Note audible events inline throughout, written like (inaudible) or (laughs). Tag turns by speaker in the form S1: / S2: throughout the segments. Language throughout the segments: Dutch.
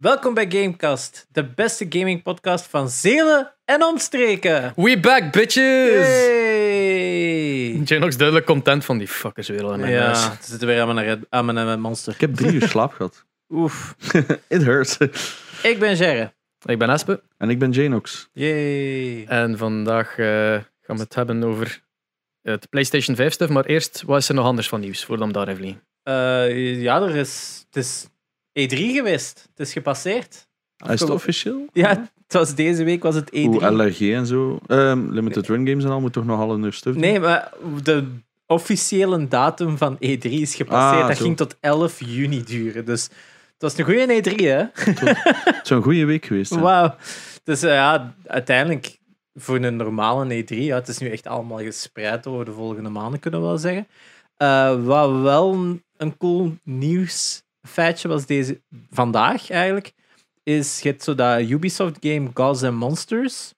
S1: Welkom bij Gamecast, de beste gaming podcast van Zelen en omstreken.
S2: We back, bitches!
S1: Hey.
S2: Ik ben nog duidelijk content van die fuckers weer al in mijn huis.
S1: Ja, het zit weer aan mijn, red, aan mijn, aan mijn monster.
S3: Ik heb drie
S1: (laughs)
S3: uur slaap gehad.
S1: Oef.
S3: (laughs) It hurts.
S1: Ik ben Gerre.
S2: Ik ben Espe
S3: En ik ben Janox.
S1: Yay.
S2: en vandaag eh, gaan we het hebben over het PlayStation 5 stuff. Maar eerst, wat is er nog anders van nieuws voordat we daar even liggen?
S1: Eh, ja, er is, het is E3 geweest. Het is gepasseerd.
S3: Is het officieel?
S1: Ja, het was, deze week was het E E3.
S3: Hoe LRG en zo. Ehm, Limited Run Games en al moet toch nog al een uur stuff doen?
S1: Nee, maar de officiële datum van E3 is gepasseerd.
S3: Ah,
S1: dat
S3: zo.
S1: ging tot 11 juni duren. Dus het was een goede E3, hè?
S3: Het zou een goede week geweest zijn.
S1: Wauw. Dus eh, ja, uiteindelijk voor een normale E3, ja, het is nu echt allemaal gespreid over de volgende maanden, kunnen we wel zeggen. Eh, wat wel een- een cool nieuwsfeitje was deze, vandaag eigenlijk, is je hebt zo dat Ubisoft game Gods and Monsters.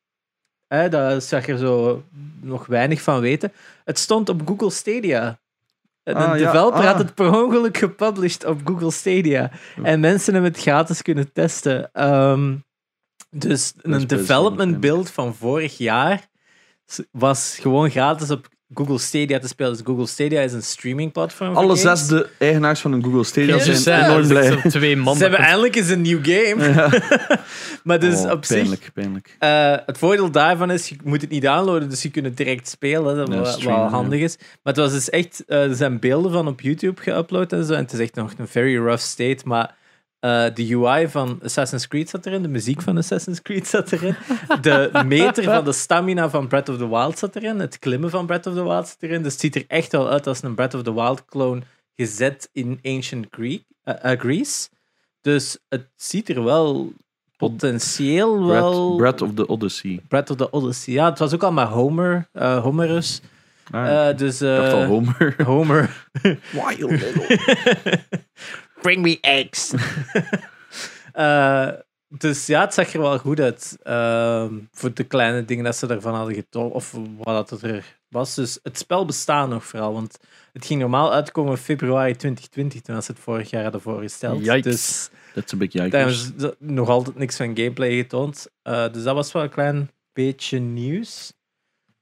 S1: Hè, daar zag er zo nog weinig van weten. Het stond op Google Stadia. En een
S3: Ah, ja.
S1: developer had
S3: Ah.
S1: het per ongeluk gepublished op Google Stadia. Hm. En mensen hebben het gratis kunnen testen. Ehm, dus
S3: best
S1: een
S3: wel
S1: development
S3: bekend.
S1: build van vorig jaar s- was gewoon gratis op Google Stadia te spelen. Dus Google Stadia is een streaming platform.
S3: Alle zes de eigenaars van een Google Stadia
S1: Jezus,
S3: zijn
S1: hè?
S3: enorm
S1: Dat is
S3: blij.
S2: Zo'n twee
S1: Ze
S2: man.
S1: hebben
S2: dat-
S1: eindelijk eens een nieuw game. (laughs) maar dus
S3: Oh,
S1: op zich,
S3: pijnlijk, pijnlijk.
S1: eh, het voordeel daarvan is, je moet het niet downloaden, dus je kunt het direct spelen, dat
S3: Ja,
S1: wel,
S3: streamen,
S1: wel
S3: ja.
S1: handig is. Maar het was dus echt, eh, er zijn beelden van op YouTube geüpload en zo, en het is echt nog een very rough state, maar eh, de UI van Assassin's Creed zat erin, de muziek van Assassin's Creed zat
S3: (laughs)
S1: erin, de meter van de stamina van Breath of the Wild zat erin, het klimmen van Breath of the Wild zat erin, dus het ziet er echt wel uit als een Breath of the Wild clone gezet in Ancient Greek, eh, eh, Greece. Dus het ziet er wel potentieel wel...
S3: Breath, Breath of the Odyssey.
S1: Breath of the Odyssey. Ja, het was ook al maar Homer, eh, Homerus.
S3: Ah,
S1: Eh, dus, eh,
S3: ik dacht al
S1: (laughs)
S3: Homer.
S1: Homer.
S3: Wild little.
S1: Bring me eggs. (laughs) Eh, dus ja, het zag er wel goed uit. ehm, voor de kleine dingen dat ze ervan hadden getrokken. Of wat dat er was. Dus het spel bestaat nog vooral. Want het ging normaal uitkomen in februari 2020. Toen ze het vorig jaar hadden voorgesteld.
S2: Yikes.
S1: Dus
S3: That's a big yikes.
S1: daar is d- nog altijd niks van gameplay getoond. Eh, dus dat was wel een klein beetje nieuws.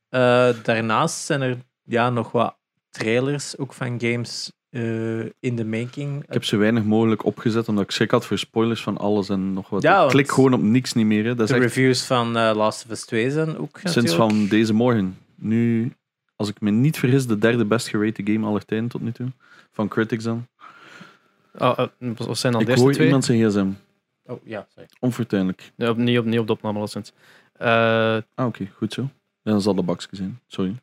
S1: Eh, daarnaast zijn er ja, nog wat trailers ook van games eh, in de making.
S3: Ik heb zo weinig mogelijk opgezet, omdat ik schrik had voor spoilers van alles en nog wat.
S1: Ja,
S3: Ik
S1: want-
S3: Klik gewoon op niks niet meer. hè. Dat
S1: de
S3: is echt
S1: reviews van eh, Last of Us 2 zijn ook
S3: sinds
S1: natuurlijk.
S3: van deze morgen. Nu, als ik me niet vergis, de derde best gerated game aller tijden tot nu toe. Van critics dan.
S2: Ah, eh, Wat zijn dan de
S3: Ik
S2: eerste
S3: hoor
S2: twee?
S3: iemand zijn gsm.
S1: Oh ja, sorry.
S3: Onfortuinlijk.
S2: Nee, op, niet, op, niet op de opname, alleszins. Eh,
S3: Ah, oké. Goed zo. Dan zal de bakje zijn. Sorry.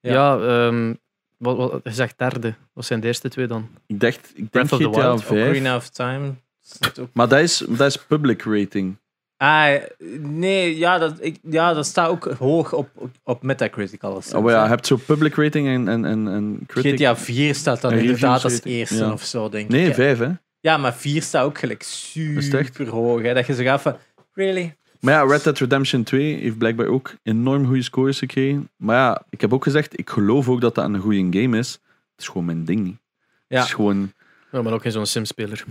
S1: Ja.
S2: ja, ehm, wat, wat, je zegt derde. Wat zijn de eerste twee dan?
S3: Ik dacht, ik denk
S2: Breath of the
S3: GTA
S2: Wild,
S3: 5.
S1: Ocarina of Time. zit ook-
S3: Maar dat is, dat is public rating.
S1: Ah, nee, ja dat, ik, ja, dat staat ook hoog op, op, op Metacritic alles.
S3: Oh, maar ja, je hebt zo public rating en, en, en, en critic.
S1: GTA 4 staat dan
S3: En reviews
S1: inderdaad als
S3: rating.
S1: eerste
S3: Ja.
S1: of zo, denk ik.
S3: Nee,
S1: Ja.
S3: 5 hè.
S1: Ja, maar 4 staat ook gelijk
S3: het echt?
S1: super hoog. Hè? Dat je zo gaat van, really?
S3: Maar ja, Red Dead Redemption 2 heeft blijkbaar ook enorm goede scores gekregen. Maar ja, ik heb ook gezegd, ik geloof ook dat dat een goede game is. Het is gewoon mijn ding niet.
S1: Ja.
S3: Het is gewoon...
S2: Ja, maar ook geen zo'n Sim-speler.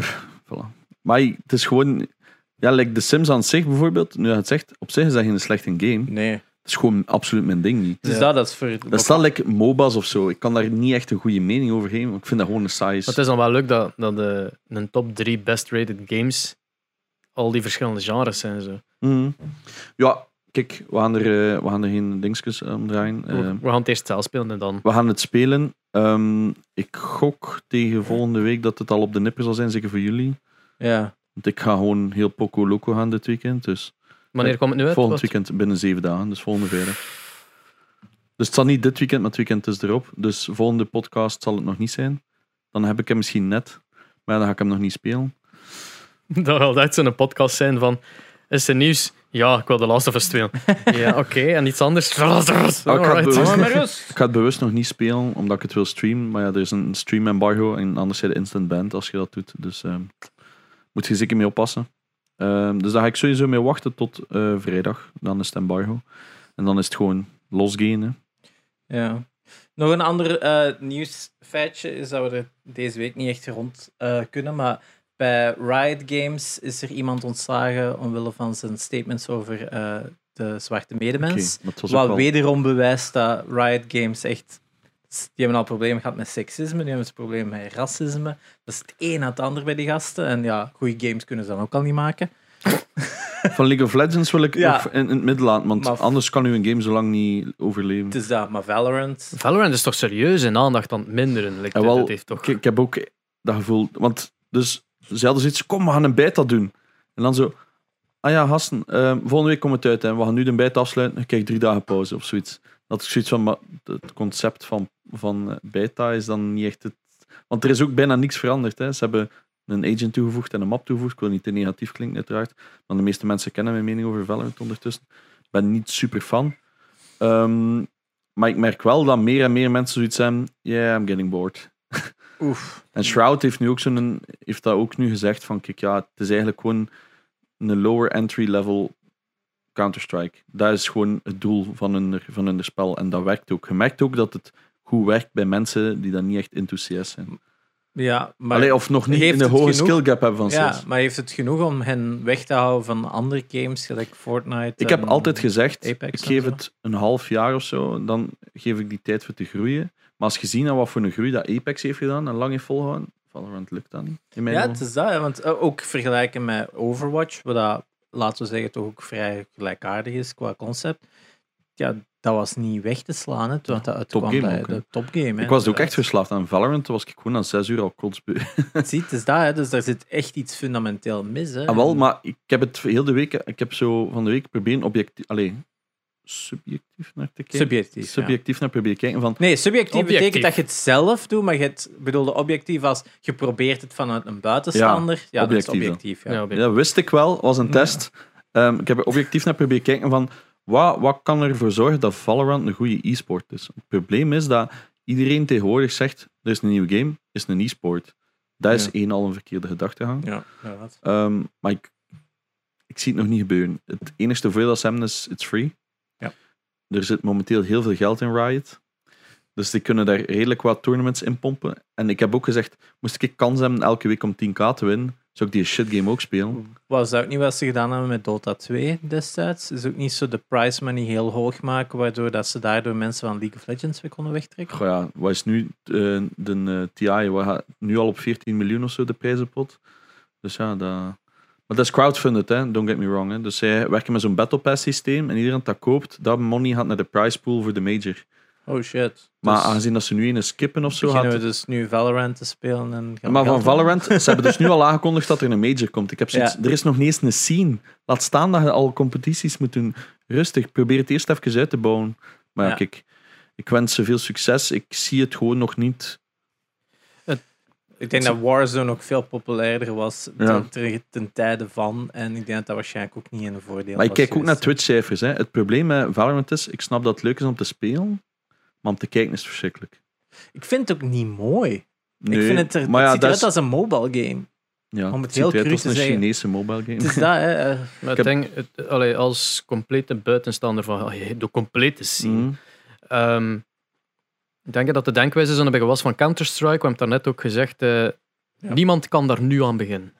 S3: Voilà. Maar het is gewoon... Ja, like The Sims aan zich bijvoorbeeld. Nu dat je het zegt, op zich is dat geen slechte game.
S1: Nee.
S3: Het is gewoon absoluut mijn ding niet.
S1: Dus
S2: Ja.
S1: dat, dat is voor...
S3: Dat staat like MOBA's of zo. Ik kan daar niet echt een goede mening over geven. want Ik vind dat gewoon een saai.
S2: Maar het is dan wel leuk dat, dat de, een top drie best-rated games al die verschillende genres zijn. Zo.
S3: Mhm. Ja, kijk, we gaan er, eh, we gaan er geen dingetjes om draaien. Eh,
S2: we gaan het eerst zelf spelen en dan.
S3: we gaan het spelen. Ehm, ik gok tegen volgende week dat het al op de nipper zal zijn, zeker voor jullie.
S1: Ja.
S3: Want ik ga gewoon heel Poco Loco gaan dit weekend. Dus
S2: Wanneer komt het nu uit?
S3: volgend
S2: Wat?
S3: weekend binnen zeven dagen, dus volgende vrijdag. Dus het zal niet dit weekend, maar het weekend is erop. Dus volgende podcast zal het nog niet zijn. Dan heb ik hem misschien net, maar dan ga ik hem nog niet spelen.
S2: Dat zal echt zo'n podcast zijn van. Is er nieuws? Ja, ik wil de Last of Us
S3: (laughs)
S2: spelen. ja, oké. En iets anders? Alright.
S3: Ah, ik had bewust-
S2: Oh,
S1: Maar maar rust.
S3: Ik ga het bewust nog niet spelen, omdat ik het wil streamen. Maar ja, er is een stream embargo en anders zijn instant band als je dat doet. Dus ehm, moet je zeker mee oppassen. Ehm, dus daar ga ik sowieso mee wachten tot eh, vrijdag. Dan is het embargo. En dan is het gewoon losgaan. hè.
S1: (laughs) Ja. Nog een ander eh, nieuwsfeitje is dat we er deze week niet echt rond eh, kunnen, maar Bij Riot Games is er iemand ontslagen omwille van zijn statements over eh, de zwarte medemens.
S3: Oké, maar het was ook
S1: Wat
S3: wel-
S1: wederom bewijst dat Riot Games echt. Die hebben al problemen gehad met seksisme, die hebben het probleem met racisme. Dat is het een na het ander bij die gasten. En ja, goede games kunnen ze dan ook al niet maken.
S3: Van League of Legends wil ik
S1: Ja.
S3: nog in, in het midden laten, want
S1: Maar-
S3: anders kan u een game zo lang niet overleven.
S1: Het is dat, maar Valorant.
S2: Valorant is toch serieus in aandacht aan het minderen? Like,
S3: Ja, wel,
S2: dat heeft toch...
S3: Ik, ik heb ook dat gevoel. Want dus zelden iets, kom, we gaan een beta doen. En dan zo, ah ja, gasten, ehm, volgende week komt het uit en we gaan nu de beta afsluiten. Ik krijg drie dagen pauze of zoiets. Dat is zoiets van, maar het concept van, van eh, beta is dan niet echt het. Want er is ook bijna niks veranderd. Hè. Ze hebben een agent toegevoegd en een map toegevoegd. Ik wil niet te negatief klinken, uiteraard. Want de meeste mensen kennen mijn mening over Valorant ondertussen. Ik ben niet super fan. Ehm, maar ik merk wel dat meer en meer mensen zoiets hebben. Yeah, I'm getting bored.
S1: Oef.
S3: En Shroud heeft, nu ook zo'n, heeft dat ook nu gezegd van, kijk ja, het is eigenlijk gewoon een lower entry level Counter-Strike. Dat is gewoon het doel van hun, van hun spel. En dat werkt ook. Je merkt ook dat het goed werkt bij mensen die dan niet echt into CS zijn.
S1: Ja, maar.
S3: Allee, of nog niet
S1: heeft
S3: in de
S1: het
S3: hoge
S1: genoeg?
S3: skill gap hebben van CS.
S1: Ja, maar heeft het genoeg om hen weg te houden van andere games, gelijk Fortnite?
S3: Ik heb
S1: en-
S3: altijd gezegd,
S1: Ehm, Apex
S3: ik
S1: en
S3: geef
S1: zo.
S3: het een half jaar of zo, dan geef ik die tijd voor te groeien. Maar als je ziet naar wat voor een groei dat Apex heeft gedaan en lang heeft volgehouden, Valorant lukt dat niet. In mijn
S1: Ja,
S3: ogen.
S1: het is dat. hè, Want eh, ook vergelijken met Overwatch, wat dat, laten we zeggen, toch ook vrij gelijkaardig is qua concept. Ja, dat was niet weg te slaan, hè, want dat uitkwam
S3: Topgame
S1: bij
S3: ook, hè.
S1: de topgame. hè,
S3: Ik was er ook
S1: inderdaad.
S3: echt verslaafd aan Valorant. Toen was ik gewoon na zes uur al kotsbeu.
S1: Ziet, het is dat, hè, dus daar zit echt iets fundamenteel mis. Hè.
S3: (laughs) Ah, wel,
S1: En-
S3: maar ik heb het heel de week... Ik heb zo van de week proberen objectief... Allee, subjectief naar te kijken.
S1: Subjectief, ja.
S3: Subjectief naar proberen kijken van...
S1: Nee, subjectief betekent
S2: Objectief.
S1: dat je het zelf doet, maar je het bedoelde objectief als je probeert het vanuit een buitenstaander. Ja, dat is
S3: objectief, hè.
S1: objectief. Ja.
S2: Ja, ben-
S3: Dat wist ik wel, was een test. Ehm, ik heb er objectief naar proberen kijken van... Wat, wat kan ervoor zorgen dat Valorant een goede e-sport is? Het probleem is dat iedereen tegenwoordig zegt... Er is een nieuwe game, is een e-sport. Dat is
S2: Ja.
S3: één al een verkeerde gedachtegang.
S1: Ja, inderdaad.
S3: Ehm, maar ik, ik zie het nog niet gebeuren. Het enige voordeel dat ze hebben is, it's free.
S1: Ja.
S3: Er zit momenteel heel veel geld in Riot. Dus die kunnen daar redelijk wat tournaments in pompen. En ik heb ook gezegd, moest ik kans hebben elke week om 10k te winnen, zou ik die shitgame ook spelen.
S1: Was dat ook niet wat ze gedaan hebben met Dota 2 destijds? Is ook niet zo de prize money heel hoog maken, waardoor dat ze daardoor mensen van League of Legends weer konden wegtrekken?
S3: Goh ja, wat is nu eh, de eh, TI? Wat gaat- nu al op 14 miljoen of zo de prijzenpot. Dus ja, dat... Maar dat is crowdfunded, hè? don't get me wrong. Hè? Dus zij werken met zo'n battle pass systeem en iedereen dat koopt, dat money gaat naar de prize pool voor de major.
S1: Oh shit.
S3: Maar
S1: Dus
S3: aangezien dat ze nu een skippen of zo
S1: beginnen
S3: gaat...
S1: we dus nu Valorant te spelen. En gaan
S3: Maar
S1: we
S3: van
S1: geld doen?
S3: Valorant,
S1: (laughs)
S3: ze hebben dus nu al aangekondigd dat er een major komt. Ik heb zoiets,
S1: Ja.
S3: er is nog niet eens een scene. Laat staan dat je al competities moet doen. Rustig, probeer het eerst even uit te bouwen. Maar ja,
S1: Ja.
S3: kijk, ik wens ze veel succes. Ik zie het gewoon nog niet.
S1: Ik denk dat Warzone ook veel populairder was
S3: Ja.
S1: ten, ten- ten tijde van. En ik denk dat dat waarschijnlijk ook niet in een voordeel
S3: Maar ik
S1: was
S3: kijk ook naar
S1: geweest.
S3: Twitch-cijfers. hè. Het probleem met Valorant is, ik snap dat het leuk is om te spelen, maar om te kijken is het verschrikkelijk.
S1: Ik vind het ook niet mooi. ik
S3: Nee,
S1: vind het er,
S3: maar
S1: het
S3: ja,
S1: ziet
S3: dat
S1: eruit
S3: is-
S1: als een mobile game.
S3: ja,
S1: om het
S3: ziet
S1: heel
S3: eruit
S1: cru
S3: als
S1: te
S3: een
S1: zeggen.
S3: Chinese mobile game.
S1: Het
S3: (laughs)
S1: is dat, hè. eh.
S2: Maar
S3: Ik
S2: ik
S3: heb-
S2: denk, het- allee, als complete buitenstaander van allee, de complete scene.
S3: Mm.
S2: Ehm, ik denk dat de denkwijze zo'n beetje was van Counter-Strike. We hebben het daarnet ook gezegd. eh, Niemand kan daar nu aan beginnen.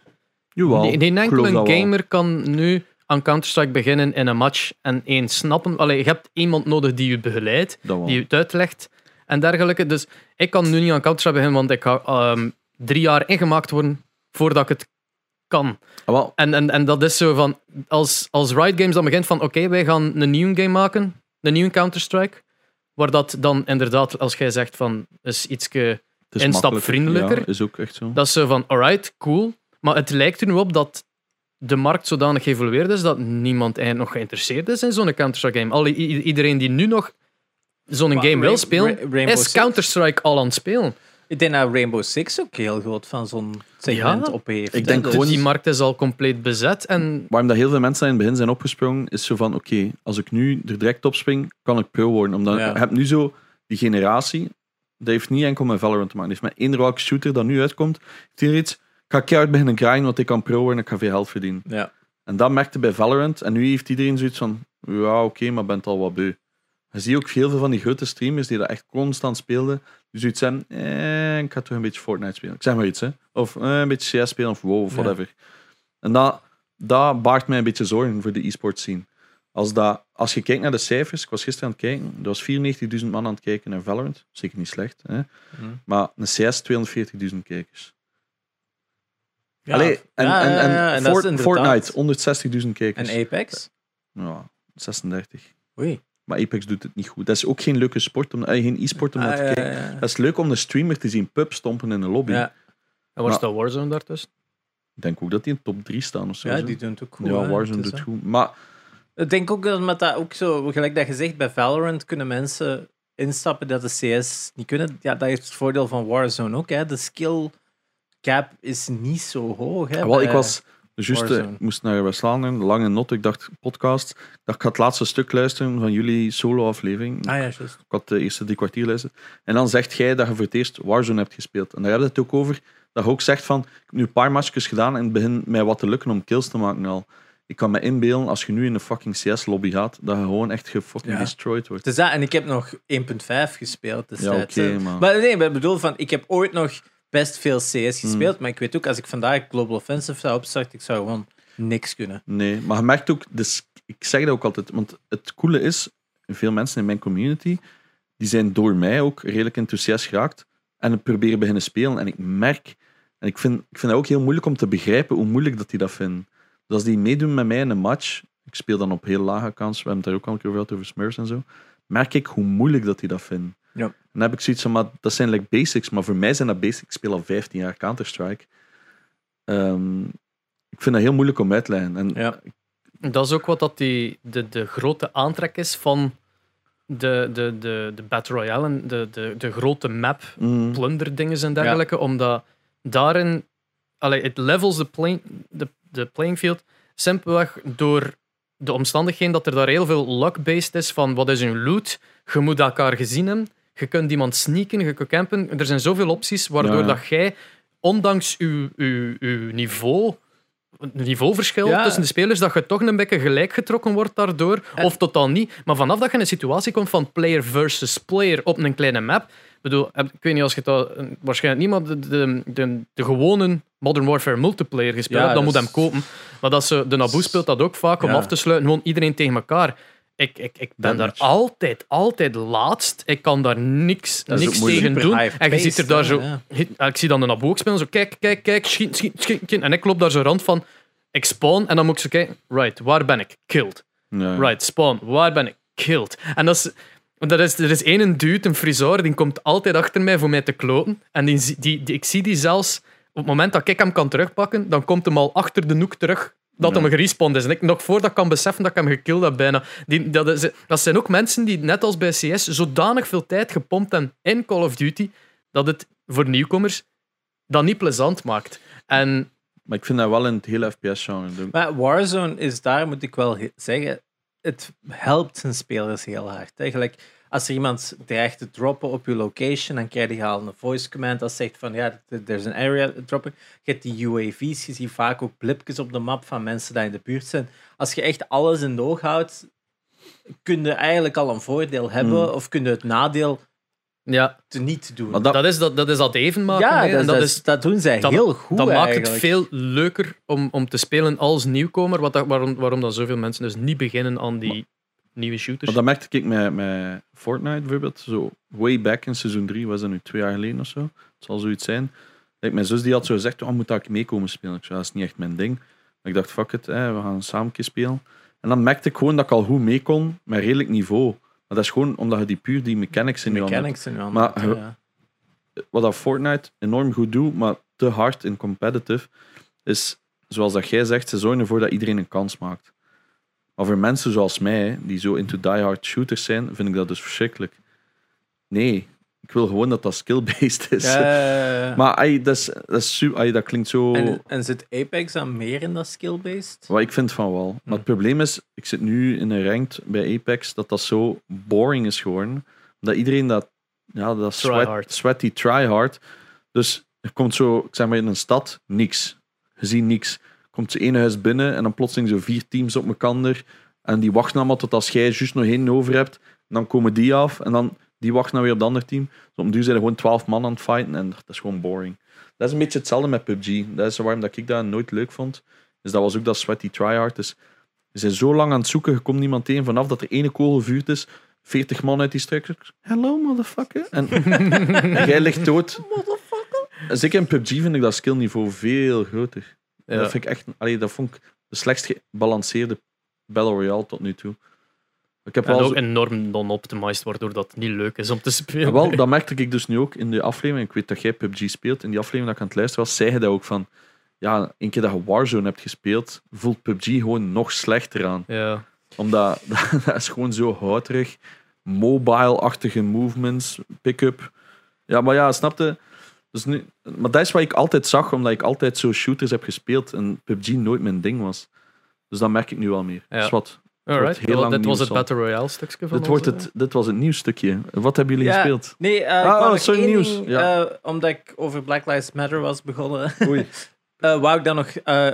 S3: Jawel,
S2: Nee, geen
S3: ik geloof
S2: enkele
S3: dat wel.
S2: gamer kan nu aan Counter-Strike beginnen in een match en één snappen. Allee, je hebt iemand nodig die je begeleidt,
S3: Dat wel.
S2: die je het uitlegt en dergelijke. Dus ik kan nu niet aan Counter-Strike beginnen, want ik ga ehm, drie jaar ingemaakt worden voordat ik het kan.
S3: Ah, wel,
S2: En, en, en dat is zo van, als, als Riot Games dan begint van, oké, wij gaan een nieuwe game maken, een nieuwe Counter-Strike, waar dat dan inderdaad, als jij zegt van, is iets,
S3: Het is
S2: Instapvriendelijker.
S3: makkelijker. Ja, is ook echt zo.
S2: dat is zo van, alright, cool, maar het lijkt er nu op dat de markt zodanig geëvolueerd is dat niemand eigenlijk nog geïnteresseerd is in zo'n Counter-Strike game. Al, i- i- iedereen die nu nog zo'n
S1: Maar
S2: game wil
S1: Rain-
S2: spelen,
S1: Ra- Rainbow
S2: is
S1: Six?
S2: Counter-Strike al aan het spelen.
S1: Ik denk dat Rainbow Six ook heel groot van zo'n segment
S2: Ja.
S1: op heeft. hè.
S3: Ik denk
S1: Dus-
S2: Dus
S3: gewoon-
S2: die markt is al compleet bezet en
S3: Waarom dat heel veel mensen in het begin zijn opgesprongen, is zo van: oké, als ik nu er direct op spring, kan ik pro worden. Omdat
S1: Ja.
S3: ik heb nu zo die generatie, dat heeft niet enkel met Valorant te maken. Dat heeft met één welke shooter dat nu uitkomt, heeft hier iets. Ik ga keihard beginnen grinden, want ik kan pro worden, ik ga veel geld verdienen.
S1: Ja.
S3: En dat merkte bij Valorant. En nu heeft iedereen zoiets van: ja, oké, maar bent al wat beu. Je ziet ook heel veel van die grote streamers die dat echt constant speelden, Dus zoiets zijn, eh, ik ga toch een beetje Fortnite spelen. Ik zeg maar iets, hè. Of eh, een beetje CS spelen of WoW of
S1: Ja.
S3: whatever. En dat, dat baart mij een beetje zorgen voor de e-sports scene. Als, dat, als je kijkt naar de cijfers, ik was gisteren aan het kijken, er was 94.000 man aan het kijken naar Valorant. Zeker niet slecht, hè.
S1: Mhm.
S3: Maar een CS 240.000 kijkers.
S1: Ja.
S3: Allee, en,
S1: Ja,
S3: en,
S1: ja,
S3: en,
S1: ja, en dat is
S3: Fort-
S1: inderdaad-
S3: Fortnite, 160.000 kijkers.
S1: En Apex?
S3: ja, 36.
S1: Oei.
S3: Maar Apex doet het niet goed. Dat is ook geen leuke sport, om, eh, geen e-sport om naar
S1: Ah,
S3: te
S1: ja,
S3: kijken.
S1: ja, ja.
S3: Dat is leuk om de streamer te zien pub stompen in de lobby.
S1: Ja,
S2: En waar staat Warzone daartussen?
S3: Ik denk ook dat die in top 3 staan of zo.
S1: ja,
S3: zo.
S1: die doen het ook goed.
S3: ja
S1: hè.
S3: Warzone
S1: Het is
S3: doet
S1: zo.
S3: goed. Maar
S1: Ik denk ook dat met dat ook zo, gelijk dat je zegt, bij Valorant kunnen mensen instappen dat de CS niet kunnen. Ja, dat is het voordeel van Warzone ook. Hè. De skill cap is niet zo hoog. Hè,
S3: Ah, wel, ik
S1: bij-
S3: was juist, eh,
S1: Warzone.
S3: ik moest naar West-Vlaanderen, de lange not. Ik dacht, podcast. Ik dacht, ik ga het laatste stuk luisteren van jullie solo-aflevering.
S1: Ah ja, juist.
S3: Ik had de eerste drie kwartier luisteren. En dan zegt jij dat je voor het eerst Warzone hebt gespeeld. En daar hebben we het ook over. Dat je ook zegt van, ik heb nu een paar matchjes gedaan en het begint mij wat te lukken om kills te maken al. Ik kan me inbeelden, als je nu in een fucking CS-lobby gaat, dat je gewoon echt gefucking
S1: Ja.
S3: destroyed wordt.
S1: Dus dat, en ik heb nog 1.5 gespeeld
S3: Ja,
S1: destijds.
S3: oké,
S1: hè.
S3: maar...
S1: Maar nee, maar ik bedoel van, ik heb ooit nog best veel CS
S3: Hmm.
S1: gespeeld, maar ik weet ook, als ik vandaag Global Offensive zou opstarten, ik zou gewoon niks kunnen.
S3: Nee, maar je merkt ook, dus ik zeg dat ook altijd, want het coole is, veel mensen in mijn community, die zijn door mij ook redelijk enthousiast geraakt en het proberen beginnen spelen. En ik merk, en ik vind, ik vind dat ook heel moeilijk om te begrijpen hoe moeilijk dat die dat vinden. Dus als die meedoen met mij in een match, ik speel dan op heel lage kans, we hebben het daar ook al een keer over gehad, over Smurfs en zo, merk ik hoe moeilijk dat die dat vinden.
S1: Ja.
S3: En dan heb ik zoiets van, maar dat zijn like basics, maar voor mij zijn dat basics. Ik speel al 15 jaar Counter-Strike. Ehm, ik vind dat heel moeilijk om uit te leggen. En
S1: Ja.
S2: Dat is ook wat dat die, de, de grote aantrek is van de, de, de, de Battle Royale en de, de, de grote map
S3: Mm.
S2: plunderdingen en dergelijke, omdat daarin allee, het levels de, play, de, de playing field simpelweg door de omstandigheden dat er daar heel veel luck-based is van wat is hun loot, je moet elkaar gezien hebben, je kunt iemand sneaken, je kunt campen, er zijn zoveel opties waardoor
S3: Ja, ja.
S2: dat jij, ondanks uw, uw, uw niveau het niveauverschil
S1: Ja.
S2: tussen de spelers, dat je toch een beetje gelijk getrokken wordt daardoor,
S1: En-
S2: of totaal niet. Maar vanaf dat je in een situatie komt van player versus player op een kleine map, ik bedoel, heb- ik weet niet als je dat eh, waarschijnlijk niet, maar de, de, de, de gewone Modern Warfare multiplayer gespeeld
S1: Ja,
S2: hebt, dan
S1: dat
S2: moet
S1: is-
S2: hem kopen. Maar dat ze, de Naboo speelt dat ook vaak om
S1: Ja.
S2: af te sluiten, gewoon iedereen tegen elkaar. Ik, ik, ik ben
S3: Dat
S2: daar
S3: match.
S2: altijd, altijd laatst. Ik kan daar niks,
S3: Dat is
S2: niks
S3: ook moeilijk.
S2: tegen
S1: Super
S2: doen.
S1: high
S2: En je ziet er daar
S1: paced,
S2: zo
S1: hè, ja.
S2: Hit- ah, Ik zie dan de Nabo ook spelen, zo kijk, kijk, kijk, schiet, schiet, schiet, schiet. En ik loop daar zo rond van, ik spawn en dan moet ik zo kijken, right, waar ben ik? Killed.
S3: Ja.
S2: Right, spawn, waar ben ik? Killed. En dat is, want dat is, er is één dude, een friseur, die komt altijd achter mij voor mij te kloten. En die, zie- die, die, ik zie die zelfs, op het moment dat ik hem kan terugpakken, dan komt hem al achter de noek terug dat
S3: Ja.
S2: hem gerespond is. En ik nog voordat ik kan beseffen dat ik hem gekilld heb bijna. Die, dat, is, dat zijn ook mensen die, net als bij CS, zodanig veel tijd gepompt hebben in Call of Duty, dat het voor nieuwkomers dat niet plezant maakt. En
S3: Maar ik vind dat wel in het hele FPS-genre.
S1: Maar Warzone is daar, moet ik wel he- zeggen, het helpt zijn spelers heel hard. hè. Gelijk, als er iemand dreigt te droppen op je location, dan krijg je al een voice command dat zegt van ja, er er is een area dropping. Je hebt die UAV's, je ziet vaak ook blipjes op de map van mensen die in de buurt zijn. Als je echt alles in de oog houdt, kun je eigenlijk al een voordeel hebben
S2: Hmm.
S1: of kun je het nadeel
S2: ja,
S1: te niet doen.
S3: Maar dat-
S2: dat is dat, dat, is dat even maken.
S1: ja,
S2: hè.
S1: dat,
S2: en dat
S1: dat-
S2: is
S1: dat doen zij heel goed.
S2: Dat maakt het
S1: eigenlijk.
S2: veel leuker om, om te spelen als nieuwkomer, wat dat, waarom, waarom dan zoveel mensen dus niet beginnen aan die nieuwe shooters.
S3: Maar dat merkte ik met, met Fortnite bijvoorbeeld. Zo way back in seizoen 3, was dat nu twee jaar geleden of zo. Het zal zoiets zijn. Kijk, mijn zus die had zo gezegd, oh, moet dat ik meekomen spelen? Ik zei, dat is niet echt mijn ding. Maar ik dacht, fuck it, hè, we gaan samen een keer spelen. En dan merkte ik gewoon dat ik al goed mee kon, met redelijk niveau. Maar dat is gewoon omdat je die puur die mechanics in je hand hebt.
S1: mechanics in je hand.
S3: Maar-
S1: ja.
S3: wat dat Fortnite enorm goed doet, maar te hard in competitive, is zoals dat jij zegt, ze zorgen ervoor dat iedereen een kans maakt. Maar voor mensen zoals mij, die zo into die-hard shooters zijn, vind ik dat dus verschrikkelijk. Nee, ik wil gewoon dat dat skill-based is.
S1: Ja,
S2: (laughs)
S1: ja, ja, ja.
S3: Maar ey, dat, is, dat, is su- ey, dat klinkt zo...
S1: En, en zit Apex dan meer in dat skill-based?
S3: Wat ik vind van wel. Maar
S1: Mm.
S3: het probleem is, ik zit nu in een ranked bij Apex, dat dat zo boring is geworden. Dat iedereen dat, ja, dat sweat,
S2: Tryhard.
S3: sweaty tryhard. Dus er komt zo, ik zeg maar in een stad, niks. Je ziet niks. Komt ze ene huis binnen en dan plotseling zo vier teams op elkaar. En die wachten allemaal tot als jij juist nog één over hebt. En dan komen die af en dan Die wacht nou weer op het andere team. Dus om duur zijn er gewoon 12 man aan het fighten en dat is gewoon boring. Dat is een beetje hetzelfde met PUBG. Dat is waarom dat ik dat nooit leuk vond. Dus dat was ook dat sweaty tryhard. Dus we zijn zo lang aan het zoeken, je komt niemand tegen. Vanaf dat er ene kogel vuurt is, 40 man uit die structures. Hello, motherfucker.
S2: (laughs)
S3: En jij ligt dood. Zeker in PUBG vind ik dat skillniveau veel groter.
S2: Ja.
S3: Dat vind ik echt... Allee, dat vond ik de slechtst gebalanceerde Battle Royale tot nu toe. Ik heb
S2: En
S3: wel zo-
S2: ook enorm non-optimized, waardoor dat niet leuk is om te spelen.
S3: wel, dat merkte ik dus nu ook in de aflevering. Ik weet dat jij PUBG speelt. In die aflevering dat ik aan het luisteren was, zei hij dat ook van... Ja, een keer dat je Warzone hebt gespeeld, voelt PUBG gewoon nog slechter aan.
S2: (laughs) Ja.
S3: Omdat (laughs) dat, dat is gewoon zo houterig. Mobile-achtige movements, pick-up. Ja, maar ja, snapte. Dus nu, maar dat is wat ik altijd zag, omdat ik altijd zo shooters heb gespeeld en PUBG nooit mijn ding was. Dus dat merk ik nu wel meer.
S2: Ja.
S3: Dus wat, wordt
S2: Alright,
S3: heel
S2: wel,
S3: lang
S2: dit was het
S3: nieuws
S2: Battle Royale stukje van
S3: dit, wordt
S2: onze-
S3: het, dit was het nieuws stukje. Wat hebben jullie
S1: Ja.
S3: gespeeld?
S1: Nee, eh, ik
S3: Ah,
S1: wou
S3: oh,
S1: nog
S3: sorry,
S1: één
S3: nieuws.
S1: ding,
S3: Ja.
S1: eh, omdat ik over Black Lives Matter was begonnen,
S3: Oei.
S1: (laughs) eh, wou ik dan nog eh,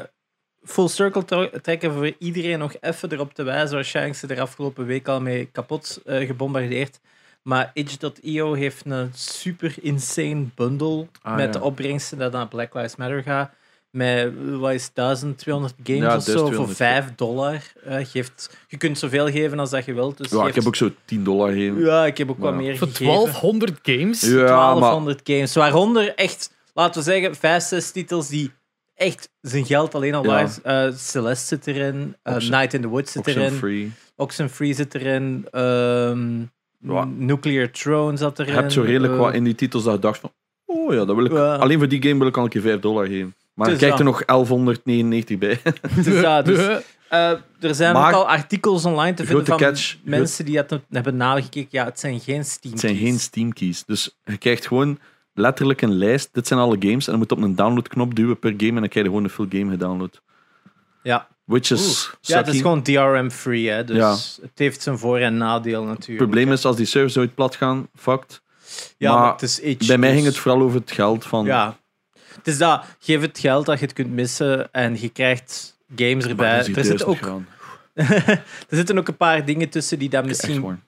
S1: full circle tre- trekken voor iedereen nog even erop te wijzen. Waarschijnlijk ze er afgelopen week al mee kapot eh, gebombardeerd. Maar itch.io heeft een super insane bundle
S3: Ah,
S1: met
S3: ja.
S1: de opbrengsten dat naar Black Lives Matter gaat. Met wat is het, 1200 games
S3: Ja,
S1: of zo voor
S3: 1200,
S1: 5 dollar. Eh, geeft, je kunt zoveel geven als dat je wilt. Dus
S3: Ja, ik
S1: geeft-
S3: heb ook zo 10 dollar gegeven.
S1: ja, ik heb ook wat
S3: Ja.
S1: meer
S2: Voor
S1: gegeven.
S2: 1200 games?
S3: Ja, maar
S1: 1200 games. Waaronder echt, laten we zeggen, 5, 6 titels die echt zijn geld alleen al
S3: Ja.
S1: waard. Eh, Celeste zit erin, eh,
S3: Oxen-
S1: Night in the Woods zit erin,
S3: Oxenfree.
S1: Oxenfree zit erin, ehm,
S3: Ja.
S1: Nuclear Throne zat
S3: Je
S1: erin.
S3: hebt zo redelijk
S1: eh,
S3: wat in die titels dat je dacht van... Oh ja, dat wil ik,
S1: Ja.
S3: alleen voor die game wil ik al een keer 5 dollar geven. Maar je
S1: Dus
S3: krijgt er
S1: ja.
S3: nog 1199 bij.
S1: het is dat, dus, eh, er zijn
S3: Maar-
S1: ook al artikels online te vinden
S3: Grote
S1: van
S3: catch,
S1: mensen die dat hebben nagekeken. Ja, het zijn geen Steam
S3: Het zijn
S1: keys.
S3: geen Steam keys. Dus je krijgt gewoon letterlijk een lijst. Dit zijn alle games. En je moet op een downloadknop duwen per game. En dan krijg je gewoon een full game gedownload.
S1: Ja.
S3: Which
S1: Oeh.
S3: is
S1: ja, het is
S3: sucky.
S1: gewoon DRM-free, hè, dus het heeft zijn voor- en nadeel
S3: Het
S1: natuurlijk.
S3: probleem is als die servers ooit plat gaan, fucked.
S1: ja,
S3: maar
S1: maar het is itch,
S3: Bij mij ging
S1: dus-
S3: het vooral over het geld van...
S1: Ja. Het is dat, geef het geld dat je het kunt missen en je krijgt games
S3: maar dus dat
S1: erbij.
S3: is
S1: Er zitten,
S3: 1000
S1: ook,
S3: graan.
S1: (laughs) er zitten ook een paar dingen tussen die daar
S3: Echt
S1: misschien
S3: waar.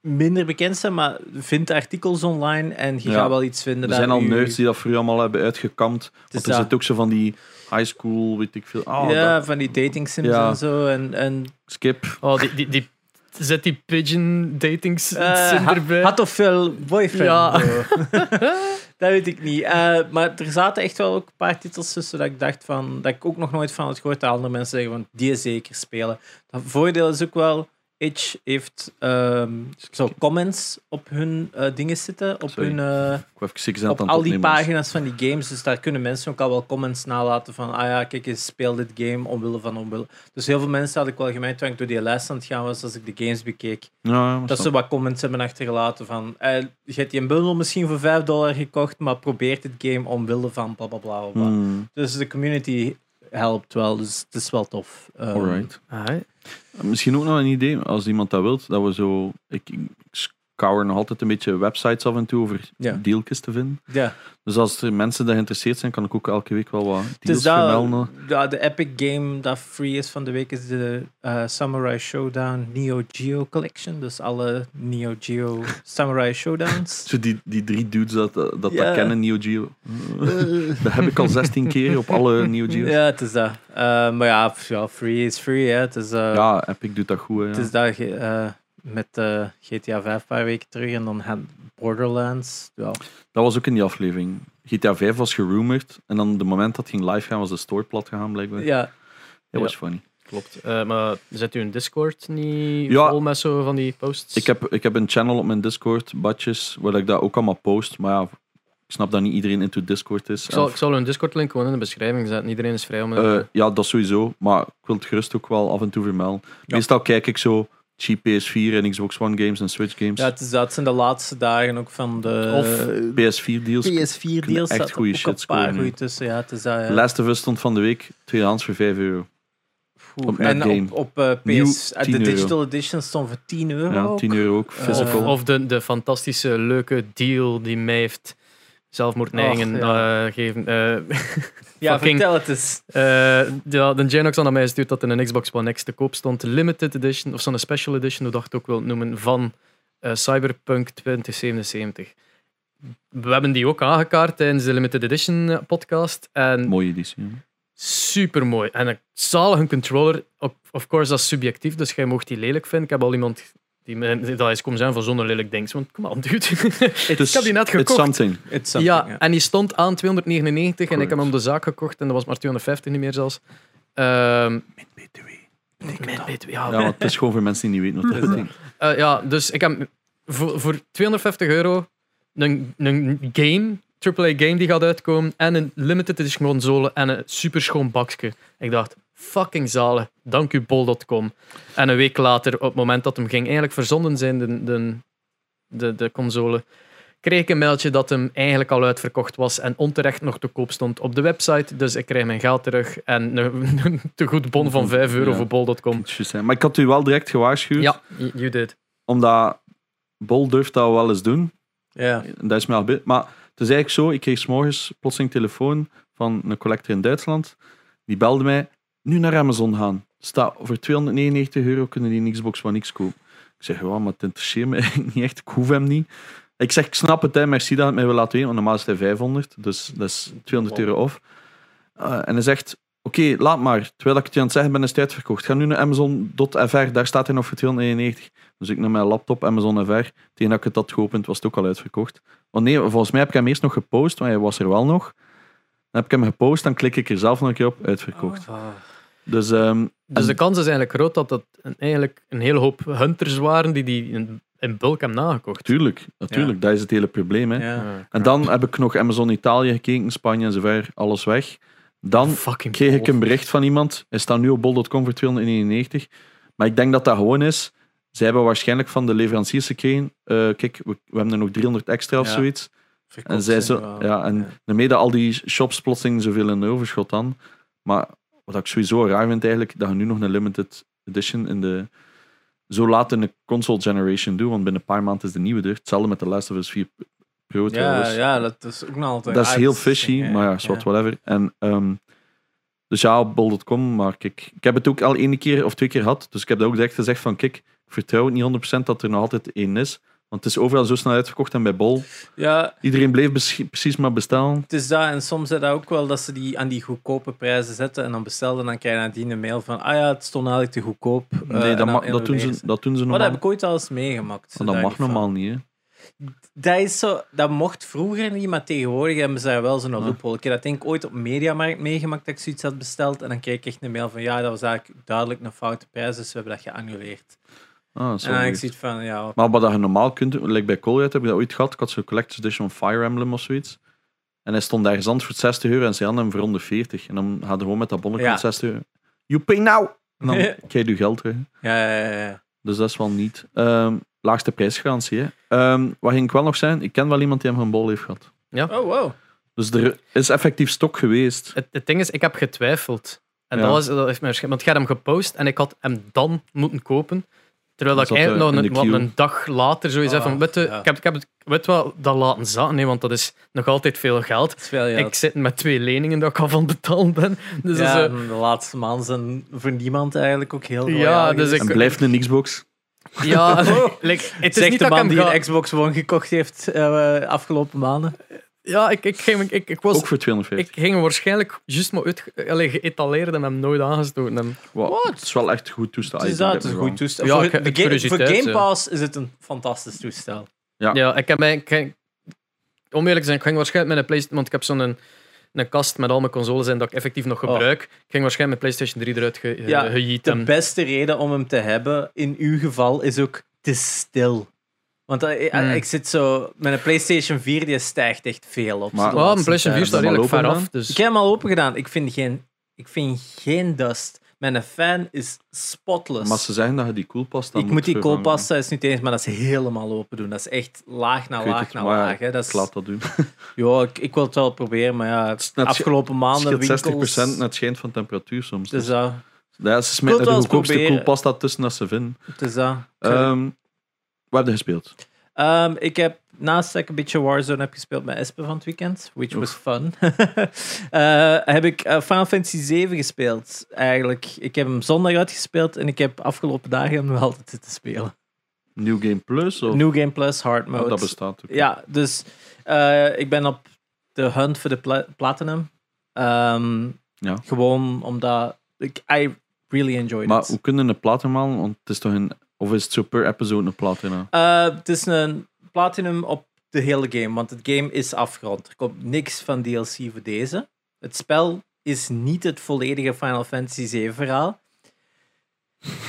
S1: minder bekend zijn, maar vind artikels online en je
S3: Ja.
S1: gaat wel iets vinden.
S3: Er zijn al
S1: dat u-
S3: nerds die dat vroeger allemaal hebben uitgekampt.
S1: is
S3: Want er
S1: dat.
S3: zit ook zo van die high school, weet ik veel. Ah,
S1: ja,
S3: dat-
S1: van die dating sims
S3: Ja.
S1: en zo. En, en,
S3: skip.
S2: (laughs) Oh, die, die, die, zet die pigeon dating sim
S1: eh, ha-
S2: erbij.
S1: had of veel boyfriend?
S2: Ja.
S1: bro. dat weet ik niet. Eh, maar er zaten echt wel ook een paar titels tussen dat ik dacht van... Dat ik ook nog nooit van had gehoord dat andere mensen zeggen van... Die zeker spelen. Dat voordeel is ook wel... Itch heeft ehm, zo comments op hun eh, dingen zitten. Op,
S3: Sorry.
S1: hun, eh,
S3: Ik wou even six aan
S1: op
S3: het
S1: al die
S3: opnemen.
S1: pagina's van die games. Dus daar kunnen mensen ook al wel comments nalaten van... Ah ja, kijk eens, speel dit game omwille van omwille. Dus heel veel mensen had ik wel gemerkt toen ik door die lijst aan het gaan was... Als ik de games bekeek.
S3: Ja, ja, maar
S1: Dat ze
S3: snap.
S1: wat comments hebben achtergelaten van. eh, je hebt die een bundel misschien voor 5 dollar gekocht, maar probeert het game omwille van bla bla bla. bla, bla.
S3: Hmm,
S1: Dus de community helpt wel, dus het is wel tof. Ehm,
S3: alright.
S2: (laughs) Ah,
S3: Misschien ook nog een idee, als iemand dat wilt, dat we zo... Ik, ik scour nog altijd een beetje websites af en toe over
S1: Ja.
S3: dealtjes te vinden.
S1: Ja,
S3: Dus als er mensen die geïnteresseerd zijn, kan ik ook elke week wel wat
S1: het is
S3: deals
S1: dat,
S3: vermelden.
S1: ja, de epic game dat free is van de week is de eh, Samurai Showdown Neo Geo Collection. Dus alle Neo
S3: (laughs)
S1: Geo Samurai Showdowns.
S3: Zo die, die drie dudes dat dat, dat
S1: Ja.
S3: kennen, Neo Geo. (laughs) dat heb ik al 16 keer op alle Neo Geo's. Ja,
S1: ja, het is dat. Eh, maar ja, pff, ja, free is free. Hè. Het is, eh,
S3: Epic doet dat goed. hè, ja.
S1: Het is daar ge- eh, met eh, GTA 5 een paar weken terug en dan had Borderlands. Ja.
S3: Dat was ook in die aflevering. GTA 5 was gerumored en dan de moment dat het ging live gaan, was de store plat gegaan blijkbaar. Dat
S1: ja.
S3: was funny.
S2: klopt. Eh, maar zet u een Discord niet
S3: Ja.
S2: vol met zo van die posts?
S3: Ik heb, ik heb een channel op mijn Discord, Batjes, waar ik dat ook allemaal post. Maar ja, ik snap dat niet iedereen into Discord is.
S2: Ik zal,
S3: En-
S2: ik zal een Discord-link gewoon in de beschrijving zetten. Iedereen is vrij om...
S3: Eh, ja, dat sowieso. Maar ik wil het gerust ook wel af en toe vermelden. Meestal kijk ik zo cheap PS4 en Xbox One games en Switch games. Eh,
S1: ja, het is dat. Het zijn de laatste dagen ook van de
S2: Of
S3: PS4 deals.
S1: PS4 deals.
S3: echt
S1: zaten
S3: goeie
S1: ook
S3: shit
S1: een paar
S3: scoren nu.
S1: goeie tussen. Ja, het is eh, dat. ja.
S3: Last of Us stond van de week tweedehands voor 5 euro.
S1: Oeh,
S3: op
S1: en
S3: Netgame.
S1: op, op eh,
S3: Nieuw,
S1: PS, eh,
S3: 10
S1: de
S3: euro.
S1: Digital Edition stond voor 10 euro.
S3: Ja,
S1: ook.
S3: 10 euro
S2: Eh,
S3: ook. Physical.
S2: Of, of de, de fantastische, leuke deal die mij heeft zelfmoordneigingen
S1: Ach, ja.
S2: eh, gegeven. Eh,
S1: Ja,
S2: fucking-
S1: vertel het eens.
S2: eh, ja, de Genox had aan mij gestuurd dat in een Xbox One X te koop stond. Limited Edition, of zo'n Special Edition, hoe dacht ik ook wil noemen, van eh, Cyberpunk 2077. We hebben die ook aangekaart tijdens de Limited Edition eh, podcast. En
S3: Mooie editie. hè.
S2: super mooi. En een zalige controller. Of, of course, dat is subjectief, dus jij mocht die lelijk vinden. Ik heb al iemand die me dat is komen zijn van zonder lelijk ding. Want kom op, dude.
S3: Dus
S2: ik heb die net
S3: It's
S2: gekocht.
S3: something.
S1: It's something,
S2: (laughs) Ja,
S1: ja.
S2: en die stond aan 299 en ik heb
S3: Correct.
S2: hem op de zaak gekocht en dat was maar 250 niet meer zelfs. Ehm mijn BTW, ja,
S3: Ja, want het is gewoon voor mensen die niet
S2: (laughs)
S3: weten wat dat
S1: Dus,
S3: betekent.
S2: eh, ja, dus ik heb voor, voor 250 euro een, een game, AAA game die gaat uitkomen en een limited edition console en een superschoon bakje. Ik dacht, fucking zalen, dank u bol.com. En een week later, op het moment dat hem ging eigenlijk verzonden zijn, de, de, de, de console, kreeg ik een mailtje dat hem eigenlijk al uitverkocht was en onterecht nog te koop stond op de website. Dus ik kreeg mijn geld terug en een, (laughs) een tegoedbon van 5 euro
S3: Ja.
S2: voor bol.com.
S3: Het is juist, hè. Maar ik had u wel direct gewaarschuwd,
S2: Ja, you you did.
S3: omdat Bol durft dat wel eens doen.
S1: Ja.
S3: En Dat is mij al be- Maar het is eigenlijk zo, ik kreeg 's morgens plotseling telefoon van een collector in Duitsland. Die belde mij, nu naar Amazon gaan. Sta, voor 299 euro kunnen die een Xbox One X kopen. Ik zeg, ja, maar het interesseert me (laughs) eigenlijk niet echt, ik hoef hem niet. Ik zeg, ik snap het, hè, merci dat je het mij wil laten weten, want normaal is hij 500, dus dat is 200 euro off. Eh, en hij zegt, oké, laat maar. Terwijl ik het je aan het zeggen ben, is het uitverkocht. Ga nu naar Amazon.fr, daar staat hij nog voor 299. Dus ik naar mijn laptop, Amazon FR. Tegen dat ik het had geopend, was het ook al uitverkocht. Want nee, volgens mij heb ik hem eerst nog gepost, want hij was er wel nog. Dan heb ik hem gepost, dan klik ik er zelf nog een keer op, uitverkocht.
S1: Ah.
S3: Dus ehm,
S2: Dus
S3: En-
S2: de kans is eigenlijk groot dat dat een- eigenlijk een hele hoop hunters waren die die in, in bulk hebben nagekocht.
S3: tuurlijk, natuurlijk, dat is het hele probleem. Hè.
S1: Ja.
S3: En dan heb ik nog Amazon Italië gekeken, Spanje en zover, alles weg. Dan
S2: Oh, fucking
S3: kreeg ik een
S2: Bol.
S3: bericht van iemand. Hij staat nu op bol.com voor 299. Maar ik denk dat dat gewoon is. Zij hebben waarschijnlijk van de leveranciers gekregen. eh, kijk, we, we hebben er nog 300 extra of
S1: Ja.
S3: zoiets.
S1: Verkocht
S3: En zij
S1: zijn
S3: zo,
S1: wel-
S3: ja, en
S1: ja.
S3: daarmee dat al die shops plotseling zoveel in overschot aan. Maar wat ik sowieso raar vind eigenlijk, dat je nu nog een limited edition in de zo laat in de console generation doet, want binnen een paar maanden is de nieuwe er. Hetzelfde met de Last of Us 4 Pro
S1: Ja,
S3: trouwens.
S1: ja, dat is ook nog altijd.
S3: Dat is
S1: uit-
S3: heel fishy, maar ja, zwart, whatever. En, ehm, dus ja, op bol.com, maar kijk, ik heb het ook al één keer of twee keer gehad, dus ik heb dat ook direct gezegd van, kijk, ik vertrouw het niet 100% dat er nog altijd één is, want het is overal zo snel uitverkocht en bij Bol,
S1: Ja,
S3: iedereen bleef bes- precies maar bestellen.
S1: het is dat. En soms is dat ook wel dat ze die aan die goedkope prijzen zetten en dan bestelden. En dan krijg je nadien een mail van: ah ja, het stond eigenlijk te goedkoop. eh,
S3: Nee,
S1: en
S3: dat,
S1: dan
S3: ma- dat, doen
S1: innoveren
S3: ze, dat doen ze
S1: Maar
S3: normaal.
S1: dat heb ik ooit al eens meegemaakt. zo
S3: Maar dat
S1: daar
S3: mag
S1: niet van.
S3: normaal niet, hè.
S1: Dat, is zo, dat mocht vroeger niet, maar tegenwoordig hebben ze daar wel zo'n loophole. Ik heb dat denk ik ooit op Mediamarkt meegemaakt dat ik zoiets had besteld. En dan kreeg ik echt een mail van ja, dat was eigenlijk duidelijk een foute prijs, dus we hebben dat geannuleerd.
S3: Ah, zo
S1: en dan heb ik
S3: weird.
S1: zoiets van ja,
S3: Maar wat je normaal kunt doen, like bij Colruyt heb ik dat ooit gehad. Ik had zo'n Collector's Edition van Fire Emblem of zoiets. En hij stond ergens anders voor 60 euro en ze hadden hem voor 140. En dan hadden we gewoon met dat bonnetje
S1: Ja.
S3: van 60 euro. You pay now!
S1: (laughs)
S3: En dan krijg je je geld terug.
S1: ja, ja, ja, ja.
S3: Dus dat is wel niet. Ehm, laagste prijsgarantie, hè. Ehm, wat ging ik wel nog zijn? Ik ken wel iemand die hem van Bol heeft gehad.
S1: Oh wow.
S3: Dus er is effectief stok geweest.
S2: Het, het ding is, ik heb getwijfeld. En
S3: Ja.
S2: dat, was, dat heeft mij waarschijnlijk... Want jij hebt hem gepost en ik had hem dan moeten kopen. Terwijl
S3: Dan
S2: dat ik
S3: zat
S2: eigenlijk
S3: hij
S2: nog een,
S3: in de
S2: wat,
S3: queue.
S2: een dag later zo zei
S1: Ah,
S2: van... Weet je,
S1: ja.
S2: ik heb, ik heb het, weet wel, dat laten zaten, nee, want dat is nog altijd veel geld.
S1: Het is wel ja.
S2: Ik zit met twee leningen dat ik al van betaald ben. Dus
S1: ja,
S2: dat is, eh,
S1: en de laatste maanden zijn voor niemand eigenlijk ook heel
S2: Ja,
S1: loyaal
S2: dus
S1: geweest.
S3: En
S2: ik-
S3: blijft een Xbox.
S2: ja, (laughs) like, het is
S1: Zegt
S2: niet
S1: de
S2: dat ik
S1: man
S2: hem
S1: die
S2: ga-
S1: een Xbox One gekocht heeft eh, afgelopen maanden.
S2: Ja, ik, ik, ging- ik, ik was
S3: Ook voor 250.
S2: Ik ging hem waarschijnlijk juist maar uit, allee, geëtaleerd en hem nooit aangestoten. hebben.
S3: Wat? Het is wel echt goed toestel. Ah,
S1: Het is
S3: I don't
S1: dat, het is
S3: get
S1: een
S3: me
S1: goed
S3: wrong.
S1: toestel.
S2: Ja, ik-
S1: voor,
S2: ik
S1: de Ga- voor
S2: curiositeit,
S1: Game
S2: ja.
S1: Pass is het een fantastisch toestel.
S3: Ja.
S2: Ja, ik heb mij, ik, ging- om eerlijk te zijn, ik ging waarschijnlijk met een PlayStation, want ik heb zo'n een, kast met al mijn consoles en dat ik effectief nog
S1: Oh.
S2: gebruik. Ik ging waarschijnlijk mijn PlayStation 3 eruit ge, ge-
S1: Ja,
S2: gejiet
S1: De
S2: hebben.
S1: beste reden om hem te hebben, in uw geval, is ook te stil. Want eh, eh,
S2: Mm.
S1: ik zit zo... Met een PlayStation 4, die stijgt echt veel op.
S3: Maar-
S1: de
S2: Ja, Oh, mijn
S1: laatste
S2: PlayStation 4
S1: tijd.
S2: staat
S3: dan
S2: redelijk
S3: maar
S2: ver
S3: lopen
S2: af. Dus.
S1: Ik heb hem al open gedaan. Ik vind geen, ik vind geen dust. Mijn fan is spotless.
S3: Maar ze zeggen dat je die coolpast dan
S1: ik moet die
S3: vervangen.
S1: koolpasta is niet eens, maar dat is helemaal open doen. Dat is echt laag na
S3: Ik weet
S1: laag
S3: het,
S1: na
S3: maar ja,
S1: laag. Hè. Dat is,
S3: Ik laat dat (laughs) doen.
S1: ja, ik, ik wil het wel proberen, maar ja,
S3: is net-
S1: afgelopen
S3: Het
S1: maanden
S3: scheelt
S1: winkels...
S3: 60% naar het schijnt van temperatuur soms.
S1: Het is
S3: Dus,
S1: dat.
S3: dat is
S1: wil
S3: met
S1: het
S3: de
S1: wel eens
S3: goedkoopste
S1: proberen.
S3: koelpasta tussen dat ze vinden.
S1: Het is dat.
S3: Ehm wat heb je gespeeld?
S1: Ehm, ik heb naast dat ik een beetje Warzone heb gespeeld met Espen van het weekend, which was fun, (laughs) eh, heb ik eh, Final Fantasy 7 gespeeld. Eigenlijk, ik heb hem zondag uitgespeeld en ik heb afgelopen dagen hem wel altijd zitten spelen.
S3: New Game Plus? Of?
S1: New Game Plus, Hard
S3: Ah,
S1: Mode.
S3: dat bestaat ook.
S1: Ja, dus eh, ik ben op de hunt voor de pla- platinum. Ehm,
S3: Ja.
S1: Gewoon omdat ik I really enjoyed
S3: Maar
S1: it.
S3: hoe kunnen een platinum halen? Want het is toch een... Of is het zo per episode een platinum?
S1: Eh, het is een platinum op de hele game, want het game is afgerond. Er komt niks van DLC voor deze. Het spel is niet het volledige Final Fantasy 7 verhaal.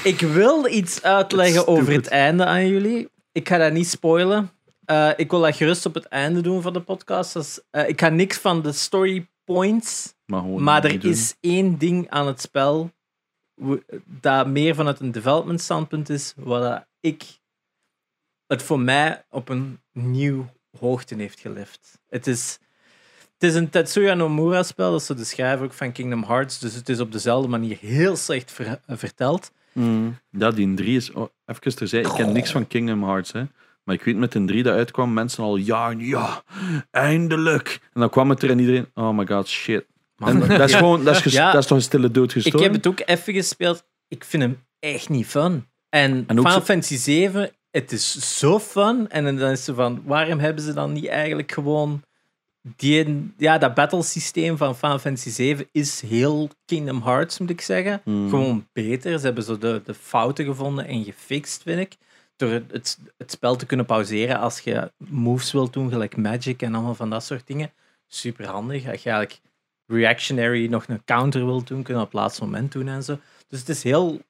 S1: Ik wil iets uitleggen over het
S3: Stupid.
S1: einde aan jullie. Ik ga dat niet spoilen. Eh, ik wil dat gerust op het einde doen van de podcast. Dus, eh, ik ga niks van de story points
S3: Maar, gewoon
S1: maar
S3: niet
S1: er
S3: doen.
S1: is één ding aan het spel wo- dat meer vanuit een development standpunt is, wat dat ik het voor mij op een nieuw hoogte heeft gelift. Het is, het is een Tetsuya Nomura spel, dat is zo de schrijver ook van Kingdom Hearts, dus het is op dezelfde manier heel slecht ver- verteld.
S3: Ja, die 3 is... Oh, even terzijde, ik ken niks van Kingdom Hearts, hè. Maar ik weet met een 3 dat uitkwam, mensen al ja, en ja, eindelijk. En dan kwam het er en iedereen, oh my god, shit. En dat is
S1: ja.
S3: gewoon, dat is, ges-
S1: Ja.
S3: dat is toch een stille dood
S1: Ik
S3: gestorven?
S1: heb het ook even gespeeld, ik vind hem echt niet fun. En,
S3: En ook
S1: Final
S3: zo-
S1: Fantasy 7, het is zo fun, en dan is ze van, waarom hebben ze dan niet eigenlijk gewoon die, ja, dat battlesysteem van Final Fantasy 7 is heel Kingdom Hearts, moet ik zeggen.
S3: Hmm.
S1: Gewoon beter. Ze hebben zo de, de fouten gevonden en gefixt, vind ik. Door het, het, het spel te kunnen pauzeren als je moves wilt doen, gelijk Magic en allemaal van dat soort dingen. Super handig. Als je eigenlijk reactionary nog een counter wilt doen, kun je dat op het laatste moment doen en zo. Dus het is heel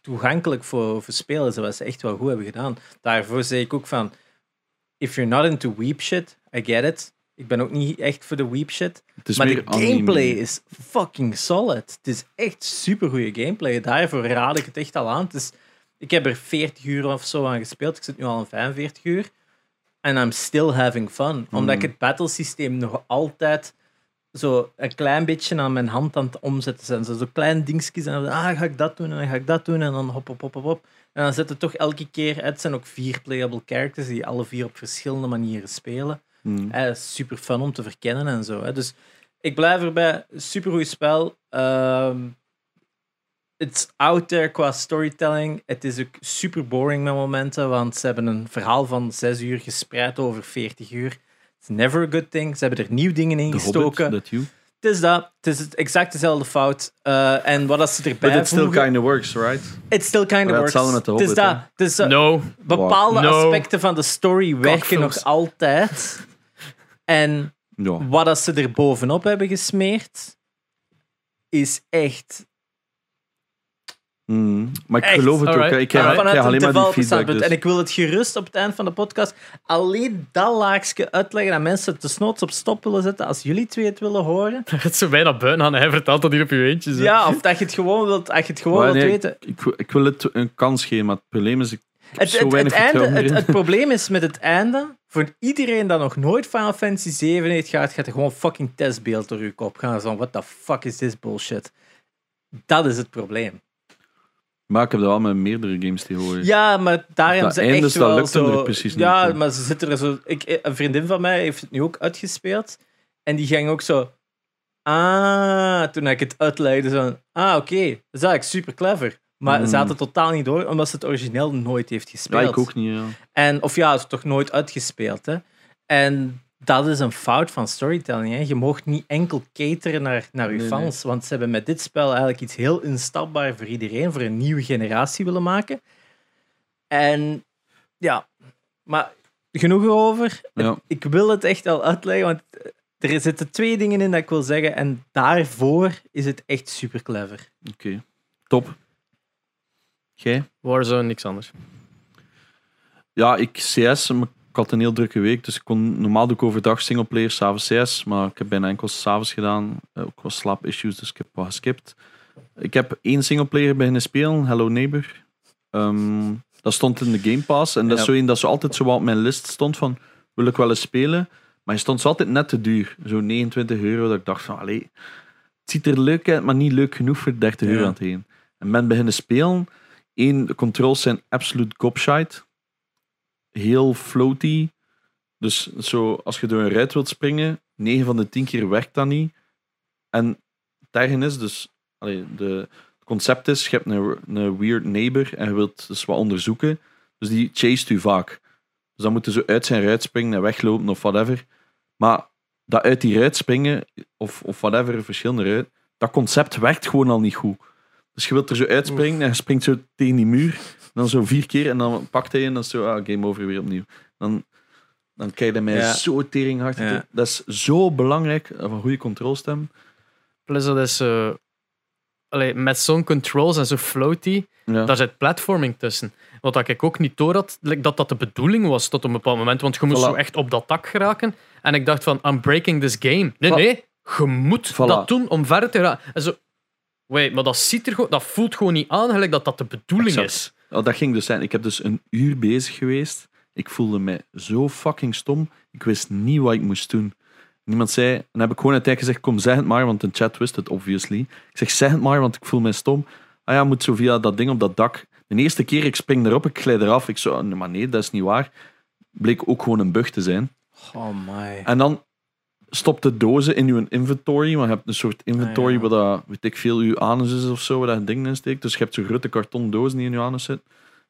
S1: toegankelijk voor, voor spelers, wat ze echt wel goed hebben gedaan. Daarvoor zei ik ook van, if you're not into weep shit, I get it. Ik ben ook niet echt voor de weep shit.
S3: Het is
S1: maar de
S3: meer anime.
S1: gameplay is fucking solid. Het is echt super goede gameplay. Daarvoor raad ik het echt al aan. Het is, ik heb er 40 uur of zo aan gespeeld. Ik zit nu al aan 45 uur. En I'm still having fun. Omdat
S3: Hmm.
S1: ik het battlesysteem nog altijd zo een klein beetje aan mijn hand aan het omzetten zijn. Zo, zo klein dingetjes. En dan ah, ga ik dat doen en dan ga ik dat doen. En dan hop, hop, hop, hop, hop. En dan zit het toch elke keer... Het zijn ook vier playable characters die alle vier op verschillende manieren spelen.
S3: Mm.
S1: Eh, super fun om te verkennen en zo. Hè. Dus ik blijf erbij. Super goed spel. Ehm, it's out there qua storytelling. Het is ook super boring met momenten, want ze hebben een verhaal van 6 uur gespreid over 40 uur. It's never a good thing. Ze hebben er nieuw dingen in
S3: The
S1: gestoken.
S3: Hobbit, that you.
S1: Het is dat. Het is het- exact dezelfde fout. Eh, en wat als ze erbij
S3: But it still
S1: voegen-
S3: kind of works, right?
S1: It still kind
S3: Ja,
S1: of works.
S3: hetzelfde met de
S1: het is
S3: Hobbit,
S1: dat.
S3: hè.
S1: Het is, eh,
S2: No.
S1: Bepaalde
S2: No.
S1: aspecten van de story werken
S2: Kakfilms.
S1: nog altijd. En
S3: Ja.
S1: wat dat ze er bovenop hebben gesmeerd, is echt...
S3: Mm. Maar ik
S1: Echt,
S3: geloof het ook.
S2: alright.
S3: hè. Ik krijg, ik
S1: vanuit
S3: krijg
S1: een
S3: alleen maar die feedback.
S1: developerstandpunt.
S3: Dus.
S1: En ik wil het gerust op het eind van de podcast alleen dat laagje uitleggen aan mensen het desnoods op stop willen zetten als jullie twee het willen
S3: (laughs)
S1: horen.
S2: (laughs) Hij gaat zo bijna buiten aan. Hij vertelt dat hier op je eentje. dus- zo.
S1: Ja, of dat je het gewoon wilt, als je het gewoon
S3: Maar
S1: wilt
S3: nee,
S1: weten.
S3: ik, wil- ik wil het een kans geven, maar het probleem is... Ik heb
S1: Het,
S3: zo
S1: het, het,
S3: weinig
S1: einde,
S3: vertrouwen
S1: het, het
S3: erin.
S1: probleem is met het einde. Voor iedereen dat nog nooit Final Fantasy 7 heeft gehad, gaat er gewoon fucking testbeeld door je kop gaan. Zo, what the fuck is this bullshit? Dat is het probleem.
S3: Maar ik heb dat wel met meerdere games tegenwoordig.
S1: Ja, maar daar hebben ze
S3: einde
S1: echt
S3: is, Dus dat
S1: wel
S3: lukt hem
S1: zo...
S3: er precies niet
S1: ja,
S3: van.
S1: maar ze zitten er zo... Ik, een vriendin van mij heeft het nu ook uitgespeeld. En die ging ook zo... Ah, toen ik het uitlegde, zo... Ah, oké, dat is eigenlijk super clever. Maar
S3: Mm.
S1: ze had het totaal niet door, omdat ze het origineel nooit heeft
S3: Ja,
S1: gespeeld.
S3: ik ook niet. Ja.
S1: En, of ja, het is toch nooit uitgespeeld. Hè? En dat is een fout van storytelling. Hè? Je mag niet enkel cateren naar, naar je
S3: Nee,
S1: fans. Want ze hebben met dit spel eigenlijk iets heel instapbaar voor iedereen, voor een nieuwe generatie willen maken. En ja, maar genoeg erover.
S3: Ja.
S1: Ik wil het echt al uitleggen, want er zitten twee dingen in dat ik wil zeggen. En daarvoor is het echt super clever.
S3: Oké, top. Jij?
S2: Warzone, niks anders.
S3: Ja, ik CS, maar ik had een heel drukke week, dus ik kon normaal doe ik overdag singleplayer, s'avonds CS, maar ik heb bijna enkel s'avonds gedaan. Eh, Ook wat slaap-issues, dus ik heb wat geskipt. Ik heb één singleplayer beginnen spelen, Hello Neighbor. Ehm, dat stond in de Game Pass en dat is
S1: Ja.
S3: zo één dat zo altijd zo wat op mijn list stond van wil ik wel eens spelen, maar hij stond zo altijd net te duur. Zo 29 euro, dat ik dacht van allee, het ziet er leuk uit, maar niet leuk genoeg voor 30 euro
S1: Ja.
S3: aan het heen. En ben beginnen spelen. Eén, de controls zijn absoluut gobshite. Heel floaty. Dus zo, als je door een ruit wilt springen, 9 van de 10 keer werkt dat niet. En daarin is dus, allee, de, het concept is, je hebt een, een weird neighbor en je wilt dus wat onderzoeken. Dus Dus die chased u vaak. Dus dan moeten ze uit zijn ruit springen en weglopen of whatever. Maar dat uit die ruit springen of, of whatever, verschillende ruit, dat concept werkt gewoon al niet goed. Dus je wilt er zo uitspringen en je springt zo tegen die muur. En dan zo vier keer en dan pakt hij je en dan is zo, ah, game over weer opnieuw. Dan, dan kijkt hij mij
S1: Ja.
S3: zo teringhard.
S1: Ja.
S3: Dat is zo belangrijk, eh, van goede controlstem.
S2: Plus dat is... eh, allee, met zo'n controls en zo floaty,
S3: Ja.
S2: daar zit platforming tussen. Wat dat ik ook niet door had, like, dat dat de bedoeling was tot op een bepaald moment. Want je moest
S3: Voilà.
S2: zo echt op dat dak geraken. En ik dacht van, I'm breaking this game. Nee,
S3: Voilà.
S2: nee, je moet
S3: Voilà.
S2: dat doen om verder te gaan. En zo, wait, maar dat, ziet er gewoon, dat voelt gewoon niet aan gelijk dat dat de bedoeling
S3: Exact.
S2: is. (laughs)
S3: Oh, dat ging dus zijn. Ik heb dus een uur bezig geweest. Ik voelde me zo fucking stom. Ik wist niet wat ik moest doen. Niemand zei... En dan heb ik gewoon uiteindelijk gezegd, kom, zeg het maar, want de chat wist het, obviously. Ik zeg, zeg het maar, want ik voel me stom. Ah ja, moet zo via dat ding op dat dak. De eerste keer, ik spring erop, ik glij eraf. Ik zo, nee, maar nee, dat is niet waar. Bleek ook gewoon een bug te zijn.
S1: Oh my.
S3: En dan stopt de dozen in uw inventory. Want je hebt een soort inventory
S1: Ah, ja.
S3: waar dat, weet ik veel, uw anus is of zo, waar dat ding in steekt. Dus je hebt zo'n grote karton doos die in uw anus zit.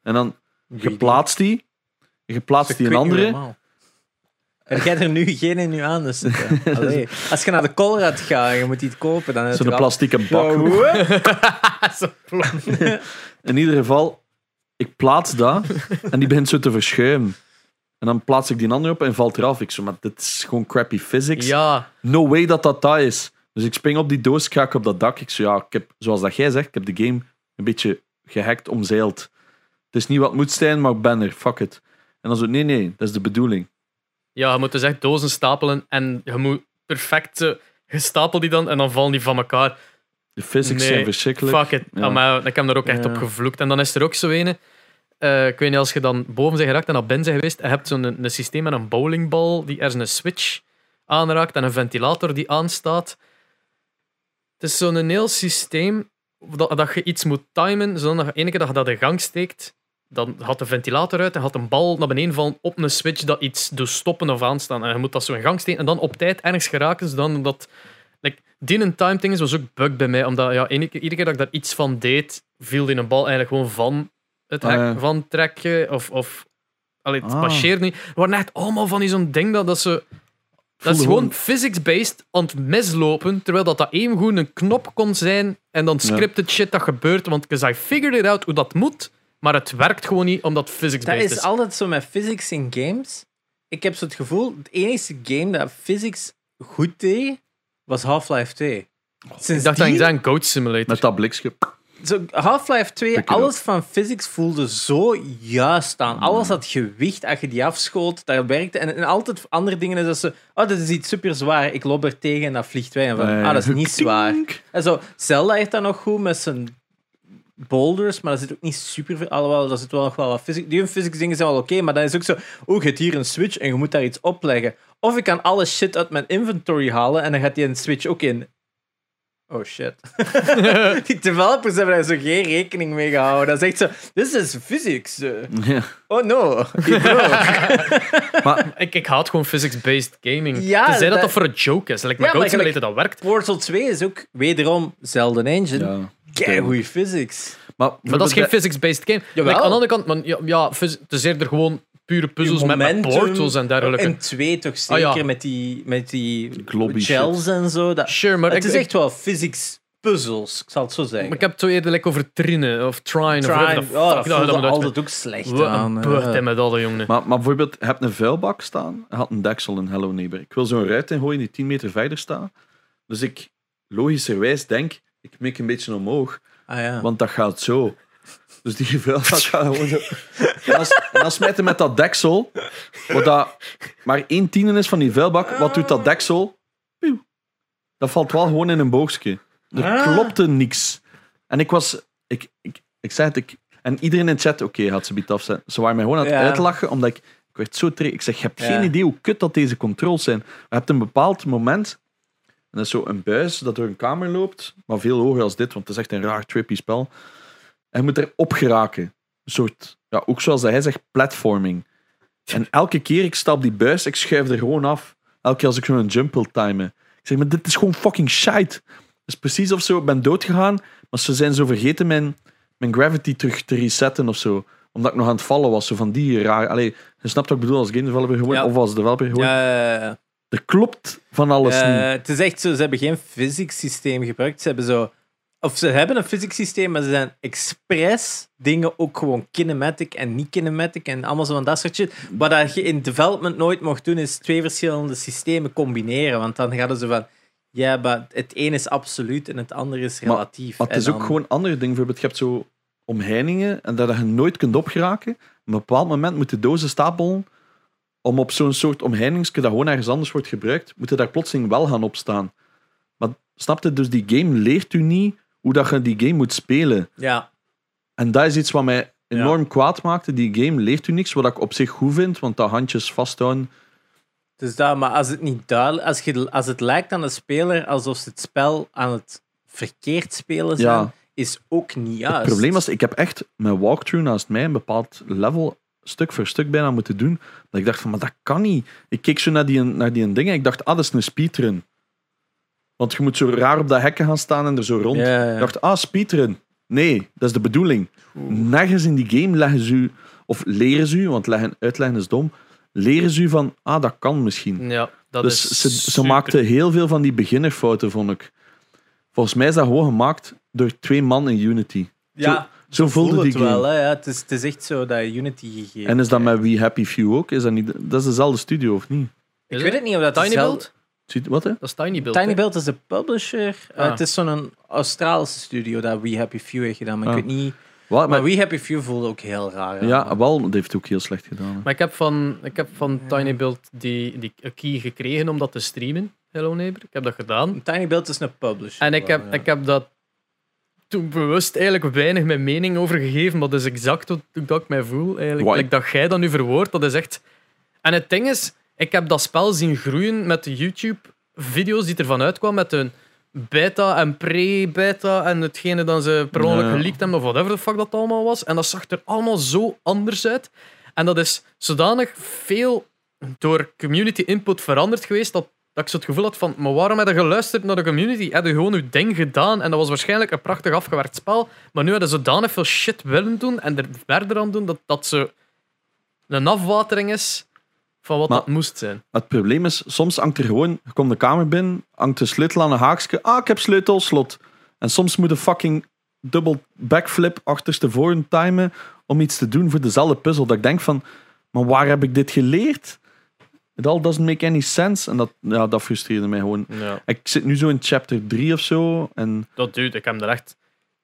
S3: En dan geplaatst die. Je plaatst die een andere.
S1: Heb jij er nu geen in je anus zitten? Allee. Als je naar de Colrad gaat en je moet iets kopen, dan is
S3: Zo'n plastieke bak.
S1: bak.
S2: Zo plat.
S3: In ieder geval, ik plaats
S1: (laughs)
S3: dat en die begint zo te verschuimen. En dan plaats ik die andere op en valt eraf. Ik zo, maar dit is gewoon crappy physics.
S2: ja,
S3: No way dat dat dat is. Dus ik spring op die doos, ik kijk op dat dak. Ik zo, ja, ik heb, zoals dat jij zegt, ik heb de game een beetje gehackt, omzeild. Het is niet wat het moet zijn, maar ik ben er. Fuck it. En dan zo, nee, nee, dat is de bedoeling.
S2: ja, je moet dus echt dozen stapelen. En je moet perfect... eh, Je stapelt die dan en dan vallen die van elkaar.
S3: De physics
S2: Nee,
S3: zijn verschrikkelijk.
S2: Fuck it.
S3: Ja.
S2: Ah, maar ik heb er ook echt
S1: Ja.
S2: op gevloekt. En dan is er ook zo ene. eh, ik weet niet, als je dan boven zijn geraakt en naar ben zijn geweest, en je hebt zo'n een, een systeem met een bowlingbal die ergens een switch aanraakt en een ventilator die aanstaat. Het is zo'n heel systeem dat, dat je iets moet timen, zodat je ene keer dat je dat in gang steekt, dan gaat de ventilator uit en gaat een bal naar beneden vallen op een switch dat iets doet stoppen of aanstaan. En je moet dat zo in gang steken en dan op tijd ergens geraken, zodat dat Like, die een time thing was ook bug bij mij, omdat ja, ene keer- iedere keer dat ik daar iets van deed, viel die een bal eigenlijk gewoon van het hek
S3: Ah, ja.
S2: van het trekje. Of, of allee, het
S3: Ah.
S2: passeert niet. Er waren echt allemaal van die zo'n ding dat, dat ze. Dat is
S3: Voelde
S2: gewoon
S3: gewoon-
S2: physics-based aan het mislopen, terwijl dat, dat even goed een knop kon zijn en dan scripted shit dat gebeurt, want 'cause I figured it out hoe dat moet, maar het werkt gewoon niet omdat het (laughs)
S1: Dat
S2: physics-based is.
S1: is altijd zo met physics in games. Ik heb zo het gevoel, het enige game dat physics goed deed, was Half-Life 2. Sinds
S2: Ik dacht dat
S1: die-
S2: ik zei een Goat Simulator.
S3: Met dat blikje.
S1: zo Half-Life 2,
S3: Pick it
S1: alles van physics voelde zo juist aan. Alles had gewicht als je die afschoot, dat werkte. En, en altijd andere dingen is dat ze, oh, dit is iets super zwaar. Ik loop er tegen en dat vliegt weg. En van,
S3: Eh,
S1: ah, dat is niet
S3: tink.
S1: zwaar. En zo, Zelda heeft dat nog goed met zijn boulders, maar dat zit ook niet super veel. Alhoewel, daar zit wel nog wel wat physics. Die hun physics dingen zijn wel oké, maar dan is ook zo, oh, je hebt hier een switch en je moet daar iets opleggen. Of ik kan alle shit uit mijn inventory halen en dan gaat die een switch ook in. Oh shit. die developers hebben daar zo geen rekening mee gehouden. Dat is echt zo, this is physics. eh.
S3: (laughs) Ja.
S1: Oh no, it
S2: (laughs)
S1: broke.
S2: (laughs)
S3: Maar
S2: Ik, ik haat gewoon physics-based gaming.
S1: Ja,
S2: Tenzij dat,
S1: dat-
S2: dat voor een joke is. Like, met
S1: Ja,
S2: Goat
S1: maar gelijk-
S2: Simulator, dat werkt.
S1: Portal 2 is ook wederom Zelda Engine.
S3: Ja.
S1: Kei goeie physics.
S3: Maar,
S2: (laughs) Maar dat is geen physics-based game.
S1: Jawel.
S2: Like, aan de andere kant, man, ja, ja, phys- het is eerder gewoon pure puzzels met, met
S1: Momentum.
S2: portals en dergelijke.
S1: En twee toch
S2: Ah,
S1: zeker
S2: ja.
S1: met die, met die
S3: Globby
S1: gels en zo. Dat,
S2: Sure, maar
S1: het
S2: ik,
S1: is
S2: ik-
S1: echt wel physics puzzels, ik zal het zo zeggen.
S2: maar ik heb het zo eerder like, over trinen of trine. of whatever
S1: Trine,
S2: the
S1: oh,
S2: fuck
S1: dat
S2: dat je dat
S1: voelde altijd
S2: moet uitspreken.
S1: ook slecht
S2: Wat
S1: aan. eh,
S2: een beurt
S1: ja.
S2: hè, met alle jongen.
S3: Maar, maar bijvoorbeeld, je hebt een vuilbak staan, je had een deksel in Hello Neighbor. Ik wil zo'n ruit ingooien die 10 meter verder staat. Dus ik, logischerwijs, denk, ik mik een beetje omhoog,
S1: Ah, ja.
S3: want dat gaat zo. Dus die vuilbak gaat gewoon zo. En dan, s- en dan smijt hij met dat deksel, wat dat maar 1 tiende is van die vuilbak, wat doet dat deksel? Pieuw. Dat valt wel gewoon in een boogstje. Er
S1: Ah.
S3: klopte niks. En ik was, ik, ik, ik zei het, ik, en iedereen in de chat, oké, had ze biedt afzetten. Ze waren mij gewoon aan het
S1: Ja.
S3: uitlachen, omdat ik, ik werd zo trek. Ik zeg, je hebt
S1: Ja.
S3: geen idee hoe kut dat deze controls zijn. Je hebt een bepaald moment, en dat is zo een buis dat door een kamer loopt, maar veel hoger als dit, want het is echt een raar trippy spel. En je moet erop geraken. Een soort, ja, ook zoals dat hij zegt, platforming. En elke keer ik stap die buis, ik schuif er gewoon af. Elke keer als ik zo'n jump wil timen. Ik zeg, maar dit is gewoon fucking shite. Het is precies of zo, ik ben doodgegaan, maar ze zijn zo vergeten mijn, mijn gravity terug te resetten of zo. Omdat ik nog aan het vallen was. Zo van die raar. Allee, je snapt wat ik bedoel als game developer gewoon.
S1: Ja.
S3: Of als developer gewoon.
S1: Eh,
S3: Er klopt van alles
S1: eh,
S3: niet.
S1: het is echt zo, ze hebben geen physics systeem gebruikt. Ze hebben zo... Of ze hebben een physics systeem, maar ze zijn expres dingen ook gewoon kinematic en niet kinematic en allemaal zo van dat soort shit. Wat dat je in development nooit mocht doen, is twee verschillende systemen combineren. Want dan gaan ze van... Ja, maar het een is absoluut en het ander is
S3: Maar-
S1: relatief.
S3: Maar het
S1: En
S3: is ook
S1: dan-
S3: gewoon een ander ding. Bijvoorbeeld, je hebt zo omheiningen en dat je nooit kunt opgeraken. Op een bepaald moment moet de dozen stapelen om op zo'n soort omheiningske dat gewoon ergens anders wordt gebruikt, moeten daar plotseling wel gaan opstaan. Maar snap je, dus die game leert u niet hoe dat je die game moet spelen.
S1: Ja,
S3: En dat is iets wat mij
S1: Ja.
S3: enorm kwaad maakte. Die game leert u niks, wat ik op zich goed vind, want dat handjes vasthouden...
S1: dus dat, maar als het niet duidelijk... Als, je, als het lijkt aan de speler alsof ze het spel aan het verkeerd spelen zijn,
S3: Ja.
S1: is ook niet juist.
S3: Het probleem was, ik heb echt mijn walkthrough naast mij een bepaald level stuk voor stuk bijna moeten doen. Dat ik dacht van, maar dat kan niet. Ik keek zo naar die, naar die ding en ik dacht, ah, dat is een speedrun. Want je moet zo raar op dat hekken gaan staan en er zo rond.
S1: Ja, ja, ja.
S3: Ik dacht, ah, speedrun. Nee, dat is de bedoeling. Nergens in die game leggen ze u, of leren ze u, want leggen, uitleggen is dom, leren ze u van, ah, dat kan
S1: Hmm.
S3: misschien.
S2: Ja, dat
S3: Dus
S2: is
S3: ze, ze
S2: super-
S3: maakten heel veel van die beginnerfouten, vond ik. Volgens mij is dat gewoon gemaakt door twee man in Unity.
S1: Ja,
S3: Zo, zo voelde
S1: voelde
S3: die
S1: het
S3: game.
S1: wel. Hè? Ja, het, is, het is echt zo dat Unity gegeven.
S3: en is dat met We Happy Few ook? Is dat, niet, dat is dezelfde studio, of niet?
S1: Ik weet het niet of dat
S2: Tiny
S1: dezelfde-
S2: Build?
S3: Ziet, wat, hè?
S2: Dat is Tiny Build.
S1: Tiny
S2: hè?
S1: Build is de publisher. Uh,
S2: Ah.
S1: het is zo'n Australische studio dat We Happy Few heeft gedaan. Maar
S3: Ah.
S1: ik weet niet.
S3: Wat,
S1: Maar
S3: maar,
S1: We Happy Few voelde ook heel raar. aan.
S3: ja, wel, dat heeft ook heel slecht gedaan. hè.
S2: Maar ik heb van, ik heb van Tiny Build die, die een key gekregen om dat te streamen. Hello Neighbor. Ik heb dat gedaan.
S1: Tiny Build is een publisher.
S2: En ik
S1: wel,
S2: heb,
S1: ja.
S2: ik heb dat toen bewust eigenlijk weinig mijn mening over gegeven. Maar dat is exact hoe hoe dat ik mij voel. Eigenlijk.
S3: Why?
S2: Like dat jij dat nu verwoordt, dat is echt... En het ding is, ik heb dat spel zien groeien met de YouTube-video's die ervan uitkwamen. Met een beta en pre-beta en hetgene dat ze per ongeluk
S3: Ja.
S2: geleakt hebben of whatever the fuck dat allemaal was. En dat zag er allemaal zo anders uit. En dat is zodanig veel door community input veranderd geweest dat, dat ik zo het gevoel had van, maar waarom heb je geluisterd naar de community? Heb je gewoon je ding gedaan? En dat was waarschijnlijk een prachtig afgewerkt spel, maar nu hadden ze zodanig veel shit willen doen en er verder aan doen dat dat ze een afwatering is van wat
S3: Maar-
S2: dat moest zijn.
S3: Het probleem is, soms hangt er gewoon... Je komt de kamer binnen, hangt de sleutel aan een haakje. Ah, ik heb sleutel, slot. En soms moet je fucking dubbel backflip achterstevoren timen om iets te doen voor dezelfde puzzel. Dat ik denk van, maar waar heb ik dit geleerd? It all doesn't make any sense. En dat, ja, dat frustreerde mij gewoon.
S2: Ja,
S3: Ik zit nu zo in chapter 3 of zo. En
S2: dat duurt. Ik heb er echt...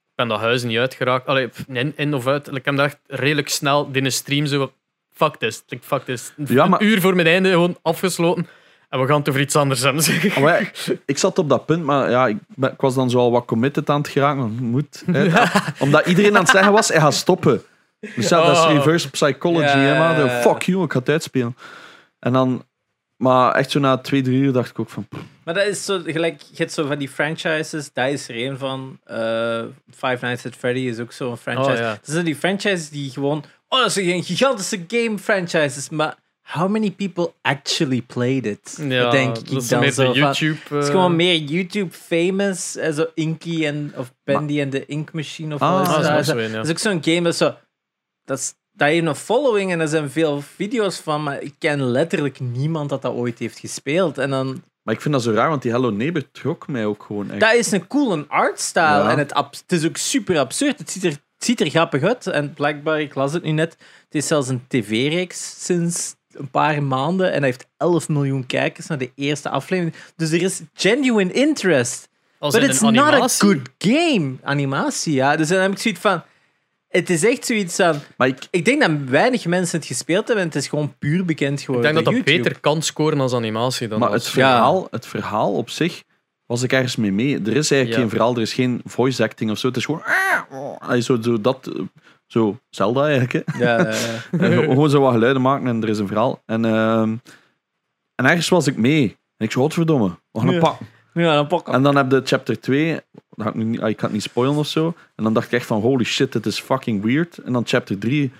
S2: Ik ben dat huis niet uitgeraakt. Allee, pff, in, in of uit. Ik heb er echt redelijk snel in een stream zo... Fuck this. Like, fuck this.
S3: Ja, maar-
S2: Een uur voor mijn einde gewoon afgesloten. En we gaan het over iets anders hebben. zeg.
S3: Oh, maar ja, ik zat op dat punt, maar ja, ik, ben- ik was dan zo al wat committed aan het geraken. want Moet, hè. Omdat iedereen aan het zeggen was, hij gaat stoppen. Dus ja, dat is
S2: Oh.
S3: reverse psychology.
S1: Ja,
S3: hè, maar
S1: ja,
S3: de-
S1: ja.
S3: Fuck you, ik ga het uitspelen. En dan, maar echt zo na twee, drie uur dacht ik ook van... pff,
S1: Maar dat is zo, gelijk, je hebt zo van die franchises, daar is er een van. eh, Five Nights at Freddy is ook zo'n franchise.
S2: Oh, ja.
S1: Dat zijn die franchises die gewoon. Oh, dat is een gigantische game franchises. Maar how many people actually played it?
S2: Ja,
S1: dat denk ik
S2: dat is
S1: dan
S2: meer
S1: zo van.
S2: de YouTube...
S1: Het is
S2: eh,
S1: gewoon meer YouTube famous, eh, zo Inky en of Bendy en de Ink Machine of
S3: Ah,
S1: alles.
S2: Ah, dat is
S1: daar.
S2: nog zo een, ja.
S1: Dat is ook zo'n game dat zo. Dat is, daar heeft een following en er zijn veel video's van, maar ik ken letterlijk niemand dat dat ooit heeft gespeeld. En dan
S3: Maar ik vind dat zo raar, want die Hello Neighbor trok mij ook gewoon echt.
S1: dat is een coole artstyle.
S3: Ja.
S1: En het, abs- het is ook super absurd. Het ziet, er, het ziet er grappig uit. En blijkbaar, ik las het nu net, het is zelfs een tv-reeks sinds een paar maanden. En hij heeft 11 miljoen kijkers naar de eerste aflevering. Dus er is genuine interest.
S2: Als
S1: But
S2: in
S1: it's
S2: een
S1: not a
S2: animatie.
S1: good game. Animatie, ja. Dus dan heb ik zoiets van... Het is echt zoiets aan...
S3: Maar ik,
S1: Ik denk dat weinig mensen het gespeeld hebben. en Het is gewoon puur bekend
S2: Ik
S1: geworden
S2: denk dat dat
S1: door YouTube.
S2: beter kan scoren als animatie dan
S3: maar
S2: als-
S3: het verhaal, het verhaal op zich was ik ergens mee mee. Er is eigenlijk
S2: Ja.
S3: geen verhaal, er is geen voice acting of zo. Het is gewoon... "Ah, oh." Allee, Zo, zo, dat, eh, zo Zelda eigenlijk, hè.
S1: Ja, ja,
S3: (laughs)
S1: ja.
S3: En ge- gewoon zo wat geluiden maken en er is een verhaal. En, ehm, en ergens was ik mee. En ik zo, godverdomme, we gaan een
S1: Ja.
S3: pak.
S1: Ja, dan pak Ah, ik hem.
S3: En dan heb je chapter 2, dat ga ik, nu niet, ah, ik ga het niet spoilen of zo. En dan dacht ik echt van, holy shit, dit is fucking weird. En dan chapter 3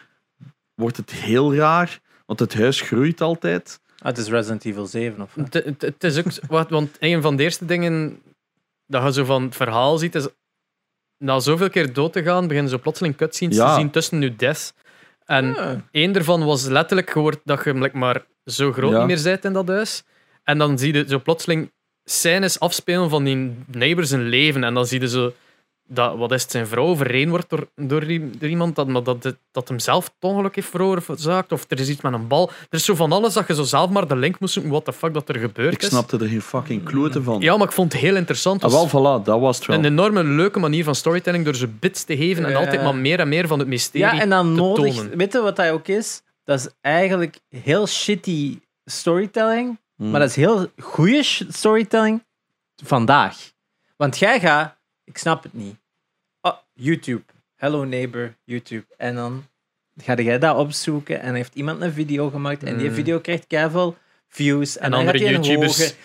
S3: wordt het heel raar, want het huis groeit altijd.
S1: Ah, het is Resident Evil 7 of...
S2: Het- Het het is ook... zo- wat- Want een van de eerste dingen dat je zo van het verhaal ziet, is... Na zoveel keer dood te gaan, beginnen ze plotseling cutscenes
S3: Ja.
S2: te zien tussen je deaths. En
S1: Ah.
S2: Eén daarvan was letterlijk geworden dat je hem like, maar zo groot
S3: Ja.
S2: niet meer bent in dat huis. En dan zie je zo plotseling scènes afspelen van die neighbor zijn leven. En dan zie je zo dat, wat is het, zijn vrouw verreen wordt door, door, i- door iemand, dat, maar dat, het- dat hem zelf het ongeluk heeft veroorzaakt, of er is iets met een bal. Er is zo van alles dat je zo zelf maar de link moest zoeken, wat de fuck dat er gebeurd
S3: Ik
S2: is.
S3: snapte er geen fucking klote van.
S2: Ja, maar ik vond het heel interessant.
S3: Ah,
S2: Het was
S3: wel, voilà, dat was het wel.
S2: een enorme leuke manier van storytelling door ze bits te geven en
S1: Ja.
S2: altijd maar meer en meer van het mysterie.
S1: Ja, en dan
S2: te
S1: nodig.
S2: tonen.
S1: Weet je wat dat ook is? Dat is eigenlijk heel shitty storytelling,
S3: Hmm.
S1: maar dat is heel goede storytelling vandaag. Want jij gaat, ik snap het niet. Oh, YouTube. Hello neighbor, YouTube. En dan ga jij dat opzoeken en heeft iemand een video gemaakt en die
S2: Hmm.
S1: video krijgt keihard views. En,
S2: En
S1: dan
S2: andere
S1: gaat die een
S2: YouTubers.
S1: hoge-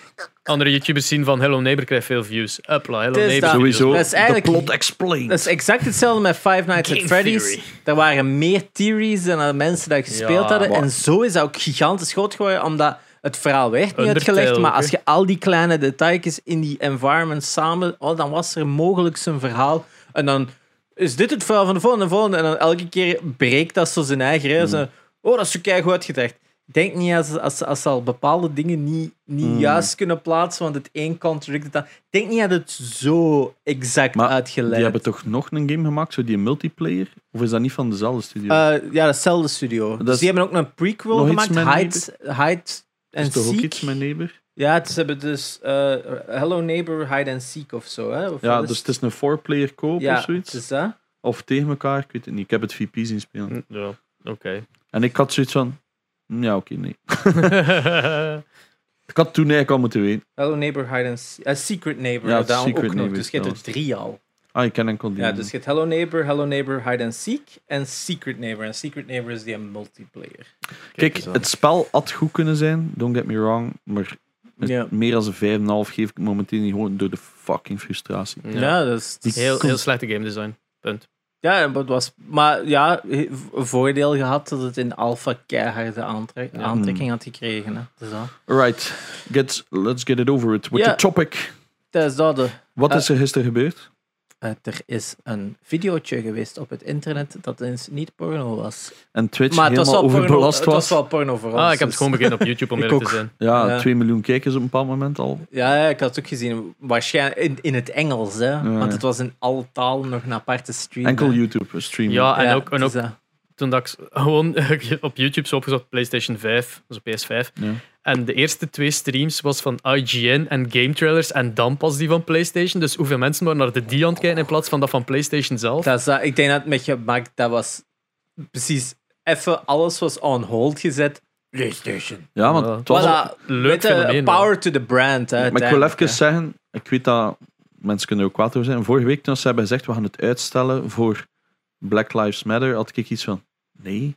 S2: andere YouTubers zien van Hello Neighbor krijgt veel views. Upla, Hello
S1: Het is
S2: Neighbor.
S1: dat.
S3: Sowieso,
S1: Dat is eigenlijk-
S3: de plot explained.
S1: Dat is exact hetzelfde met Five Nights
S2: Game
S1: at Freddy's.
S2: theory.
S1: Er waren meer theories dan er mensen dat gespeeld
S2: Ja,
S1: hadden.
S3: maar-
S1: En zo is dat ook gigantisch groot geworden, omdat het verhaal werd niet
S2: Undertale
S1: uitgelegd. Maar
S2: ook,
S1: als
S2: hè?
S1: je al die kleine details in die environment samen... Oh, dan was er mogelijk zijn verhaal. En dan is dit het verhaal van de volgende en volgende. En dan elke keer breekt dat zo zijn eigen hè. Zo, Oh, dat is zo keihard uitgedacht. Ik Denk niet als, als, als ze al bepaalde dingen niet, niet juist kunnen plaatsen, want het een contradict het ander. Ik Denk niet dat het zo exact
S3: Maar
S1: uitgelegd
S3: Die hebben toch nog een game gemaakt, zo die multiplayer? Of is dat niet van dezelfde studio?
S1: Eh, ja, datzelfde studio. dus
S3: is
S1: die hebben ook een prequel
S3: nog iets
S1: gemaakt,
S3: met
S1: Hide, Hide
S3: is
S1: and
S3: toch ook
S1: Seek.
S3: iets met neighbor?
S1: Ja, het- ze hebben dus eh, Hello Neighbor, Hide and Seek of zo. Hè? Of
S3: Ja,
S1: wat is-
S3: dus het is een four-player co-op
S1: ja,
S3: of zoiets.
S1: het is Mm. dat.
S3: Of tegen elkaar, ik weet het niet. Ik heb het VP zien spelen.
S2: Ja, oké. (laughs)
S1: (laughs)
S3: En ik had zoiets van... "Mm, Ja, oké, nee. Ik had toen eigenlijk al moeten weten.
S1: Hello Neighbor, Hide and Seek. Eh, Secret Neighbor,
S3: Ja,
S1: ja, daar
S3: Secret
S1: ook nog.
S3: Neighbor
S1: Dus je hebt er
S3: trouwens.
S1: drie al.
S3: Ah, ik ken enkel die.
S1: Ja, dus je hebt Hello Neighbor, Hello Neighbor, Hide and Seek en Secret Neighbor. En Secret Neighbor is die een multiplayer.
S3: Kijk,
S2: eens aan.
S3: het spel had goed kunnen zijn, don't get me wrong, maar met
S1: Ja.
S3: meer dan een 5,5 geef ik momenteel niet gewoon door de fucking frustratie.
S1: Ja,
S2: ja.
S1: dat is...
S2: Heel, heel slechte game design. Punt.
S1: Ja, maar het was, maar ja, he- voordeel gehad dat het in alpha keiharde aantrek,
S2: Ja.
S1: aantrekking had gekregen. Hè. Dus dat.
S3: Alright, get, let's get it over it with
S1: Ja.
S3: the topic.
S1: Dat is dat. hè.
S3: Wat
S1: Eh.
S3: is er gisteren gebeurd?
S1: Eh, er is een videootje geweest op het internet dat eens niet porno was.
S3: En Twitch
S1: Maar het was wel
S3: helemaal
S1: porno,
S3: overbelast
S1: het
S3: was.
S1: was wel porno voor ons.
S2: Ah, ik heb het
S1: dus-
S2: gewoon begin
S1: (laughs)
S2: op YouTube om
S1: Ik
S2: eerlijk
S1: ook.
S2: te zijn.
S3: Ja,
S1: Ja.
S3: 2 miljoen kijkers op een bepaald moment al.
S1: Ja, ja, ik had het ook gezien. Waarschijnlijk in, in het Engels, hè. Want het was in alle talen nog een aparte stream.
S3: Enkel
S1: hè.
S3: YouTube streamen.
S2: Ja, en ook, en
S1: het
S2: ook
S1: is, eh,
S2: toen dat ik (laughs) gewoon op YouTube zo opgezocht PlayStation 5, dus op PS5.
S3: Ja.
S2: En de eerste twee streams was van IGN en game trailers en dan pas die van PlayStation. Dus hoeveel mensen waren naar de die aan het kijken in plaats van dat van PlayStation zelf.
S1: dat is, eh, ik denk dat het met gemaakt, dat was precies even alles was on hold gezet. PlayStation.
S3: Ja, want
S2: Ja.
S3: het was...
S1: Voilà.
S2: Leuk
S1: Weet je,
S2: fenomeen. wel.
S1: power to the brand. Hè,
S3: maar ik wil
S1: uiteindelijk,
S3: even
S1: hè.
S3: zeggen, ik weet dat mensen kunnen er ook kwaad over zijn. Vorige week toen ze hebben gezegd, we gaan het uitstellen voor Black Lives Matter, had ik iets van, nee,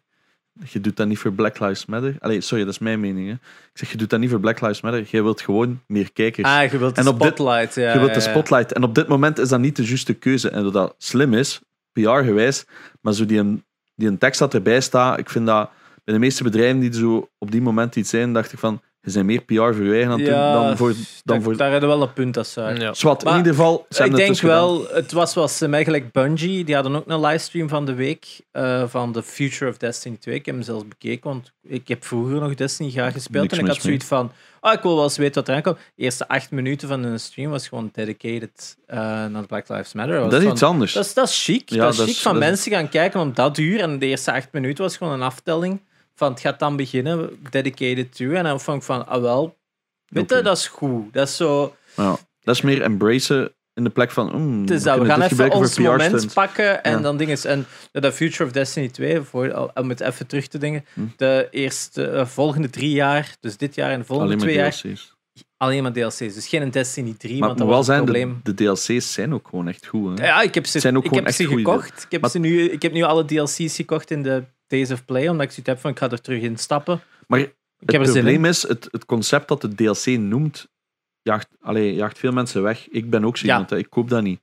S3: je doet dat niet voor Black Lives Matter. Allee, sorry, dat is mijn mening. Hè. Ik zeg, je doet dat niet voor Black Lives Matter. Je wilt gewoon meer kijkers.
S1: Ah, je wilt de
S3: En op dit-
S1: spotlight. ja,
S3: je wilt de
S1: ja, ja.
S3: spotlight. En op dit moment is dat niet de juiste keuze. En dat dat slim is, PR-gewijs, maar zo die, een- die een tekst dat erbij staat, ik vind dat bij de meeste bedrijven die zo op die moment iets zijn, dacht ik van, ze zijn meer PR voor je eigen aan het doen
S1: Ja, dus
S3: dan voor... Dan
S1: daar-
S3: voor
S1: Daar hadden we wel een punt, dat is waar.
S2: Ja.
S3: Zwat, in
S1: Maar
S3: ieder geval ze
S1: ik
S3: hebben
S1: denk
S3: het dus
S1: wel,
S3: gedaan.
S1: het was wel slim, eigenlijk Bungie, die hadden ook een livestream van de week eh, van The Future of Destiny 2. Ik heb hem zelfs bekeken, want ik heb vroeger nog Destiny graag gespeeld
S3: Niks
S1: en ik had
S3: mis mee.
S1: zoiets van, ah, ik wil wel eens weten wat eraan komt. De eerste acht minuten van hun stream was gewoon dedicated eh, naar Black Lives Matter. Was
S3: Dat is
S1: van-
S3: iets anders.
S1: dat is, dat is chic.
S3: Dus Ja,
S1: dat is
S3: dat
S1: chic
S3: is-
S1: van
S3: dat is-
S1: mensen gaan kijken om dat uur. En de eerste acht minuten was gewoon een aftelling van het gaat dan beginnen, dedicated to. En dan vond ik van, ah wel, weet je,
S3: Oké.
S1: dat is goed. Dat is zo...
S3: Ja, dat is meer embracen in de plek van... mm,
S1: Het is dat, we
S3: kunnen
S1: gaan
S3: dit
S1: even
S3: gebruiken voor
S1: ons moment
S3: PR-stunts.
S1: pakken en
S3: Ja.
S1: dan dingen. En de Future of Destiny 2, voor, om het even terug te dingen,
S3: Hm.
S1: de eerste, eh, volgende drie jaar, dus dit jaar en de volgende
S3: Alleen maar
S1: twee jaar,
S3: DLC's.
S1: alleen maar DLC's. Dus geen Destiny 3,
S3: Maar
S1: want dat
S3: het moet wel
S1: was
S3: zijn,
S1: het
S3: de,
S1: probleem.
S3: de DLC's zijn ook gewoon echt goed. Hè?
S1: Ja, ik heb ze,
S3: zijn ook
S1: ik
S3: gewoon
S1: heb
S3: echt
S1: ze
S3: goeie
S1: gekocht. Ik heb,
S3: Maar-
S1: ze nu, ik heb nu alle DLC's gekocht in de Days of Play, omdat ik zoiets heb van, ik ga er terug in stappen.
S3: Maar
S1: Ik heb er
S3: het
S1: zin in.
S3: probleem is, het, het concept dat de DLC noemt, jaagt, allee, jaagt veel mensen weg. Ik ben ook zo
S1: Ja.
S3: iemand, hè. ik koop dat niet.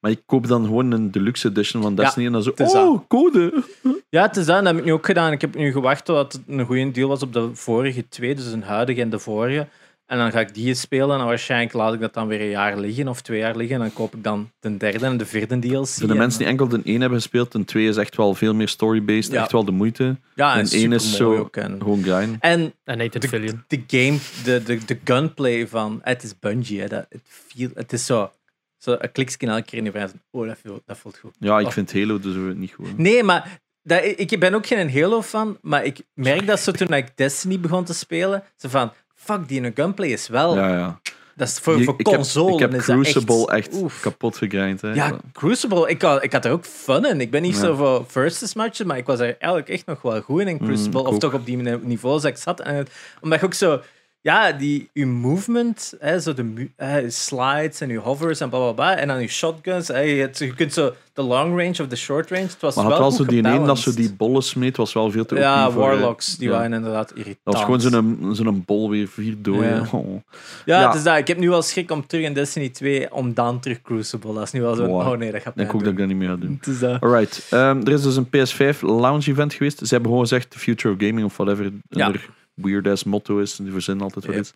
S3: Maar ik koop dan gewoon een deluxe edition van Destiny en dan zo,
S1: is
S3: oh, code!
S1: Ja, het is dat. En dat heb ik nu ook gedaan. Ik heb nu gewacht totdat het een goede deal was op de vorige twee, dus een huidige en de vorige. En dan ga ik die spelen en waarschijnlijk laat ik dat dan weer een jaar liggen of twee jaar liggen. En dan koop ik dan de derde en de vierde DLC.
S3: Voor de
S1: En-
S3: mensen die enkel de 1 hebben gespeeld, de 2 is echt wel veel meer story-based.
S1: Ja.
S3: Echt wel de moeite.
S1: ja, en
S3: en één is
S1: supermooi
S3: zo-
S1: ook. En,
S3: Gewoon grind.
S1: en
S2: En Nathan
S1: de,
S2: Fillion.
S1: de game, de, de, de gunplay van... eh, Het is Bungie, hè, dat, het, viel, het is zo... Zo een klikje elke keer in je brein. Oh, dat voelt, dat voelt goed.
S3: Ja, ik
S1: Oh.
S3: vind Halo dus ook niet goed.
S1: Nee, maar dat, ik ben ook geen Halo-fan, maar ik merk dat zo toen ik Destiny begon te spelen, ze van, fuck, die gunplay is wel...
S3: Ja, ja.
S1: Dat is voor,
S3: Je-
S1: voor
S3: ik heb,
S1: console
S3: ik heb
S1: is dat
S3: Crucible echt,
S1: Oef.
S3: kapot gegrind. Hè.
S1: Ja, Crucible, ik had, ik had er ook fun in. Ik ben niet
S3: Ja.
S1: zo voor versus matches, maar ik was er eigenlijk echt nog wel goed in, in Crucible.
S3: Mm, ik
S1: of
S3: ook.
S1: toch op die niveau dat ik zat. En het- omdat je ook zo, ja, die, je movement, hè, zo de mu- hè, slides en je hovers en bla bla bla. En dan je shotguns. Hè, je, hebt- je kunt zo de long range of de short range. Het was
S3: Maar
S1: wel
S3: had wel
S1: goed
S3: zo die ene dat zo
S1: gebalanced.
S3: die bollen smeet, was wel veel te
S1: Ja,
S3: OP voor, eh,
S1: Warlocks, die
S3: ja.
S1: waren inderdaad irritant.
S3: Dat was gewoon zo'n zo'n bol weer vier door.
S1: Ja.
S3: (laughs) Oh.
S1: Ja,
S3: ja.
S1: het is dat. Ik heb nu wel schrik om terug in Destiny 2, om dan terug Crucible. Dat is nu wel zo,
S3: Wow.
S1: oh nee, dat gaat
S3: Ik
S1: mij
S3: denk ook dat
S1: doen.
S3: ik dat niet meer ga doen.
S1: Het is dat.
S3: Alright, ehm, er is dus een PS5 launch event geweest. Ze hebben gewoon gezegd: The Future of Gaming of whatever. een
S1: Ja.
S3: er weird ass motto is. en Die verzinnen altijd wel
S1: Yep.
S3: iets.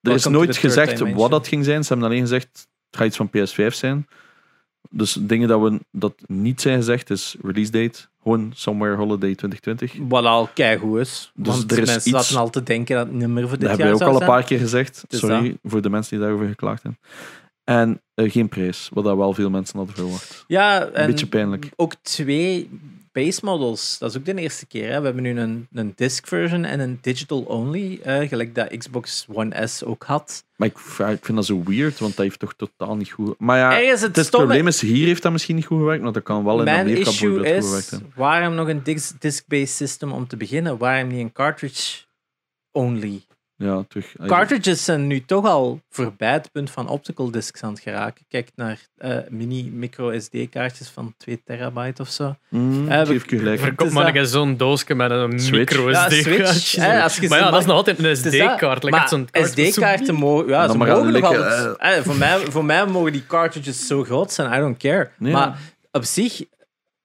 S3: Er is
S1: to
S3: nooit
S1: the third
S3: gezegd
S1: dimension.
S3: wat dat ging zijn. Ze hebben alleen gezegd: Het gaat iets van PS5 zijn. Dus dingen dat, we, dat niet zijn gezegd is release date. Gewoon somewhere holiday 2020.
S1: Wat al keigoed is.
S3: Dus
S1: want
S3: er is
S1: mensen
S3: iets-
S1: zaten al te denken dat het nummer voor dit
S3: Dat hebben
S1: jaar
S3: wij
S1: zou
S3: ook al een
S1: zijn.
S3: paar keer gezegd.
S1: is
S3: Sorry voor de mensen die daarover geklaagd hebben. En eh, geen prijs, wat dat wel veel mensen hadden verwacht.
S1: Ja, en
S3: Een beetje pijnlijk.
S1: ook twee base models. Dat is ook de eerste keer. Hè. We hebben nu een, een disc version en een digital only. eh, gelijk dat Xbox One S ook had.
S3: Maar ik, ja, ik vind dat zo weird, want dat heeft toch totaal niet goed... Maar ja,
S1: Ergens het
S3: het, is- het
S1: stomme-
S3: probleem is, hier heeft dat misschien niet goed gewerkt, maar dat kan wel in
S1: Mijn
S3: Amerika
S1: issue
S3: bijvoorbeeld goed
S1: is,
S3: gewerkt hebben.
S1: waarom nog een dis- disc-based system om te beginnen? Waarom niet een cartridge only?
S3: Ja, terug.
S1: Cartridges zijn nu toch al voorbij het punt van optical discs aan het geraken. Kijk naar eh, mini micro SD kaartjes van 2 terabyte of zo.
S3: Mm,
S1: Heb
S3: geef
S1: ik-
S3: ik u gelijk.
S2: Verkoop
S1: is
S2: maar
S1: dat-
S2: een zo'n doosje met een
S3: Switch.
S2: micro
S1: Ja,
S2: SD
S1: Switch,
S2: kaartje.
S1: hè, als je
S2: Maar
S1: ze
S2: ja, dat
S1: mag-
S2: is nog altijd een
S1: Het is dat.
S2: SD-kaart. Like,
S1: maar
S2: echt zo'n kaart met zo'n-
S1: SD-kaarten mogen, ja,
S3: Dan
S1: ze
S3: maar gaan
S1: mogen nog
S3: likken,
S1: altijd- eh, voor, mij, voor mij mogen die cartridges zo groot zijn, I don't care.
S3: Nee,
S1: Maar op zich,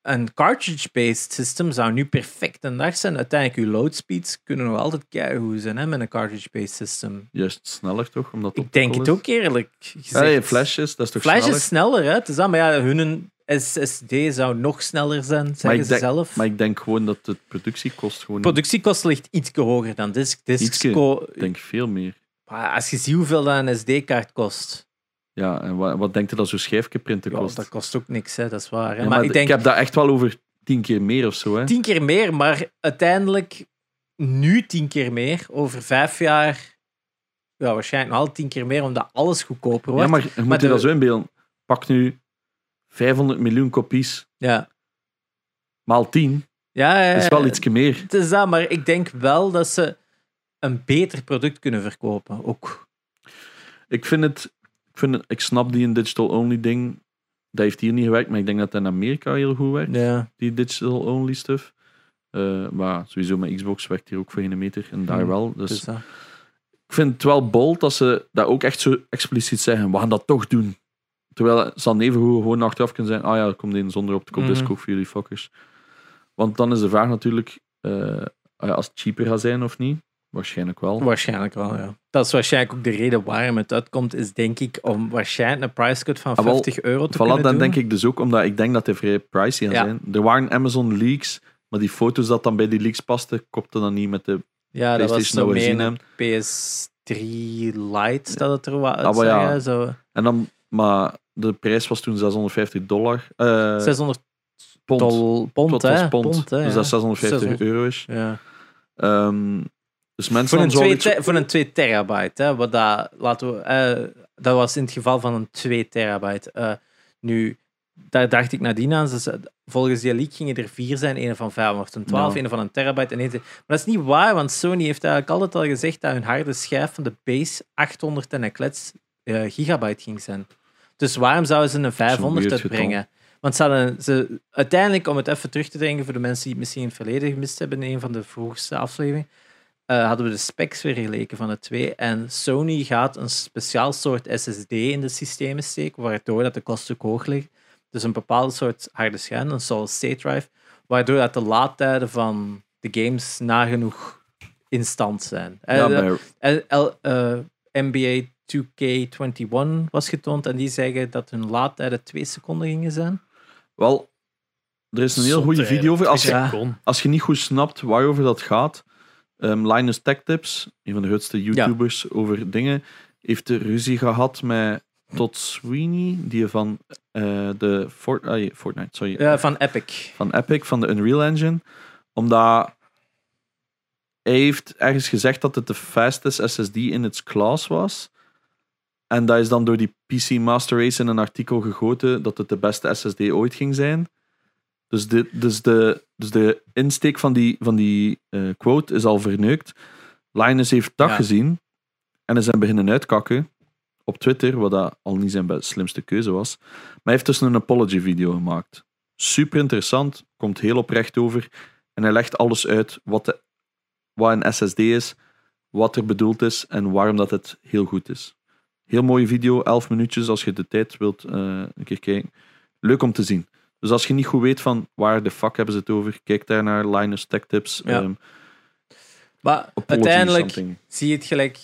S1: een cartridge-based system zou nu perfect een dag zijn. Uiteindelijk, je load speeds kunnen nog altijd keigoed zijn hè, met een cartridge-based system.
S3: Juist sneller toch, omdat
S1: Ik denk het ook eerlijk gezegd.
S3: Nee, flash is, dat is toch
S1: Flash
S3: sneller?
S1: is sneller, hè? Het is dat, maar ja, hun SSD zou nog sneller zijn, zeggen
S3: maar ik,
S1: ze
S3: denk,
S1: zelf.
S3: maar ik denk gewoon dat de productiekost gewoon...
S1: Productiekost ligt iets hoger dan disk. Discs
S3: Ietske.
S1: ko-
S3: Ik denk veel meer.
S1: Maar Als je ziet hoeveel dat een SD-kaart kost,
S3: Ja, en wat, wat denkt je dat zo'n schijfje printen
S1: ja,
S3: kost?
S1: dat kost ook niks, hè? dat is waar. Hè?
S3: Ja,
S1: maar, ik
S3: d-
S1: denk
S3: heb dat echt wel over tien keer meer of zo. Hè.
S1: tien keer meer, maar uiteindelijk nu tien keer meer, over vijf jaar, ja, waarschijnlijk nog al tien keer meer, omdat alles goedkoper
S3: ja,
S1: wordt.
S3: maar je moet
S1: Maar
S3: je
S1: de-
S3: dat zo inbeelden. Pak nu 500 miljoen kopies,
S1: ja.
S3: maal 10,
S1: Ja, ja,
S3: is
S1: ja.
S3: wel ietsje meer.
S1: Het is dat, maar ik denk wel dat ze een beter product kunnen verkopen. Ook.
S3: Ik vind het, ik, vind het, ik snap die een digital-only ding. Dat heeft hier niet gewerkt, maar ik denk dat dat in Amerika heel goed werkt,
S1: Ja.
S3: die digital-only stuff. Eh, maar sowieso, mijn Xbox werkt hier ook voor geen meter en daar
S1: Hmm,
S3: wel. Dus
S1: Dus, dat.
S3: ik vind het wel bold dat ze dat ook echt zo expliciet zeggen. We gaan dat toch doen. Terwijl ze dan even gewoon achteraf kunnen zeggen: ah ja, er komt een zonder op de kopdisk
S1: Mhm.
S3: ook voor jullie fuckers. Want dan is de vraag natuurlijk eh, ah ja, als het cheaper gaat zijn of niet. Waarschijnlijk wel.
S1: Waarschijnlijk wel, ja. Dat is waarschijnlijk ook de reden waarom het uitkomt, is denk ik om waarschijnlijk een price cut van
S3: Ah, wel,
S1: 50 euro te
S3: Voilà,
S1: kunnen
S3: dan
S1: doen.
S3: denk ik dus ook, omdat ik denk dat die vrij pricey gaan
S1: Ja.
S3: zijn. Er waren Amazon leaks, maar die foto's dat dan bij die leaks pasten, kopte dan niet met de...
S1: ja, dat was
S3: PlayStation
S1: zo
S3: dat we
S1: mee
S3: gezien
S1: in op PS3 Lite dat het er wat
S3: Ah, maar
S1: uitzag.
S3: ja.
S1: hè, zo.
S3: En dan, maar de prijs was toen 650 dollar. eh
S1: 600
S3: pond.
S1: dol pond,
S3: Het was
S1: hè?
S3: pond.
S1: Pond, hè,
S3: dus
S1: ja.
S3: dat is 650
S1: 600.
S3: euro is.
S1: Ja.
S3: Ehm, dus mensen
S1: Voor een,
S3: dan
S1: twee
S3: zoiets-
S1: te- voor een 2 terabyte, hè, wat dat, laten we, eh, dat was in het geval van een 2 terabyte. Eh, nu, daar dacht ik nadien aan. Dus, eh, volgens die leak gingen er vier zijn, een van 512,
S3: Ja.
S1: een van een terabyte en één. Maar dat is niet waar, want Sony heeft eigenlijk altijd al gezegd dat hun harde schijf van de base 800 en een klets eh, gigabyte ging zijn. Dus waarom zouden ze een
S3: een
S1: 500
S3: weird
S1: uitbrengen? Want ze hadden, ze, uiteindelijk, om het even terug te denken voor de mensen die het misschien in het verleden gemist hebben in een van de vroegste afleveringen, eh, hadden we de specs weer geleken van de twee. En Sony gaat een speciaal soort SSD in de systemen steken, waardoor dat de kosten ook hoog liggen. Dus een bepaalde soort harde schijf, een solid state drive, waardoor dat de laadtijden van de games nagenoeg instant zijn. Eh,
S3: ja, bij-
S1: en L- eh, NBA 2K21 was getoond en die zeggen dat hun laadtijden twee seconden gingen zijn.
S3: wel, er is een heel
S2: Zot,
S3: goede
S2: hè.
S3: video over. Als je,
S1: Ja.
S2: Kon.
S3: als je niet goed snapt waarover dat gaat, ehm, Linus Tech Tips, een van de grootste YouTubers over dingen, heeft er ruzie gehad met Todd Sweeney, die van eh, de Fort- ah, je- Fortnite, sorry,
S1: Eh, van Epic.
S3: van Epic, van de Unreal Engine. Omdat hij heeft ergens gezegd dat het de fastest SSD in its class was. En dat is dan door die PC Master Race in een artikel gegoten dat het de beste SSD ooit ging zijn. Dus de, dus de, dus de insteek van die, van die eh, quote is al verneukt. Linus heeft dat
S1: Ja.
S3: gezien en is hem beginnen uitkakken op Twitter, wat dat al niet zijn be- slimste keuze was. Maar hij heeft dus een apology video gemaakt. Super interessant, komt heel oprecht over. En hij legt alles uit wat, de, wat een SSD is, wat er bedoeld is en waarom dat het heel goed is. Heel mooie video, 11 minuutjes als je de tijd wilt eh, een keer kijken. Leuk om te zien. Dus als je niet goed weet van waar de fuck hebben ze het over, kijk daar naar Linus Tech Tips.
S1: Ja.
S3: ehm,
S1: Maar
S3: apology
S1: uiteindelijk
S3: something.
S1: zie je het gelijk.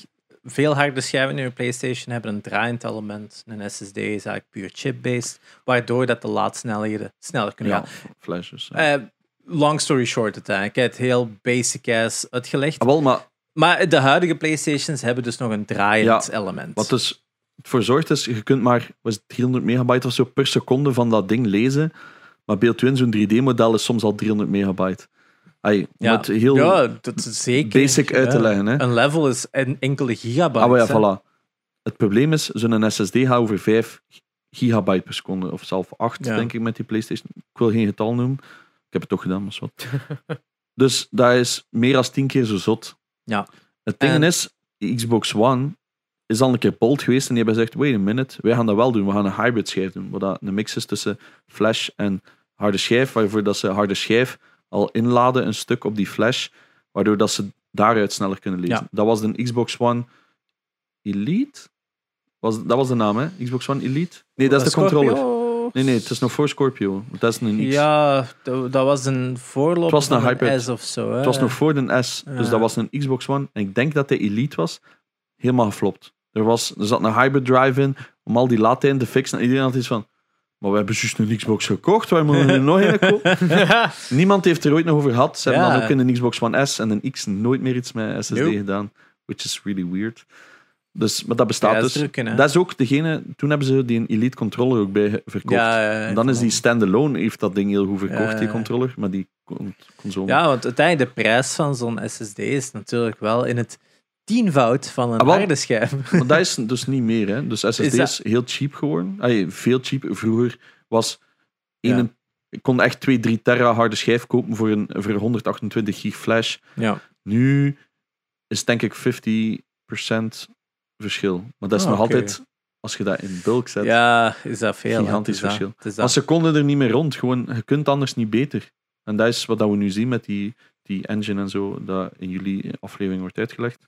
S1: Veel harde schijven in je PlayStation hebben een draaiend element. Een SSD is eigenlijk puur chip-based, waardoor dat de laadsnelheden sneller kunnen
S3: Ja,
S1: gaan.
S3: flashes. ja.
S1: Eh, long story short, uiteindelijk. Het heel basic ass uitgelegd.
S3: Ah, wel, maar
S1: Maar de huidige PlayStations hebben dus nog een draaiend
S3: Ja,
S1: element.
S3: wat dus voor zorgt is, je kunt maar was het 300 megabyte of zo per seconde van dat ding lezen. Maar beeld u in, zo'n 3D-model is soms al 300 megabyte. Ai, om
S1: ja.
S3: het heel
S1: ja, dat is zeker.
S3: basic uit te
S1: Ja.
S3: leggen. Hè?
S1: Een level is een enkele gigabyte.
S3: Ah, maar ja,
S1: hè.
S3: voilà. Het probleem is, zo'n SSD gaat over 5 gigabyte per seconde, of zelfs 8,
S1: Ja.
S3: denk ik, met die PlayStation. Ik wil geen getal noemen. Ik heb het toch gedaan, maar is wat. (laughs) dus dat is meer dan 10 keer zo zot.
S1: Ja.
S3: Het ding
S1: En-
S3: is, Xbox One is al een keer bold geweest en die hebben gezegd, wait a minute, wij gaan dat wel doen. We gaan een hybrid schijf doen, wat dat een mix is tussen flash en harde schijf, waarvoor dat ze harde schijf al inladen een stuk op die flash, waardoor dat ze daaruit sneller kunnen lezen.
S1: Ja.
S3: Dat was de Xbox One Elite? Was, dat was de naam, hè? Xbox One Elite? Nee, dat is de
S1: Scorpio.
S3: controller. Nee, nee, het is nog voor Scorpio. want Dat is een X.
S1: Ja, dat, dat was een voorloper
S3: Het was een
S1: van
S3: hybrid.
S1: S of zo. Hè?
S3: Het
S1: (laughs)
S3: was nog voor de S, dus
S1: Ja.
S3: dat was een Xbox One. En ik denk dat de Elite was helemaal geflopt. Er, was, er zat een hybrid drive in om al die laadtijden te fixen. En iedereen had iets van... Maar we hebben juist een Xbox gekocht, waar moeten we er nog
S1: (laughs)
S3: een kopen? Niemand heeft er ooit nog over gehad. Ze hebben
S1: Ja.
S3: dan ook in een Xbox One S en een X nooit meer iets met SSD
S1: Nope.
S3: gedaan. Which is really weird. Dus, maar dat
S1: Ja,
S3: bestaat
S1: dat is
S3: dus.
S1: drukken, hè.
S3: Dat is ook degene, toen hebben ze die Elite controller ook bij verkocht.
S1: ja, ja, ja,
S3: En dan is die standalone, heeft dat ding heel goed verkocht,
S1: Ja,
S3: die
S1: ja.
S3: controller, maar die con- console.
S1: Ja, want uiteindelijk de prijs van zo'n SSD is natuurlijk wel in het tienvoud van een
S3: Ah, wel.
S1: harde schijf.
S3: (laughs) Maar dat is dus niet meer, hè? Dus SSD is,
S1: Is dat-
S3: heel cheap geworden. Ay, veel cheap. Vroeger was.
S1: Ja.
S3: één- Ik kon echt 2, 3 terra harde schijf kopen voor, een, voor 128 gig flash.
S1: Ja.
S3: Nu is het denk ik 50% verschil. Maar dat is
S1: Ah,
S3: nog
S1: oké.
S3: altijd, als je dat in bulk zet.
S1: ja, is dat veel. hè. Het
S3: Gigantisch
S1: is dat-
S3: verschil.
S1: het is dat.
S3: Maar ze konden er niet meer rond. Gewoon, je kunt anders niet beter. En dat is wat dat we nu zien met die, die engine en zo, dat in jullie aflevering wordt uitgelegd.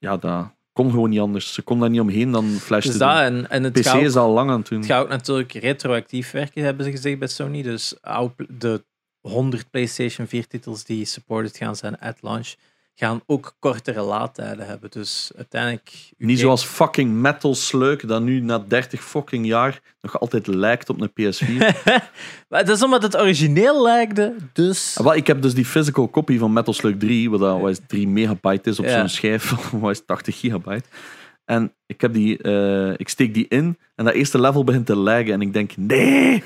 S3: Ja, dat kon gewoon niet anders. Ze kon daar niet omheen dan flash
S1: Het is
S3: te
S1: dat
S3: doen.
S1: en, en het
S3: PC
S1: gaat,
S3: is al lang aan het doen.
S1: het gaat ook natuurlijk retroactief werken, hebben ze gezegd bij Sony. Dus oude pl- de 100 PlayStation 4 titels die supported gaan zijn at launch, gaan ook kortere laadtijden hebben. Dus uiteindelijk... uw
S3: Niet
S1: game-
S3: zoals fucking Metal Slug, dat nu na 30 fucking jaar nog altijd lijkt op een
S1: (laughs)
S3: PS4.
S1: (laughs) Maar dat is omdat het origineel lijkte, dus...
S3: Ah, wel, ik heb dus die physical copy van Metal Slug 3, wat, dat, wat is 3 megabyte is op
S1: Ja.
S3: zo'n schijf (laughs) van wat is 80 gigabyte. En ik, heb die, eh, ik steek die in en dat eerste level begint te laggen. En ik denk, nee,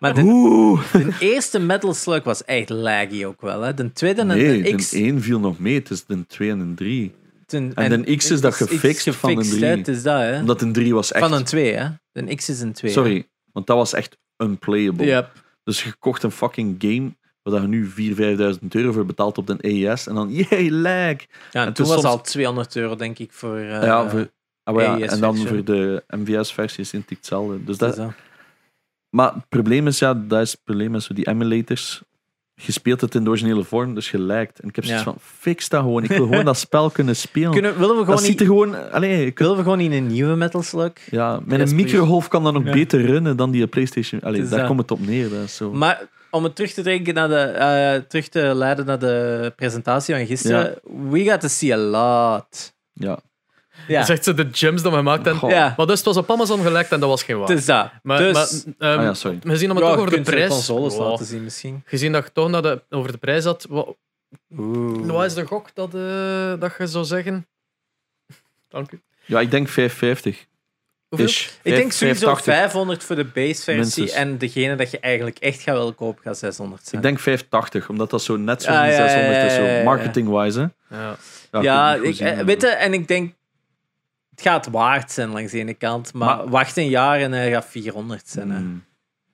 S1: Maar de,
S3: Oeh.
S1: de eerste Metal Slug was echt laggy ook wel. Hè. De tweede en
S3: Nee,
S1: de
S3: de
S1: X...
S3: 1 viel nog mee. Het is de 2 en de 3.
S1: ten-
S3: en de X is dat gefixt van een
S1: gefixt,
S3: drie.
S1: hè. Het is dat, hè.
S3: Omdat een 3 was echt...
S1: Van een 2, hè. De X is een 2.
S3: Sorry, want dat was echt unplayable.
S1: Ja.
S3: Dus je kocht een fucking game waar je nu 4.000, 5.000 euro voor betaalt op de EES. En dan, (laughs) yay, lag.
S1: Ja, en
S3: Het
S1: toen
S3: is
S1: was
S3: soms-
S1: al 200 euro, denk ik, voor... eh,
S3: ja, voor, ah, maar ja,
S1: AES
S3: en dan
S1: versie.
S3: voor de MVS-versie is het natuurlijk hetzelfde. Dus
S1: het
S3: dat,
S1: is dat.
S3: maar het probleem is, ja, dat is het probleem met zo die emulators. je speelt het in de originele vorm, dus je lijkt. En ik heb zoiets
S1: Ja.
S3: van, fix dat gewoon. Ik wil gewoon dat
S1: (laughs)
S3: spel kunnen spelen.
S1: Kunnen, willen, we
S3: Oh. dat
S1: gewoon
S3: ziet
S1: niet,
S3: er gewoon... Allee, ik-
S1: willen we gewoon niet een nieuwe Metal Slug?
S3: ja, met
S2: Yes,
S3: een microgolf kan dat nog
S1: Ja.
S3: beter runnen dan die Playstation. Allee,
S1: Het is
S3: daar
S1: dat.
S3: komt het op neer. Dat is zo.
S1: Maar om het terug te, denken naar de, eh, terug te leiden naar de presentatie van gisteren. We got to see a lot.
S3: ja.
S1: Ja,
S2: Zegt ze de gems die we gemaakt hebben.
S3: Goh. Ah,
S1: ja
S2: Maar dus het was op Amazon gelekt en dat was geen waar.
S1: het is dat.
S2: maar,
S1: dus,
S2: maar, ehm,
S3: Ah ja, sorry.
S2: Gezien dat we
S1: ja,
S2: toch
S1: je
S2: over de
S1: kunt veel
S2: prijs.
S1: consoles
S2: Wow.
S1: laten zien misschien.
S2: Gezien dat je toch naar de, over de prijs had. Wat,
S1: Oeh.
S2: wat is de gok dat, eh, dat je zou
S1: (laughs)
S2: zeggen? Dank u.
S3: Ja, ik denk 550.
S2: Hoeveel?
S3: Ish.
S1: Ik denk
S3: Vijf-
S1: sowieso
S3: 580.
S1: 500 voor de base versie
S3: Minstens.
S1: en degene dat je eigenlijk echt gaat willen kopen gaat 600 zijn.
S3: Ik denk 580, omdat dat zo net zo
S1: Ah,
S3: die
S1: ja, ja,
S3: 600 is.
S1: ja, ja,
S3: zo
S1: ja.
S3: Marketing-wise, hè.
S2: Ja.
S1: ja,
S3: ik moet
S1: ik,
S3: het goed
S1: eh,
S3: zien.
S1: weet je, en ik denk het gaat waard zijn langs de ene kant, maar,
S3: Maar-
S1: wacht een jaar en hij gaat 400 zijn. hè.
S3: Mm.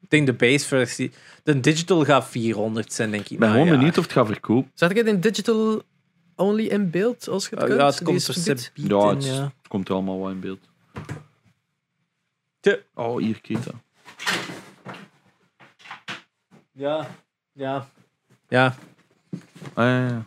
S1: Ik denk de base versie, de digital gaat 400 zijn denk ik. Nou
S3: Ik ben
S1: na
S3: gewoon
S1: een jaar.
S3: benieuwd of het gaat verkopen.
S2: Zet ik het in digital only in beeld als je het
S1: Ah, Oh, Ja,
S2: kunt?
S1: het
S2: Die
S1: komt
S2: is
S1: er
S2: verdiend.
S1: subiet
S3: Ja,
S1: in,
S3: het is-
S1: ja.
S3: het komt er allemaal wel in beeld.
S1: Te-
S3: Oh, hier, Kita.
S1: Ja, ja. Ja,
S3: Ah, ja, ja.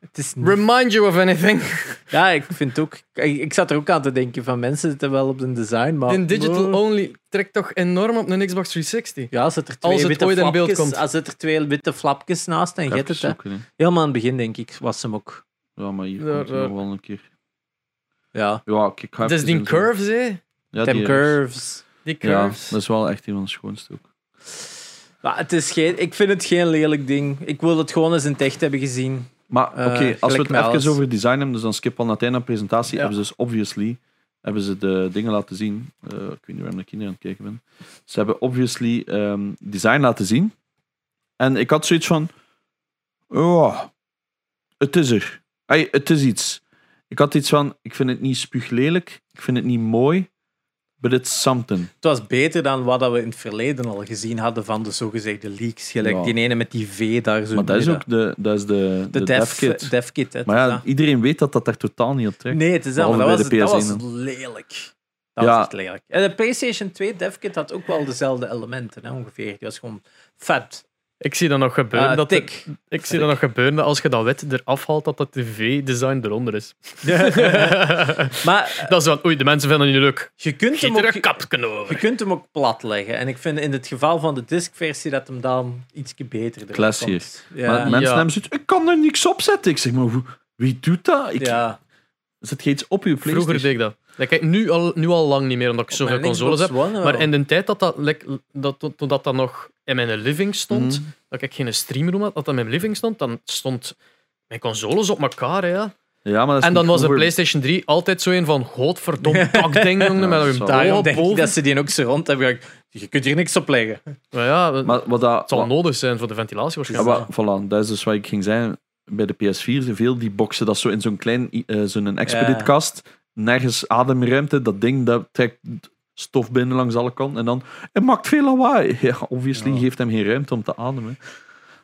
S1: het is niet-
S2: Remind you of anything. (laughs)
S1: ja, ik vind het ook. Ik, ik zat er ook aan te denken van mensen zitten wel op hun design, maar.
S2: In digital
S1: Oh.
S2: only trekt toch enorm op een Xbox 360.
S1: Ja, als het er twee
S2: Als het
S1: witte
S2: ooit in beeld
S1: flapjes,
S2: komt.
S1: Als het er twee witte flapjes naast en
S3: Ik
S1: je
S3: ga
S1: hebt
S3: even
S1: het, hè.
S3: zoeken, hè.
S1: Helemaal aan het begin, denk ik, was hem ook.
S3: Ja, maar hier
S2: Daar,
S3: komt hij nog
S2: daar.
S3: wel een keer.
S1: Ja.
S3: Ja, ik, ik ga
S2: Het is
S3: even
S2: Dus die
S3: in zoeken.
S2: curves, hè?
S3: Ja,
S1: Tem
S3: die-
S1: curves.
S2: Die
S3: Ja,
S2: curves.
S3: dat
S1: dus-
S3: is wel echt een van de schoonste ook.
S1: Maar het is geen, ik vind het geen lelijk ding. Ik wil het gewoon eens in het echt hebben gezien.
S3: Maar oké,
S1: Eh,
S3: als
S1: gelijk
S3: we het
S1: met
S3: even
S1: alles.
S3: over design hebben, dus dan skip al naar het einde van de presentatie.
S1: Ja.
S3: Hebben ze dus obviously hebben ze de dingen laten zien. Eh, ik weet niet waarom ik hier aan het kijken ben. Ze hebben obviously ehm, design laten zien. En ik had zoiets van... Oh, het is er. Ai, het is iets. Ik had iets van, ik vind het niet spuuglelijk, ik vind het niet mooi, but it's something.
S1: Het was beter dan wat dat we in het verleden al gezien hadden van de zogezegde leaks. Gelijk
S3: Ja.
S1: die ene met die V daar zo.
S3: Maar dat is
S1: midden.
S3: ook de, dat is de,
S1: de,
S3: de,
S1: dev,
S3: dev kit.
S1: dev kit, hè, het
S3: Maar
S1: is
S3: ja,
S1: dat.
S3: iedereen weet dat dat daar totaal niet op trekt.
S1: Nee, het is dat, maar dat,
S3: Behalve
S1: was,
S3: bij de
S1: dat was
S3: PS1
S1: lelijk. Dat
S3: Ja.
S1: was echt lelijk. En de PlayStation 2 devkit had ook wel dezelfde elementen, hè, ongeveer. Die was gewoon vet.
S2: Ik zie dat nog gebeuren.
S1: Eh,
S2: dat de-
S1: dik.
S2: ik zie dat nog gebeuren dat als je dat wit eraf haalt, dat dat tv-design eronder is.
S1: (laughs)
S2: (laughs)
S1: Maar eh,
S2: dat is wel... Oei, de mensen vinden het niet leuk.
S1: je kunt hem
S2: Giet er
S1: ook...
S2: een kapje over.
S1: Je kunt hem ook plat leggen. En ik vind in het geval van de diskversie dat hem dan iets beter eruit
S3: Classier.
S1: komt.
S3: Maar
S1: Ja.
S3: mensen
S2: Ja.
S3: hebben zoiets, ik kan er niks op zetten. Ik zeg, maar hoe- wie doet dat? Ik,
S1: ja.
S3: Zet je iets op je PlayStation?
S2: Vroeger deed ik dat. Like, ik nu, al, nu al lang niet meer, omdat ik zoveel
S1: Mijn
S2: consoles
S1: Xbox
S2: heb.
S1: One wel.
S2: Maar in de tijd dat dat, like, dat, toen toen dat, dat nog in mijn living stond, dat ik geen streamroom had, dat dat in mijn living stond, dan stond mijn consoles op elkaar. hè, Ja.
S3: Ja, maar dat is
S2: En dan
S3: niet
S2: was de
S3: over-
S2: PlayStation 3 altijd zo een van godverdomme kakding, jongen, met een
S3: zo.
S1: Daarom
S2: blauwe
S1: denk ik
S2: boven.
S1: dat ze die ook zo rond hebben. gehangen. Je kunt hier niks op leggen.
S2: Maar ja, het
S3: Maar wat dat...
S2: zal
S3: wat-
S2: nodig zijn voor de ventilatie
S3: ja,
S2: waarschijnlijk.
S3: wat- voilà, dat is dus wat ik ging zeggen. Bij de PS4, veel die boxen dat zo in zo'n klein, eh, zo'n Expedit-kast, nergens ademruimte, dat ding dat trekt stof binnen langs alle kanten en dan... Het maakt veel lawaai. (laughs) Ja, obviously
S1: Ja.
S3: geeft hem geen ruimte om te ademen.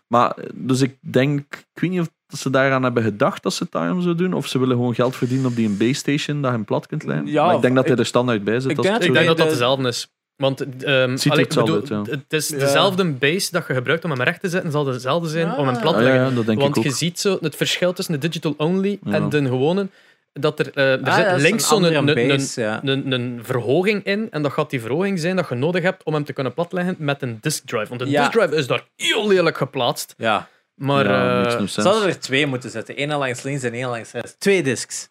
S3: Maar, eh, dus ik denk... Ik weet niet of ze daaraan hebben gedacht dat ze het daarom zo doen, of ze willen gewoon geld verdienen op die een B-station dat hem plat kunt leggen.
S1: Ja,
S3: maar ik denk dat hij
S1: ik-
S3: er standaard bij zit.
S1: ik
S3: als
S1: denk
S3: het
S2: Ik
S3: zo
S2: denk dat dat
S1: de-
S2: dezelfde is. Want ehm,
S3: ziet er
S2: allee,
S3: hetzelfde
S2: bedoel,
S3: uit, ja.
S2: het is
S1: Ja.
S2: dezelfde base dat je gebruikt om hem recht te zetten, zal dezelfde zijn om hem plat te
S3: Ah,
S2: leggen.
S3: ja, ja, dat denk
S2: Want
S3: ik
S2: je
S3: ook.
S2: ziet zo het verschil tussen de digital only
S3: Ja.
S2: en de gewone. Dat er, eh, er
S1: Ah,
S2: zit
S1: dat is
S2: links
S1: een
S2: zo'n een,
S1: andere
S2: een, een,
S1: base, ja.
S2: een, een verhoging in. En dat gaat die verhoging zijn dat je nodig hebt om hem te kunnen platleggen met een disk drive. Want een
S1: Ja.
S2: disk drive is daar heel lelijk geplaatst.
S1: Ja.
S2: Maar
S3: Ja,
S2: eh,
S3: makes no
S1: Ze
S3: sense.
S1: hadden er twee moeten zetten. Eén langs links en één langs rechts. Twee discs.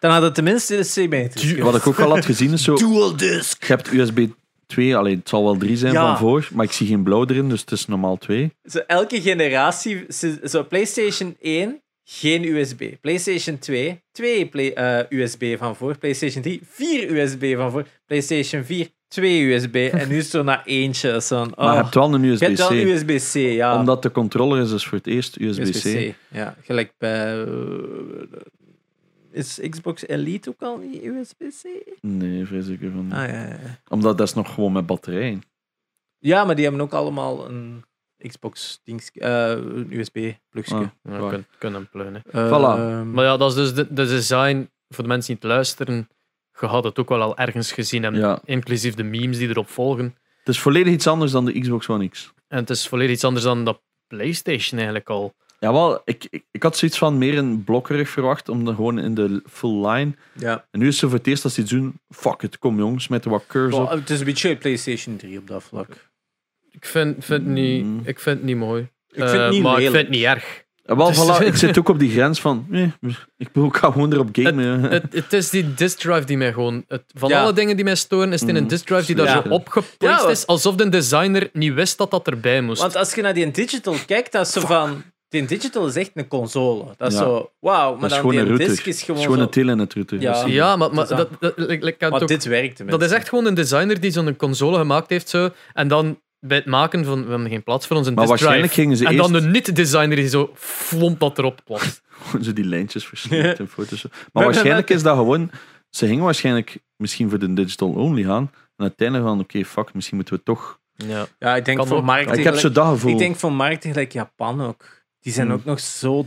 S1: Dan hadden we tenminste de symmetrisch.
S2: Du-
S3: Wat ik ook al had gezien is zo...
S1: Dual disc.
S3: Je hebt USB 2, alleen het zal wel 3 zijn
S1: Ja.
S3: van voor, maar ik zie geen blauw erin, dus het is normaal 2.
S1: Zo, elke generatie, ze- zo PlayStation 1, geen USB. PlayStation 2, 2 play- eh, USB van voor. PlayStation 3, 4 USB van voor. PlayStation 4, 2 USB. En nu is het zo naar eentje. Zo'n,
S3: Maar
S1: oh,
S3: je hebt wel een
S1: je hebt
S3: USB-C.
S1: wel USB-C, ja.
S3: Omdat de controller is dus voor het eerst USB-C.
S1: Ja, gelijk bij. eh, is Xbox Elite ook al niet USB-C?
S3: Nee, vrees ik ervan. niet.
S1: Ah, ja, ja.
S3: Omdat dat is nog gewoon met batterij.
S1: ja, maar die hebben ook allemaal een eh, Xbox-dings, een USB-plugje.
S3: Ah.
S2: ja, je kunt, kunt hem pleunen.
S1: Eh,
S3: Voilà.
S1: ehm,
S2: Maar ja, dat is dus de, de design. Voor de mensen die het luisteren, je had het ook wel al ergens gezien hebben.
S3: Ja.
S2: Inclusief de memes die erop volgen.
S3: Het is volledig iets anders dan de Xbox One X.
S2: En het is volledig iets anders dan dat PlayStation eigenlijk al.
S3: Ja, wel, ik, ik, ik had zoiets van meer een blokkerig verwacht, om dan gewoon in de full line.
S1: Ja.
S3: En nu is het zo voor het eerst dat ze iets doen. Fuck it, kom jongens, met wat curves op.
S1: Wel, Oh, het is een beetje PlayStation 3 op dat vlak.
S2: Ik vind, vind,
S3: Mm.
S2: niet, ik vind het niet mooi.
S1: Ik vind het niet
S2: Eh, maar ik
S1: lelijk.
S2: vind het niet
S1: (laughs)
S2: erg.
S3: En wel,
S2: Het is-
S3: voilà, ik zit ook op die grens van. eh, ik wil ook gewoon erop gamen. hè.
S2: Het, het is die disk drive die mij gewoon... het- van
S1: Ja.
S2: alle dingen die mij storen, is het in een
S3: Mm.
S2: disk drive die daar
S1: Ja.
S2: zo opgeplaatst
S1: Ja.
S2: is, alsof de designer niet wist dat dat erbij moest.
S1: Want als je naar die digital kijkt, dat is zo van. Die digital is echt een console. Dat is
S3: Ja.
S1: zo. Wauw, maar
S3: dat is
S1: dan
S3: gewoon een
S1: die
S3: router.
S1: disk is
S3: Het
S1: gewoon.
S3: is gewoon
S1: zo-
S3: een tele in het router.
S1: Ja.
S3: (laughs) Dat is-
S2: ja, maar, maar
S1: Het is
S2: dat, dat, ik- ik had
S1: maar
S2: ook-
S1: dit werkt tenminste.
S2: dat is echt gewoon een designer die zo'n console gemaakt heeft zo, en dan bij het maken van... We hebben geen plaats voor ons een
S3: Maar
S2: disk drive.
S3: waarschijnlijk gingen ze
S2: En
S3: eerst
S2: dan de niet-designer die zo flomp dat erop plast.
S3: gewoon zo die lijntjes versnipt en foto's. Maar
S1: hebben
S3: waarschijnlijk
S1: net-
S3: is dat gewoon... Ze gingen waarschijnlijk misschien voor de digital only gaan. En uiteindelijk van, oké, fuck, misschien moeten we toch...
S2: Ja.
S1: Ja, ik denk
S2: Kan
S1: voor
S2: ook.
S1: marketing.
S3: ik heb zo'n
S1: gelijk-
S3: dat gevoel.
S1: ik denk voor marketing, gelijk Japan ook. Die zijn
S3: Hmm.
S1: ook nog zo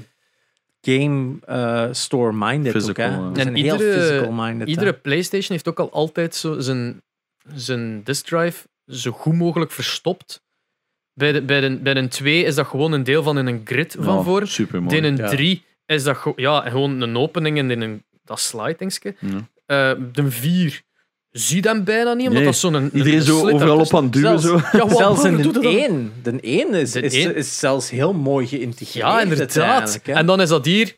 S1: game eh, store-minded. Ook,
S3: Physical,
S1: hè.
S3: ja.
S1: Die
S3: En
S1: zijn heel
S2: iedere-
S1: physical-minded.
S2: Iedere PlayStation heeft ook al altijd zo zijn, zijn disk drive zo goed mogelijk verstopt. Bij de, bij, de, bij de 2 is dat gewoon een deel van in een grid van voor.
S3: Super
S2: In een
S1: ja.
S2: 3 is dat go- ja, gewoon een opening en in een, dat slitingske.
S3: Ja.
S2: Eh, de 4 zie je hem bijna niet, omdat
S3: Nee,
S2: dat zo'n... een-
S3: Iedereen
S2: een
S3: zo
S2: slit
S3: overal op
S2: ertussen-
S3: aan het duwen.
S1: zelfs-
S3: Zo.
S2: Ja, wat-
S1: Zelfs in
S2: doe
S1: de
S2: dat dan?
S1: 1. De 1 is,
S2: De
S1: is,
S2: één.
S1: is zelfs heel mooi geïntegreerd.
S2: Ja, inderdaad.
S1: uiteindelijk, hè.
S2: En dan is dat hier...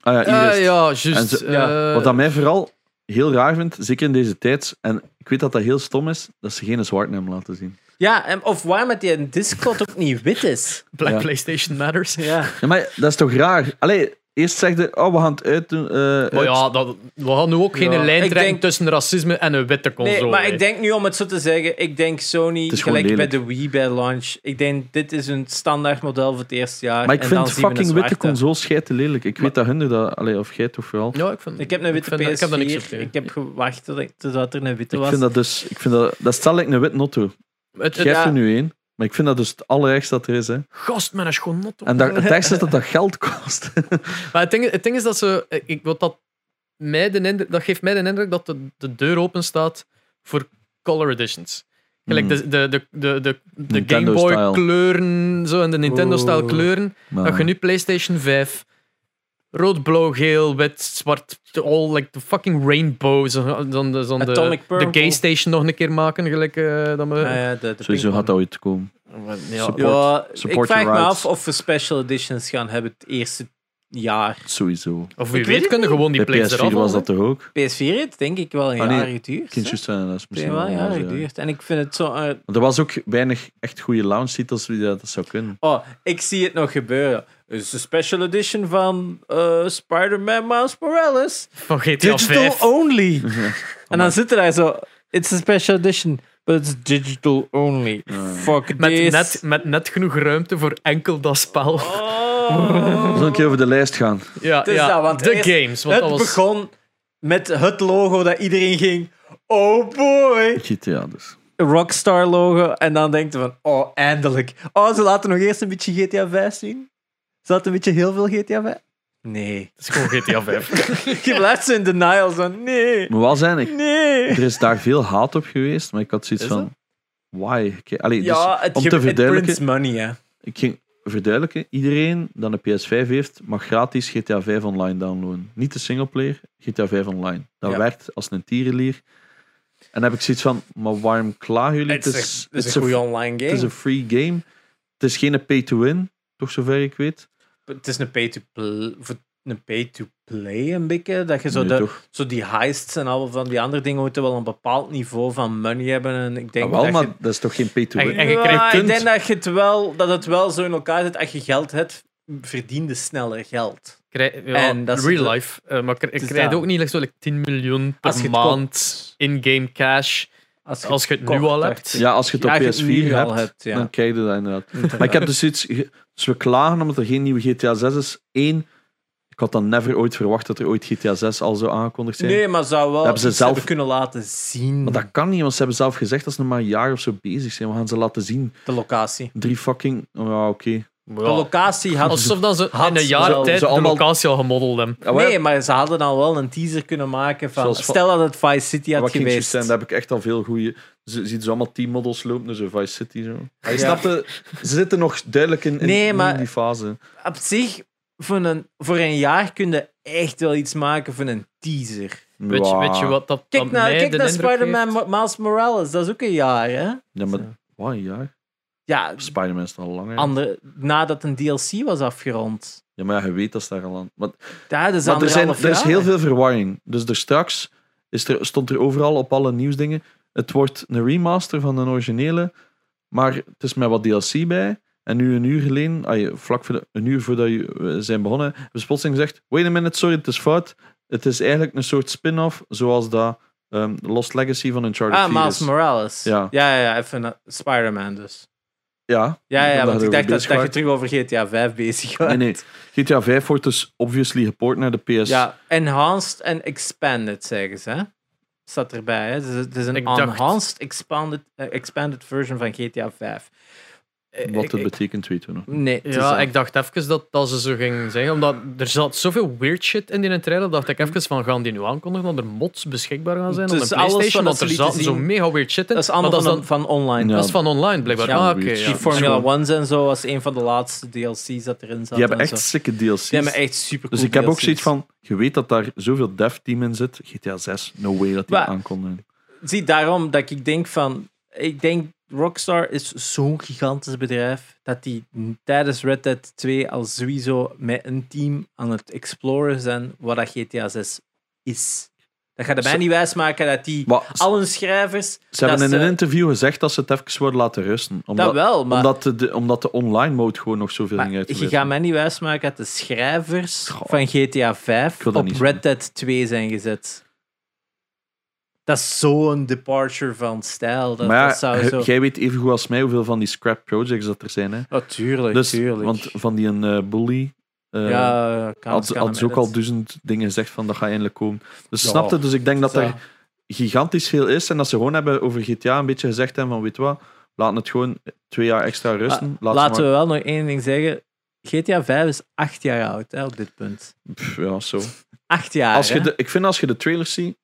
S3: Ah ja, hier is
S2: eh,
S3: het.
S2: ja,
S3: En
S2: juist.
S3: zo- ja,
S2: eh,
S3: Wat dat mij vooral heel raar vindt, zeker in deze tijd, en ik weet dat dat heel stom is, dat ze geen zwart hem laten zien.
S1: Ja, en, of waarom dat die Discord ook niet wit is.
S2: Black
S3: Ja.
S2: PlayStation Matters.
S1: Ja.
S3: Ja, maar dat is toch raar? Allee, eerst zegde, oh, we gaan het uitdoen. eh,
S2: Maar
S3: uit-
S2: Oh ja, dat, we gaan nu ook geen
S1: Ja.
S2: lijn
S1: Ik
S2: trekken
S1: denk-
S2: tussen racisme en een witte console.
S1: Nee, maar
S2: hè.
S1: ik denk nu om het zo te zeggen, ik denk Sony,
S3: Het is gewoon
S1: gelijk bij de
S3: lelijk.
S1: Wii bij launch, ik denk dit is een standaard model voor het eerste jaar.
S3: Maar ik
S1: en
S3: vind
S1: dan zien we
S3: fucking
S1: een
S3: witte
S1: zwarte.
S3: consoles schijt te lelijk. Ik weet dat hun dat, allee, of jij toch vooral.
S2: Ja, ik, vind,
S1: Ik heb een witte
S2: vind dat-
S1: PS4,
S2: Ik heb daar niks op
S1: ik,
S2: tegen.
S1: heb gewacht tot ik- totdat er een witte
S3: Ik
S1: was.
S3: vind dat dus, ik vind dat, dat stel ik een wit notto.
S2: Het, het
S3: Geef
S1: Ja.
S3: er nu één. Maar ik vind dat dus het allerergste dat er is. Hè.
S2: gast, man, is gewoon not op.
S3: En dat, het ergste is dat dat geld kost. (laughs)
S2: Maar het ding, het ding is dat ze... Ik, wat dat, mij de indruk, dat geeft mij de indruk dat de, de deur open staat voor color editions. Gelijk
S3: Mm.
S2: de, de, de, de, de, de Game
S3: Nintendo
S2: Boy
S3: style. Ah.
S2: kleuren, zo, en de Nintendo-style
S1: Oh.
S2: kleuren.
S3: Maar-
S2: Dat je nu PlayStation 5, rood, blauw, geel, wit, zwart, all like the fucking rainbow. Zo, dan de, zo de,
S1: Atomic
S2: de
S1: Purple.
S2: gay station nog een keer maken, gelijk eh dat we.
S1: Ah ja, de, de
S3: Sowieso
S1: pink
S3: gaat
S1: one.
S3: dat ooit komen.
S2: ja,
S3: support.
S1: Ah, Ja, ik
S3: Support
S1: vraag
S3: your
S1: me
S3: rights.
S1: af of we special editions gaan hebben het eerste jaar.
S3: Sowieso.
S2: Of wie
S1: Ik weet
S2: weet,
S1: het
S2: kunnen gewoon die
S3: Bij
S2: plays eraf
S3: PS4
S2: halen.
S3: was dat toch ook?
S1: PS4 heeft denk ik wel een
S3: Ah, nee,
S1: jaar geduurd. hè?
S3: Kindjes zijn dat is
S1: Het heeft
S3: misschien
S1: wel een jaar
S3: zo, ja.
S1: geduurd. En ik vind het zo... eh,
S3: Want er was ook weinig echt goede launch titels die dat, dat zou kunnen.
S1: Oh, ik zie het nog gebeuren. Er is een special edition van eh, Spider-Man Miles Morales.
S2: Van GTA
S1: Digital
S2: 5.
S3: (laughs)
S1: only. en dan zitten daar zo... It's a special edition, but it's digital only. Fuck
S2: Met
S1: this.
S2: net, met net genoeg ruimte voor enkel dat spel.
S1: Oh.
S3: We zullen een keer over de lijst gaan.
S2: (laughs) ja,
S1: is
S2: ja.
S1: dat, want
S2: de
S1: eerst-
S2: games. Want
S1: het
S2: dat was...
S1: begon met het logo dat iedereen ging... Oh boy!
S3: GTA dus.
S1: Rockstar logo. En dan denkt je van... Oh, eindelijk. Oh, ze laten nog eerst een beetje GTA 5 zien. Ze laten een beetje heel veel GTA 5... Nee. (laughs)
S2: Het is gewoon GTA 5.
S1: Je blijft zo in denial, zo nee,
S3: Maar wel zijn ik.
S1: nee.
S3: Er is daar veel haat op geweest, maar ik had zoiets
S2: Is
S3: van... Why? Oké, Allee, dus
S1: Ja, het,
S3: om
S1: ge-
S3: te
S1: het
S3: verduidelijken...
S1: prints money, hè.
S3: Ik ging verduidelijken, iedereen dat een PS5 heeft, mag gratis GTA 5 online downloaden. Niet de singleplayer, GTA 5 online. Dat
S1: Ja.
S3: werkt als een tierenlier. En dan heb ik zoiets van, maar waarom klagen jullie?
S1: Het is, het is een
S3: een-
S1: goede online
S3: het is
S1: game.
S3: een free game. Het is geen pay-to-win, toch zover ik weet.
S1: Het is een pay-to-play, een pay-to-play een beetje. Dat je zo,
S3: Nee,
S1: de,
S3: toch?
S1: zo die heists en al van die andere dingen moeten wel een bepaald niveau van money hebben. En ik denk
S3: Ah, wel,
S1: dat
S3: maar
S1: je...
S3: dat is toch geen pay-to-win?
S2: En- en- je
S1: Ja,
S2: krijgt
S1: ik
S2: punt.
S1: denk dat, je het wel, dat het wel zo in elkaar zit. Als je geld hebt, verdiende sneller geld.
S2: Krij- ja,
S1: En dat is
S2: real
S1: de-
S2: life. Eh, maar ik
S1: is
S2: krijg
S1: dat.
S2: ook niet like, zo, like, 10 miljoen
S1: Als je
S2: per
S1: het
S2: maand in-game cash.
S1: Als
S2: Als je het nu
S1: kocht,
S2: al
S1: dacht
S2: hebt.
S1: ik.
S3: Ja, als je het op
S1: Ja, als je het
S3: PS4
S1: nu al
S3: hebt,
S1: hebt, ja.
S3: dan krijg je dat inderdaad. maar ik heb dus iets... Dus we klagen omdat er geen nieuwe GTA 6 is. Eén, ik had dan never ooit verwacht dat er ooit GTA 6 al zou aangekondigd zijn.
S1: Nee, maar zou wel
S3: hebben ze
S1: iets
S3: zelf-
S1: kunnen laten zien.
S3: Maar dat kan niet, want ze hebben zelf gezegd dat ze nog maar een jaar of zo bezig zijn. We gaan ze laten zien.
S1: De locatie.
S3: Drie fucking... Oh, ja, oké.
S1: De locatie had...
S2: Alsof dat ze
S1: Had
S2: in een
S1: ze
S2: jaar
S1: al-
S2: tijd
S3: ze
S2: de
S3: allemaal-
S2: locatie al gemodeld hebben.
S3: Ah,
S1: Nee, maar ze hadden dan wel een teaser kunnen maken van...
S3: Zoals van-
S1: Stel dat het Vice City had
S3: Wat ging juist
S1: geweest.
S3: zijn, daar heb ik echt al veel goede. Ze ziet zo allemaal teammodels lopen, dus een Vice City zo.
S1: Ah,
S3: Hij
S1: Ja.
S3: snapte, ze zitten nog duidelijk in, in-
S1: Nee,
S3: in
S1: maar-
S3: die fase.
S1: Op zich, voor een, voor een jaar kun je echt wel iets maken van een teaser.
S2: Weet, je-
S3: Ja.
S2: weet je wat dat
S1: Kijk
S2: dat
S1: naar,
S2: mij
S1: kijk
S2: de
S1: naar
S2: indruk
S1: Spider-Man
S2: geeft?
S1: Ma- Miles Morales, dat is ook een jaar, hè?
S3: Ja, maar wat een jaar.
S1: Ja,
S3: Spider-Man is er al langer.
S1: ander, nadat een DLC was afgerond.
S3: Ja, maar ja, je weet dat ze daar al aan. Want
S1: Ja, dat is
S3: Maar er, zijn,
S1: anderhalf
S3: er is
S1: jaar.
S3: heel veel verwarring. Dus er straks is er, stond er overal op alle nieuwsdingen. Het wordt een remaster van een originele, maar het is met wat DLC bij. En nu een uur geleden, ay, vlak voor de- een uur voordat je we zijn begonnen, hebben ze plotseling gezegd: Wait a minute, sorry, het is fout. Het is eigenlijk een soort spin-off, zoals dat ehm, Lost Legacy van Uncharted
S1: Ah,
S3: 4
S1: Miles
S3: is.
S1: Morales.
S3: Ja.
S1: ja, ja, ja, even een- Spider-Man dus.
S3: Ja,
S1: Ja, ja,
S3: Omdat
S1: want
S3: je
S1: ik dacht
S3: erover
S1: dat,
S3: bezig
S1: dat je
S3: waart.
S1: terug over GTA 5 bezig was.
S3: Nee, nee. GTA 5 wordt dus obviously geport naar de PS.
S1: Ja, enhanced en expanded zeggen ze. hè. Staat erbij. Hè? Het, is, het is een
S2: Ik dacht-
S1: enhanced expanded, eh, expanded version van GTA 5. Eh,
S3: Wat
S1: ik-
S3: het
S1: ik-
S3: betekent, weten we nog.
S1: Nee, het is eh,
S2: Ja,
S1: dat.
S2: ik dacht even dat, dat ze zo ging zeggen. Omdat er zat zoveel weird shit in die trailer. dacht ik even van, gaan die nu aankondigen dat er mods beschikbaar gaan zijn
S1: Mhm. Het
S2: op
S1: is
S2: een
S1: alles
S2: Playstation?
S1: wat
S2: Want
S1: ze
S2: er
S1: lieten
S2: zaten zo
S1: zien.
S2: mega weird shit in.
S1: dat is
S2: maar
S1: allemaal
S2: dat is
S1: van,
S2: dan-
S1: van online.
S3: Ja.
S2: dat is van online, blijkbaar.
S3: Ja,
S2: ah, oké.
S3: weird
S2: ja.
S1: Die
S3: dat is
S1: Formula
S3: gewoon-
S1: One's en zo was een van de laatste DLC's dat erin zat.
S3: Die hebben
S1: en
S3: echt
S1: zo.
S3: sikke DLC's.
S1: Die hebben echt super
S3: Dus ik heb ook zoiets van, je weet dat daar zoveel dev team in zit. GTA 6, no way dat die
S1: Maar-
S3: aankonden.
S1: Zie, daarom dat ik denk van... Ik denk, Rockstar is zo'n gigantisch bedrijf dat die tijdens Red Dead 2 al sowieso met een team aan het exploren zijn wat dat GTA 6 is. Dat gaat er mij
S3: Ze-
S1: niet wijsmaken dat die...
S3: Maar ze-
S1: Al hun schrijvers...
S3: ze hebben
S1: dat
S3: in een
S1: ze-
S3: interview gezegd dat ze het even worden laten rusten. Omdat,
S1: eh, Dat wel, maar,
S3: omdat, de, de- omdat de online mode gewoon nog zoveel
S1: maar
S3: ging uit.
S1: je gaat mij niet wijsmaken dat de schrijvers van GTA 5
S3: wil dat
S1: op
S3: niet
S1: Red Dead 2 zijn gezet. Dat is zo'n departure van stijl. Dat,
S3: maar
S1: dat
S3: ja,
S1: zou
S3: je-
S1: zo...
S3: jij weet even goed als mij hoeveel van die scrap projects dat er zijn. Hè?
S1: Natuurlijk,
S3: Dus,
S1: Oh, tuurlijk.
S3: want van die een eh, bully... eh,
S1: ja, kan
S3: had,
S1: kan
S3: had ze ook
S1: hem
S3: al dus duizend dingen gezegd van dat gaat eindelijk komen. Dus
S1: Ja.
S3: snapte, dus ik denk dat
S1: editen.
S3: er gigantisch veel is. En dat ze gewoon hebben over GTA een beetje gezegd hebben van, weet je wat, laten het gewoon twee jaar extra rusten.
S1: Ah,
S3: laat ze
S1: Laten we wel nog één ding zeggen. GTA 5 is acht jaar oud hè, op dit punt.
S3: maar- Pff, ja, zo.
S1: Acht jaar.
S3: Als je
S1: Ah, hè?
S3: de, ik vind als je de trailers ziet,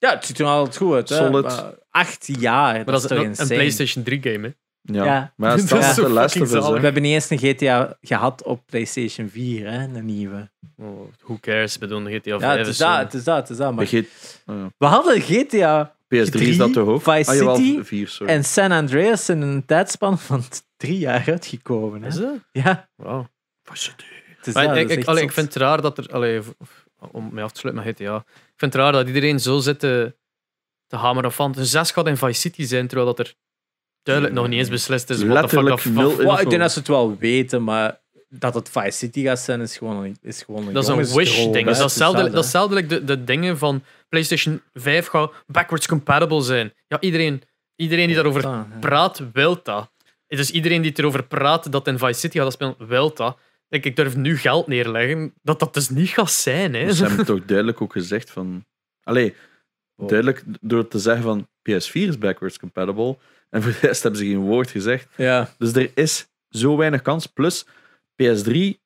S1: Ja, het ziet er altijd goed uit. Hè?
S3: Solid.
S1: Maar acht jaar.
S2: Maar dat is
S1: toch
S2: een,
S1: insane.
S2: een PlayStation 3-game, hè.
S3: ja.
S1: Ja.
S3: Maar
S1: (laughs)
S3: het
S1: Dat is
S3: staat
S2: zo
S3: de Last
S2: fucking
S3: of Us, hè.
S1: We hebben niet eens een GTA gehad op PlayStation 4, hè? een nieuwe.
S2: Oh, who cares? Ik bedoel, GTA 5
S1: Ja, het is
S2: zo-
S1: dat, het is dat, het is dat.
S3: Bij
S1: Maar
S3: G- oh ja.
S1: we hadden GTA
S3: PS3 is dat toch ook?
S1: Vice
S3: Ah, jawel,
S1: City
S3: vier, sorry.
S1: en San Andreas in een tijdspan van t- drie jaar uitgekomen. Hè?
S2: Is dat?
S1: Ja,
S2: Wauw.
S1: het is
S2: Maar
S1: dat, dat
S2: ik,
S1: is
S2: ik,
S1: echt
S2: allee, ik
S1: zot.
S2: vind het raar dat er. Allee, v- om mij af te sluiten met GTA. Ik vind het raar dat iedereen zo zit te, te hameren van. De zes gaat in Vice City zijn, terwijl dat er duidelijk nog niet eens beslist is. Wat de fuck
S3: Letterlijk
S2: dat
S3: nul
S2: van-
S3: in-
S1: Wel, ik
S3: info.
S1: denk dat ze het wel weten, maar dat het Vice City gaat zijn, is gewoon een, is gewoon een
S2: Dat is een wish-ding. Dat is
S3: hè?
S2: datzelfde-
S1: Het is
S2: dat is hetzelfde like de, de dingen van PlayStation 5 gaan backwards compatible zijn. Ja, iedereen, iedereen die
S1: eh,
S2: daarover
S1: Ah.
S2: praat, wil dat. Dus iedereen die het erover praat dat in Vice City gaat spelen, wil dat. Ik, ik durf nu geld neerleggen dat dat dus niet gaat zijn. Hè.
S3: Dus ze hebben toch duidelijk ook gezegd van... Allee,
S1: Wow.
S3: duidelijk door te zeggen van PS4 is backwards compatible. En voor de rest hebben ze geen woord gezegd.
S1: Ja,
S3: Dus er is zo weinig kans. Plus, PS3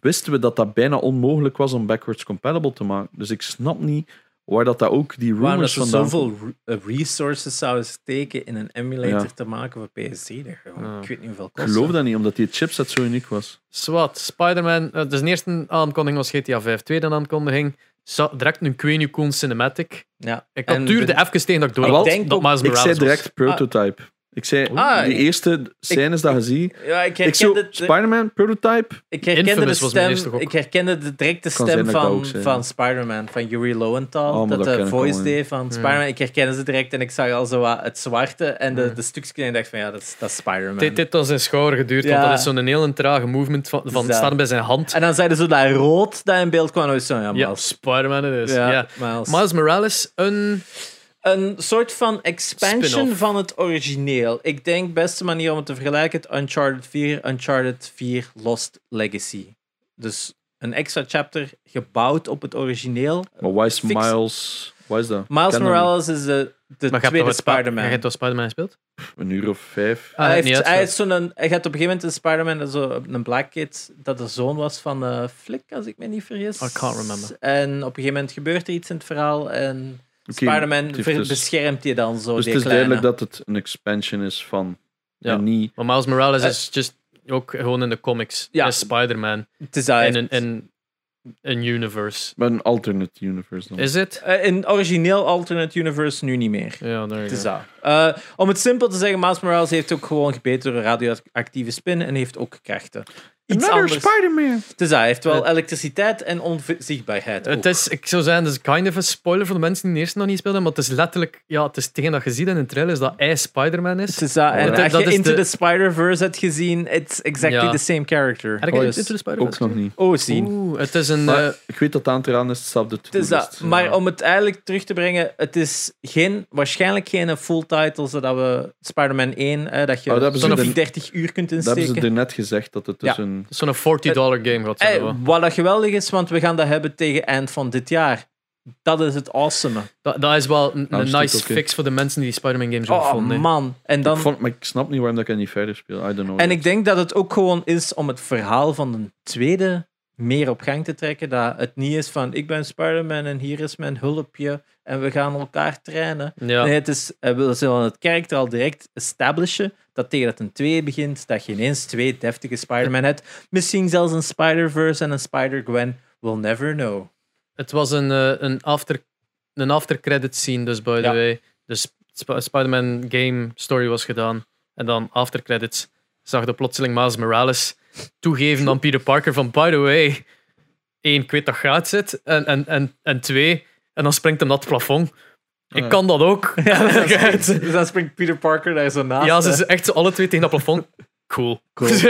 S3: wisten we dat dat bijna onmogelijk was om backwards compatible te maken. Dus ik snap niet waar dat, dat ook die
S1: waarom dat
S3: rumors
S1: ze
S3: vandaan...
S1: zoveel re- eh, resources zouden steken in een emulator
S3: Ja.
S1: te maken voor PS3? dat gewoon-
S2: Ja.
S1: Ik weet niet hoeveel
S3: Ik
S1: kost.
S3: geloof dat niet, omdat die chipset zo uniek was.
S2: Swat, Spider-Man. eh, dus de eerste aankondiging was GTA 5, tweede aankondiging. Zo, direct een Queen Coon Cinematic.
S1: Ja.
S2: Ik had
S1: En
S2: duurde
S1: de-
S2: even tegen dat ik door
S3: Ah,
S2: had
S3: wel,
S1: denk
S2: dat
S1: ook-
S2: Miles
S3: Ik
S2: Morales
S3: zei
S2: was.
S3: direct prototype. Ik zei,
S1: Ah,
S3: die
S1: ik-
S3: eerste scènes dat je ziet.
S1: Ja, ik
S3: Ik
S1: herkende,
S3: zo,
S1: de-
S3: Spider-Man, prototype.
S1: ik herkende de
S2: Infamous was mijn
S1: stem,
S2: eerste gok.
S1: ik herkende de directe
S3: Kan zijn
S1: stem
S3: dat ik dat
S1: van,
S3: ook zei,
S1: van
S3: ja.
S1: Spider-Man, van Yuri Lowenthal,
S3: Oh, maar
S1: dat
S3: dat ken
S1: de
S3: ik al,
S1: voice
S3: ja.
S1: deed van Spider-Man. Ik herkende ze direct en ik zag al zo wat het zwarte en de, de stukjes en ik dacht van ja, dat is, dat is Spider-Man.
S2: Dit, dit had zijn schouder geduurd,
S1: Ja.
S2: want dat is zo'n heel trage movement van, van
S1: Zo.
S2: staan bij zijn hand.
S1: En dan zeiden ze dat rood dat in beeld kwam. En dan was het zo, ja,
S2: Ja,
S1: Miles.
S2: Spider-Man het is. Ja.
S1: Miles.
S2: Miles Morales, een...
S1: Een soort van expansion
S2: Spin-off.
S1: van het origineel. Ik denk beste manier om het te vergelijken: het Uncharted 4, Uncharted 4 Lost Legacy. Dus een extra chapter gebouwd op het origineel.
S3: Maar why is
S1: Fix-
S3: Miles... Why is dat?
S1: Miles
S3: Ken dat
S1: Morales is de, de
S2: Maar je hebt
S1: tweede
S2: toch Spa-
S1: Spider-Man.
S2: Je hebt toch Spider-Man gespeeld?
S3: niet. Een uur of vijf.
S2: Ah,
S1: hij,
S2: niet
S1: heeft, hij,
S2: uit,
S1: heeft zo'n, hij had op een gegeven moment een Spider-Man, dat zo, een black kid, dat de zoon was van eh Flick, als ik me niet vergis.
S2: Oh, I can't remember.
S1: En op een gegeven moment gebeurt er iets in het verhaal en
S3: Oké, het
S1: Spider-Man
S3: heeft
S1: ver-
S3: dus-
S1: beschermt je dan zo,
S3: Dus
S1: die
S3: het is
S1: kleine.
S3: duidelijk dat het een expansion is van...
S2: Ja.
S3: En niet...
S2: Maar Miles Morales
S1: Eh.
S2: is just ook gewoon in de comics.
S1: Ja.
S2: Ja. Is Spider-Man.
S1: Het is daar-
S2: In een, in een universe.
S3: Maar een alternate universe dan.
S2: Is het?
S1: Eh, in origineel alternate universe nu niet meer.
S2: Ja, daar
S1: Het is
S2: ja.
S1: dat. Eh, om het simpel te zeggen, Miles Morales heeft ook gewoon gebeten door een radioactieve spin en heeft ook krachten. Iets anders.
S3: Spider-Man!
S1: Het is dat. Hij heeft wel
S2: Het-
S1: elektriciteit en onzichtbaarheid.
S2: Het
S1: ook.
S2: is, ik zou zeggen, het is kind of een spoiler voor de mensen die de eerste nog niet speelden, maar het is letterlijk, ja, het is hetgeen dat je ziet in de trailer, is dat hij Spider-Man is.
S1: Het is dat. En
S2: Dat-
S1: als
S2: dat
S1: je
S2: is
S1: Into
S2: de-
S1: the Spider-Verse hebt gezien, it's exactly
S2: Ja.
S1: the same character.
S2: Heb ik
S1: Dus-
S2: Into the Spider-Verse
S3: Ook nog niet.
S1: Oh, zien.
S2: Oeh, het is een...
S3: Maar
S2: eh,
S3: ik weet dat het aan te raden is, het staat op de
S1: Het is dat. mm,
S3: to-do-list.
S1: Maar
S2: ja.
S1: om het eigenlijk terug te brengen, het is geen, waarschijnlijk geen full title, zodat we Spider-Man 1, eh, dat je
S3: Oh, dat hebben ze
S1: zo'n
S3: de-
S1: 30 uur kunt
S3: Dat hebben ze
S1: insteken.
S3: er net gezegd, dat het dus
S1: Ja.
S3: een...
S2: Zo'n 40 dollar game gaat
S1: Eh,
S2: zijn. wel.
S1: wat dat geweldig is, want we gaan dat hebben tegen eind van dit jaar. Dat is het awesome.
S2: dat, dat is wel een,
S3: Nou,
S2: een
S3: is het
S2: nice
S3: oké.
S2: fix voor de mensen die die Spider-Man games ook
S1: Oh
S2: vonden. hè.
S1: man. En,
S3: Ik
S1: dan,
S3: vond, maar ik snap niet waarom dat ik dat niet verder speel. I don't know.
S1: en ik denk dat het ook gewoon is om het verhaal van de tweede meer op gang te trekken. Dat het niet is van ik ben Spider-Man en hier is mijn hulpje en we gaan elkaar trainen.
S2: Ja.
S1: Nee, het is, eh, we zullen het karakter al direct establishen dat tegen dat een 2 begint, dat je ineens twee deftige Spider-Man hebt. Misschien zelfs een Spider-Verse en een Spider-Gwen. We'll never know.
S2: Het was een, eh, een, after, een after-credit scene, dus by the
S1: Ja.
S2: way. Dus Sp- Spider-Man game story was gedaan. En dan after-credits zag de plotseling Miles Morales toegeven aan Peter Parker van by the way, één, ik weet dat gaat zit. En, en, en, en twee, en dan springt hem dat plafond. Ik
S3: (laughs) Ja.
S2: kan (laughs) dat ook.
S1: Dus dan springt Peter Parker daar zo naast. eh.
S2: Ja,
S1: hè.
S2: ze zijn echt zo alle twee tegen dat plafond. Cool. (laughs) dat is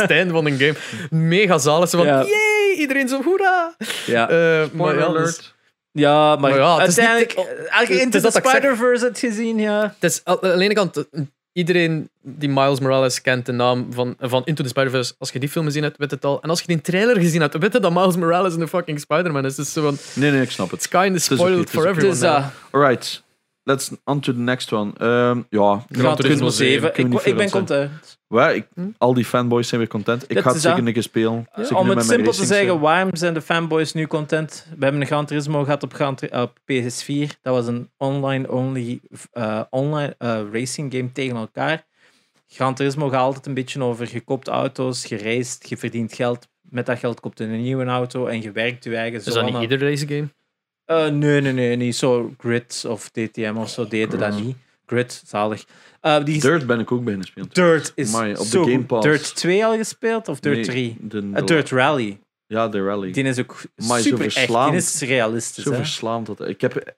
S2: het einde van een game. Mega zalig. Zo van,
S1: Ja.
S2: yay, iedereen zo, hoera.
S1: ja.
S2: Eh, maar
S3: Spoiler
S2: ja, dus-
S3: alert.
S1: Ja, maar,
S2: Maar ja, het is niet-
S1: uiteindelijk, eh, als je
S2: het
S1: Into
S2: is
S1: the
S2: dat ik zeg.
S1: Spider-Verse hebt gezien, ja.
S2: Het is aan de ene kant, eh, iedereen die Miles Morales kent, de naam van, van Into the Spider-Verse, als je die film gezien hebt, weet het al. En als je die trailer gezien hebt, weet je dat Miles Morales een fucking Spider-Man is. Dus zo van,
S3: Nee, nee, ik snap
S2: it's
S3: het.
S2: kind of
S3: is oké,
S2: spoiled
S3: het is
S2: for
S3: oké.
S2: everyone.
S1: Dus, eh,
S2: now.
S3: Alright. Let's on to the next one. Ehm, ja,
S1: Gran
S2: Turismo
S1: Turismo 7.
S3: kunnen
S1: Ik,
S3: we niet
S1: ik ben
S3: veel aan
S1: content. Hm?
S3: waar, ik, al die fanboys zijn weer content. Ik
S1: Dat
S3: ga het
S1: is dat.
S3: zeker een keer spelen.
S1: Om
S3: Zeker nu
S1: het
S3: met mijn
S1: simpel te
S3: racing
S1: zeggen,
S3: sim.
S1: waarom zijn de fanboys nu content? We hebben een Gran Turismo gehad op, Gran Tur- op PS4. Dat was een online-only eh, online eh, racing game tegen elkaar. Gran Turismo gaat altijd een beetje over je koopt auto's, je raced, je verdient geld. Met dat geld koopt je een nieuwe auto en je werkt je eigen
S2: Is dat niet
S1: zone.
S2: ieder race game?
S1: Eh, nee, nee, nee, niet zo Grid of DTM of zo deden dat niet. Grid, zalig. Eh, die is- Dirt,
S3: Dirt ben ik ook bijna spelen.
S1: is
S3: Amai, op de
S1: zo
S3: Game
S1: goed.
S3: Pass.
S1: Dirt 2 al gespeeld of Dirt
S3: Nee,
S1: 3?
S3: de-
S1: Eh, Dirt Rally.
S3: Ja, de rally.
S1: Die is ook
S3: Amai, zo
S1: super echt. Die
S3: verslaand.
S1: is realistisch.
S3: Zo
S1: hè?
S3: verslaand dat. Ik, heb,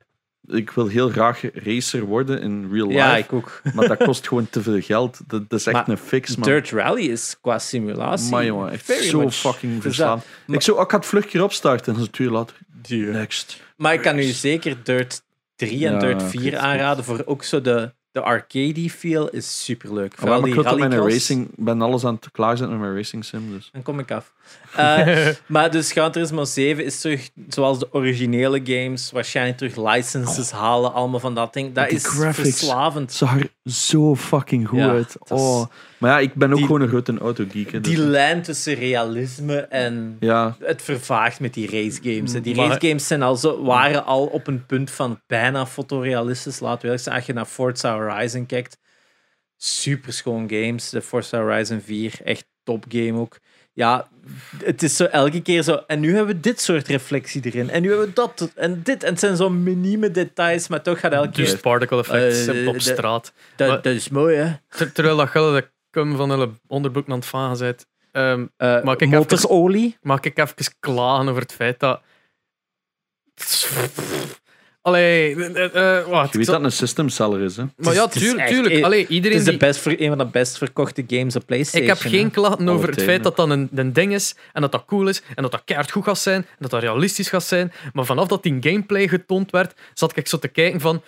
S3: ik wil heel graag racer worden in real
S1: Ja,
S3: life.
S1: ik
S3: (laughs)
S1: ook.
S3: Maar dat kost gewoon te veel geld. Dat, dat is echt
S1: Maar
S3: een
S1: (laughs)
S3: fix, man.
S1: Dirt Rally is qua simulatie.
S3: Maar jongen, echt
S1: very
S3: zo
S1: much.
S3: fucking
S1: Dus
S3: verslaan.
S1: maar-
S3: ik, zo, ik ga het vluchtje opstarten en dan is het een uur later. eh,
S1: dat-
S3: Next.
S1: Maar ik kan u zeker Dirt 3 en
S3: Ja,
S1: Dirt
S3: oké,
S1: 4
S3: goed.
S1: aanraden. Voor ook zo de, de arcade feel is super leuk.
S3: Ja, maar ik wil dat mijn
S1: rallycross.
S3: racing, ik ben alles aan het klaarzetten met mijn racing sim. Dus.
S1: Dan kom ik af.
S3: (laughs)
S1: Eh, maar dus Gran Turismo 7 is terug, zoals de originele games, waarschijnlijk terug licenses halen, allemaal van dat ding. Dat
S3: Oh. die
S1: is
S3: graphics.
S1: verslavend.
S3: Het zag er zo fucking goed
S1: Ja,
S3: uit.
S1: dat is-
S3: Oh. Maar ja, ik ben ook
S1: Die-
S3: gewoon een grote autogeek. hè, dus-
S1: Die lijn tussen realisme en
S3: ja,
S1: het vervaagt met die racegames. hè. Die
S2: Maar-
S1: racegames zijn al zo, waren al op een punt van bijna fotorealistisch. Laten we eerlijk zijn, als je naar Forza Horizon kijkt, super schoon games. De Forza Horizon 4, echt top game ook. Ja, het is zo elke keer zo. En nu hebben we dit soort reflectie erin. En nu hebben we dat en dit. En het zijn zo minieme details, maar toch gaat elke
S2: Dus
S1: keer.
S2: particle effects
S1: Eh,
S2: op
S1: de-
S2: straat.
S1: Dat, dat is mooi, hè? Eh,
S2: Ter- terwijl dat gullen de cum van hun onderbroek aan het vagen bent. Ehm,
S1: Eh,
S2: Maar kijk,
S1: motorolie.
S2: mag ik even klagen over het feit dat... Allee, eh, eh, wat?
S3: je weet dat een system seller is. Hè.
S2: Maar ja,
S1: Het is- het is
S2: tuurlijk.
S1: echt-
S2: tuurlijk. Allee, iedereen
S1: Het is de
S2: die-
S1: best, ver- een van de best verkochte games op PlayStation.
S2: Ik heb
S1: hè.
S2: geen klachten over het
S3: Altijd,
S2: feit
S3: hè.
S2: dat dat een, een ding is en dat dat cool is en dat dat keihard goed gaat zijn en dat dat realistisch gaat zijn. Maar vanaf dat die gameplay getoond werd, zat ik zo te kijken van...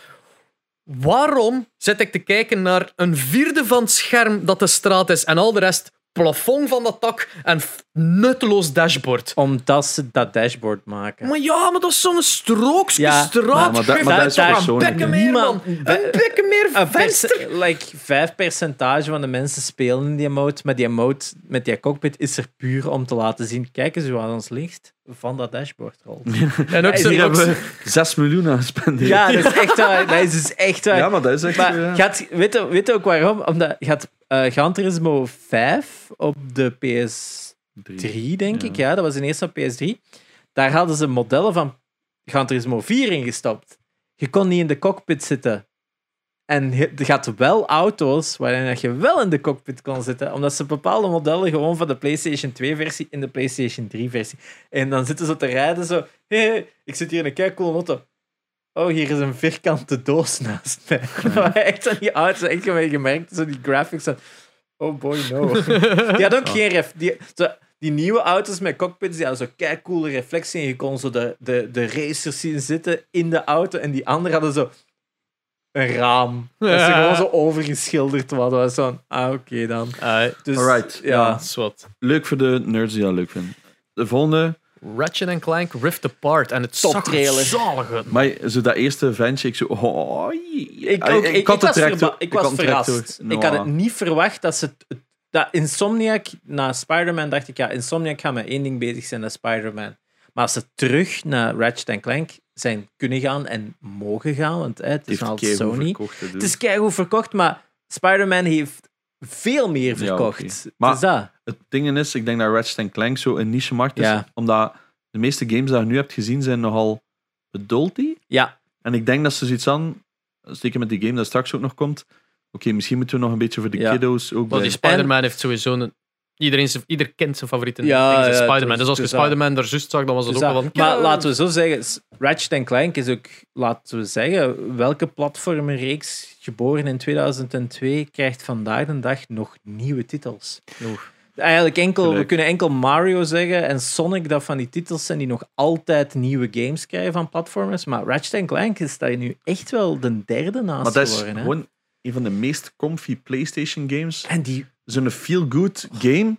S2: Waarom zit ik te kijken naar een vierde van het scherm dat de straat is en al de rest plafond van dat dak en f- nutteloos dashboard.
S1: Omdat ze dat dashboard maken.
S2: Maar ja, maar dat is zo'n strookske
S1: Ja.
S3: Ja,
S2: straat.
S3: maar dat-
S2: Geef
S3: maar dat
S2: daar
S3: is
S2: toch een
S3: persoonlijk,
S2: bekken
S1: hè.
S2: meer,
S1: Niemand-
S2: man. Een bekken meer
S1: Een
S2: venster.
S1: perce- Ah, like, vijf percentage van de mensen spelen in die mode, maar die mode met die cockpit is er puur om te laten zien, kijk eens hoe aan ons licht van dat dashboard rolt.
S2: En ook
S1: Hij is
S2: zo-
S1: hier
S3: Hier
S2: ook
S3: hebben
S2: zo-
S3: we 6 miljoen aan gespendeerd.
S1: Ja, dat is echt waar. Dat is dus echt waar.
S3: Ja, maar dat is echt... eh,
S1: Maar
S3: ja.
S1: gaat, weet, je, weet je ook waarom? Omdat gaat eh Gran Turismo 5 op de PS3, denk
S3: Ja.
S1: ik. Ja, dat was in eerste op PS3. Daar hadden ze modellen van Gran Turismo 4 in gestopt. Je kon niet in de cockpit zitten. En je je had wel auto's waarin dat je wel in de cockpit kon zitten. Omdat ze bepaalde modellen gewoon van de PlayStation 2-versie in de PlayStation 3-versie. En dan zitten ze te rijden zo... Hé, hé, ik zit hier in een keicoole auto. Oh, hier is een vierkante doos naast mij. Maar echt aan die auto's, echt gewoon gemerkt, zo die graphics. Van, oh boy, no. Die had ook geen ref. Die, zo, die nieuwe auto's met cockpits, die hadden zo kei coole reflectie. En je kon zo de, de, de racers zien zitten in de auto. En die anderen hadden zo een raam. Dat ze
S2: Ja.
S1: gewoon zo overgeschilderd was. Dat was zo'n, ah, oké dan.
S2: Ai,
S1: Dus,
S3: Alright,
S1: Ja.
S2: dat is wat.
S3: Leuk voor de nerds die dat leuk vinden. De volgende...
S2: Ratchet Clank Rift Apart en het
S1: Top
S2: zag er
S1: trailer.
S2: zalig uit.
S3: Maar zo dat eerste ventje, ik zo... Oh,
S1: Ik, ook, ik, ik
S3: had
S1: was,
S3: het direct
S1: verba-
S3: door-
S1: ik
S3: had
S1: was
S3: het direct
S1: verrast.
S3: door.
S1: Ik had het
S3: Noah.
S1: niet verwacht dat ze... t- Dat Insomniac, na Spider-Man dacht ik, ja, Insomniac gaat met één ding bezig zijn, dat is Spider-Man. Maar als ze terug naar Ratchet Clank zijn kunnen gaan en mogen gaan, want hè, het
S3: Die
S1: is
S3: heeft
S1: al
S3: keigoed
S1: Sony.
S3: verkocht, dus. hè,
S1: Het
S3: dude.
S1: is keigoed verkocht, maar Spider-Man heeft veel meer
S3: Ja,
S1: verkocht.
S3: oké.
S1: Het
S3: Maar-
S1: is dat.
S3: het ding is, ik denk dat Ratchet Clank zo een niche markt is.
S1: Ja.
S3: Omdat de meeste games die je nu hebt gezien zijn nogal adulty.
S1: Ja,
S3: En ik denk dat ze zoiets aan, zeker met die game dat straks ook nog komt. Oké, misschien moeten we nog een beetje voor de
S1: Ja.
S3: kiddo's ook
S2: Wel, die
S3: blijven.
S2: Spider-Man heeft sowieso een... Iedereen zijn, ieder kind zijn favoriete
S1: Ja,
S2: ding is
S1: ja,
S2: Spider-Man.
S1: dus-
S2: Dus als je
S1: dus dat-
S2: Spider-Man daar juist zag, dan was het
S1: Dus
S2: ook
S1: dat-
S2: wel van...
S1: maar
S2: ja.
S1: laten we zo zeggen, s- Ratchet Clank is ook, laten we zeggen, welke platformreeks geboren in 2002 krijgt vandaag de dag nog nieuwe titels? Eigenlijk enkel, we
S3: Gelijk.
S1: kunnen enkel Mario zeggen en Sonic dat van die titels zijn die nog altijd nieuwe games krijgen van platformers, maar Ratchet Clank is daar nu echt wel de derde naast
S3: Maar dat is
S1: geworden. hè?
S3: gewoon een van de meest comfy PlayStation games.
S1: En die
S3: Zo'n feel-good game.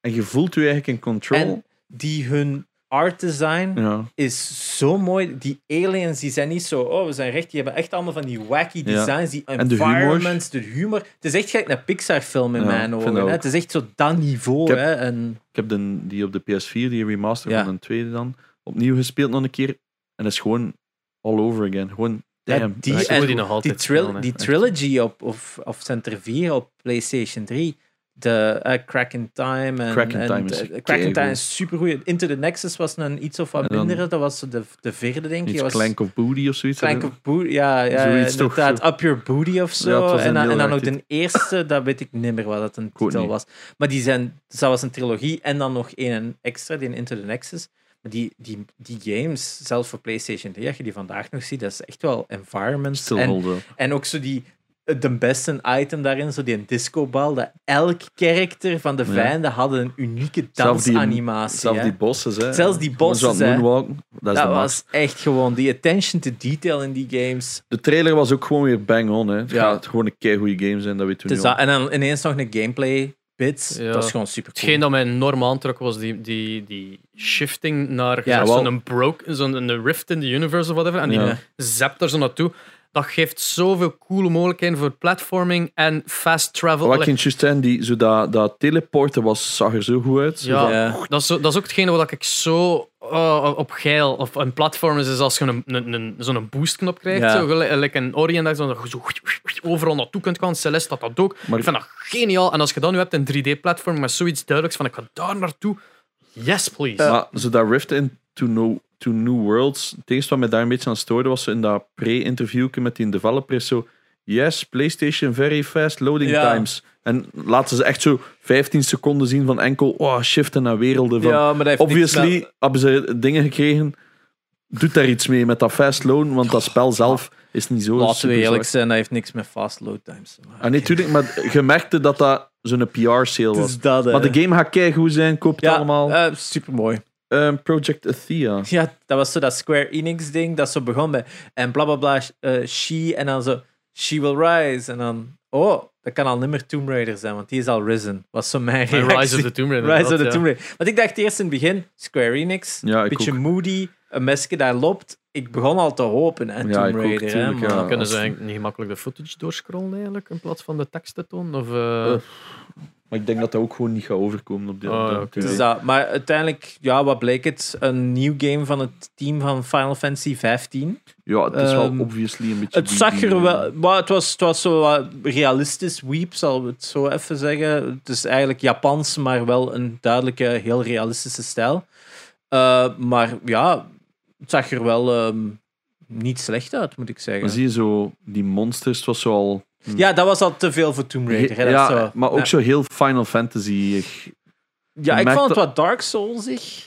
S3: En je voelt je eigenlijk in control.
S1: en die hun art design
S3: Ja.
S1: is zo mooi. Die aliens die zijn niet zo, oh we zijn recht. Die hebben echt allemaal van die wacky
S3: Ja.
S1: designs, die
S3: En de humor.
S1: environments, de humor. Het is echt gelijk een Pixar-film in
S3: Ja, ik
S1: mijn
S3: vind
S1: ogen. hè.
S3: dat ook.
S1: Het is echt zo dat niveau.
S3: Ik heb-
S1: hè. En,
S3: Ik heb de, die op de PS4, die remaster
S1: Ja.
S3: van de tweede dan, opnieuw gespeeld nog een keer. En dat is gewoon all over again. Gewoon,
S1: Ja,
S3: damn.
S1: die-
S3: dat is
S2: Ik wil
S1: en
S2: die nog
S1: die,
S2: altijd
S1: tril-
S2: spelen, hè.
S1: die trilogy op, of, of Center 4 op PlayStation 3. De eh, Crack in Time. En,
S3: Crack in
S1: en
S3: Time is
S1: de- Crack in Time
S3: keigoed.
S1: is supergoed. Into the Nexus was een iets of wat
S3: En dan-
S1: mindere. Dat was de, de vierde, denk ik.
S3: iets
S1: Dat was-
S3: Clank of Booty of zoiets.
S1: Clank of Booty, ja, ja
S3: Zoiets toch,
S1: inderdaad.
S3: zo.
S1: Up Your Booty of
S3: Ja,
S1: zo.
S3: het was
S1: en,
S3: een
S1: dan-
S3: heel
S1: en dan
S3: raar
S1: ook de eerste, dat weet ik niet meer wat dat een
S3: ook
S1: titel
S3: niet.
S1: was. Maar die zijn, dat was een trilogie en dan nog één extra, die in Into the Nexus. Maar die, die, die games, zelfs voor PlayStation 3, als je die vandaag nog ziet, dat is echt wel environments.
S3: Still
S1: En,
S3: hold up.
S1: en ook zo die, eh, de beste item daarin, zo die een discobal, dat elk karakter van de
S3: Ja.
S1: vijanden hadden een unieke
S3: Zelf die-
S1: dansanimatie.
S3: Zelfs
S1: hè.
S3: die bossen, hè.
S1: Zelfs die
S3: Gewoon zo aan
S1: bosses, hè.
S3: moonwalken, dat is
S1: dat
S3: de max.
S1: was echt gewoon die attention to detail in die games.
S3: De trailer was ook gewoon weer bang on, hè. Het
S1: Ja.
S3: gaat gewoon een keer goede game zijn, dat weten we
S1: Het is
S3: nu al.
S1: dat. En dan ineens nog een gameplay bit.
S2: Ja.
S1: Dat is gewoon super cool.
S2: Hetgeen dat mij enorm aantrok was die, die, die shifting naar je
S1: Ja,
S2: zag
S3: wel.
S2: zo'n broke, zo'n een rift in the universe of whatever. En die
S3: Ja.
S2: zapt er zo naartoe. Dat geeft zoveel coole mogelijkheden voor platforming en fast travel.
S3: Wat ik
S2: Allee,
S3: in juist zei, die, zo dat, dat teleporten was, zag er zo goed uit. Zo
S2: ja,
S1: Ja.
S2: Dat, is, zo- dat is ook hetgene wat ik zo eh, op geil of een platform is, is als je een, een, een, zo'n boostknop krijgt.
S1: Ja.
S2: Zo, gelijk gelijk een Orient dat je zo- zo overal naartoe kunt gaan. Celeste had dat ook.
S3: Maar-
S2: ik vind dat geniaal. En als je dat nu hebt, een 3D-platform met zoiets duidelijks van ik ga daar naartoe. Yes,
S1: Eh,
S2: please.
S3: Maar zo dat Rift in to, no, to New Worlds, het enige wat mij daar een beetje aan stoorde was zo in dat pre-interview met die developer is zo yes, PlayStation very fast loading
S1: Ja.
S3: times. En laten ze echt zo 15 seconden zien van enkel oh, shiften naar werelden. Van,
S1: Ja, maar dat heeft niks
S3: Obviously
S1: met-
S3: hebben ze dingen gekregen. Doet daar iets mee met dat fast loaden, want dat spel zelf is niet zo
S1: Laten we
S3: super
S1: eerlijk
S3: zwaar.
S1: zijn, dat heeft niks met fast load times te maken.
S3: Ah, nee, tuurlijk, maar je merkte dat dat zo'n PR-sale
S1: Het
S3: was.
S1: is dat, hè.
S3: Maar de game gaat keigoed zijn, koop het
S1: ja,
S3: allemaal.
S1: eh, supermooi. (laughs)
S3: Ehm, Project Athea.
S1: Ja, dat was zo dat Square Enix ding, dat zo begon bij en bla bla bla, eh, she, en dan zo she will rise, en dan oh, dat kan al niet meer Tomb Raider zijn, want die is al Risen. Was zo mijn
S2: En
S1: reactie.
S2: Rise of the Tomb Raider.
S1: Rise
S2: inderdaad,
S1: of the Tomb
S2: ja.
S1: Raider. Want ik dacht eerst in het begin, Square Enix,
S3: Ja,
S1: een
S3: ik
S1: beetje
S3: ook.
S1: moody, een mesje daar loopt. Ik begon al te hopen aan
S3: Ja, ik
S1: Tomb
S3: ook,
S1: Raider. hè,
S3: tuurlijk,
S1: maar-
S3: ja.
S2: Dan kunnen ze
S3: als-
S2: eigenlijk niet gemakkelijk de footage doorscrollen eigenlijk, in plaats van de tekst te tonen. Of, eh,
S3: Maar ik denk dat dat ook gewoon niet gaat overkomen op die
S2: Oh, ja,
S3: op die
S2: oké.
S3: tv.
S1: Dus dat- maar uiteindelijk, ja, wat bleek het? Een nieuw game van het team van Final Fantasy 15.
S3: Ja, het is
S1: Ehm,
S3: wel obviously een beetje...
S1: Het
S3: die-
S1: zag
S3: die- eh?
S1: er wel, maar het was, het was zo wat realistisch, weep zal ik het zo even zeggen. Het is eigenlijk Japans, maar wel een duidelijke, heel realistische stijl. Eh, maar ja, het zag er wel ehm, niet slecht uit, moet ik
S3: Maar
S1: zeggen.
S3: zie je zo, die monsters, het was zo al...
S1: Ja, dat was al te veel voor Tomb Raider. Hè, dat
S3: ja,
S1: is zo.
S3: maar ook
S1: ja.
S3: zo heel Final Fantasy-ig.
S1: Ja, ik
S3: merk
S1: vond het
S3: dat-
S1: wat Dark Soulsig.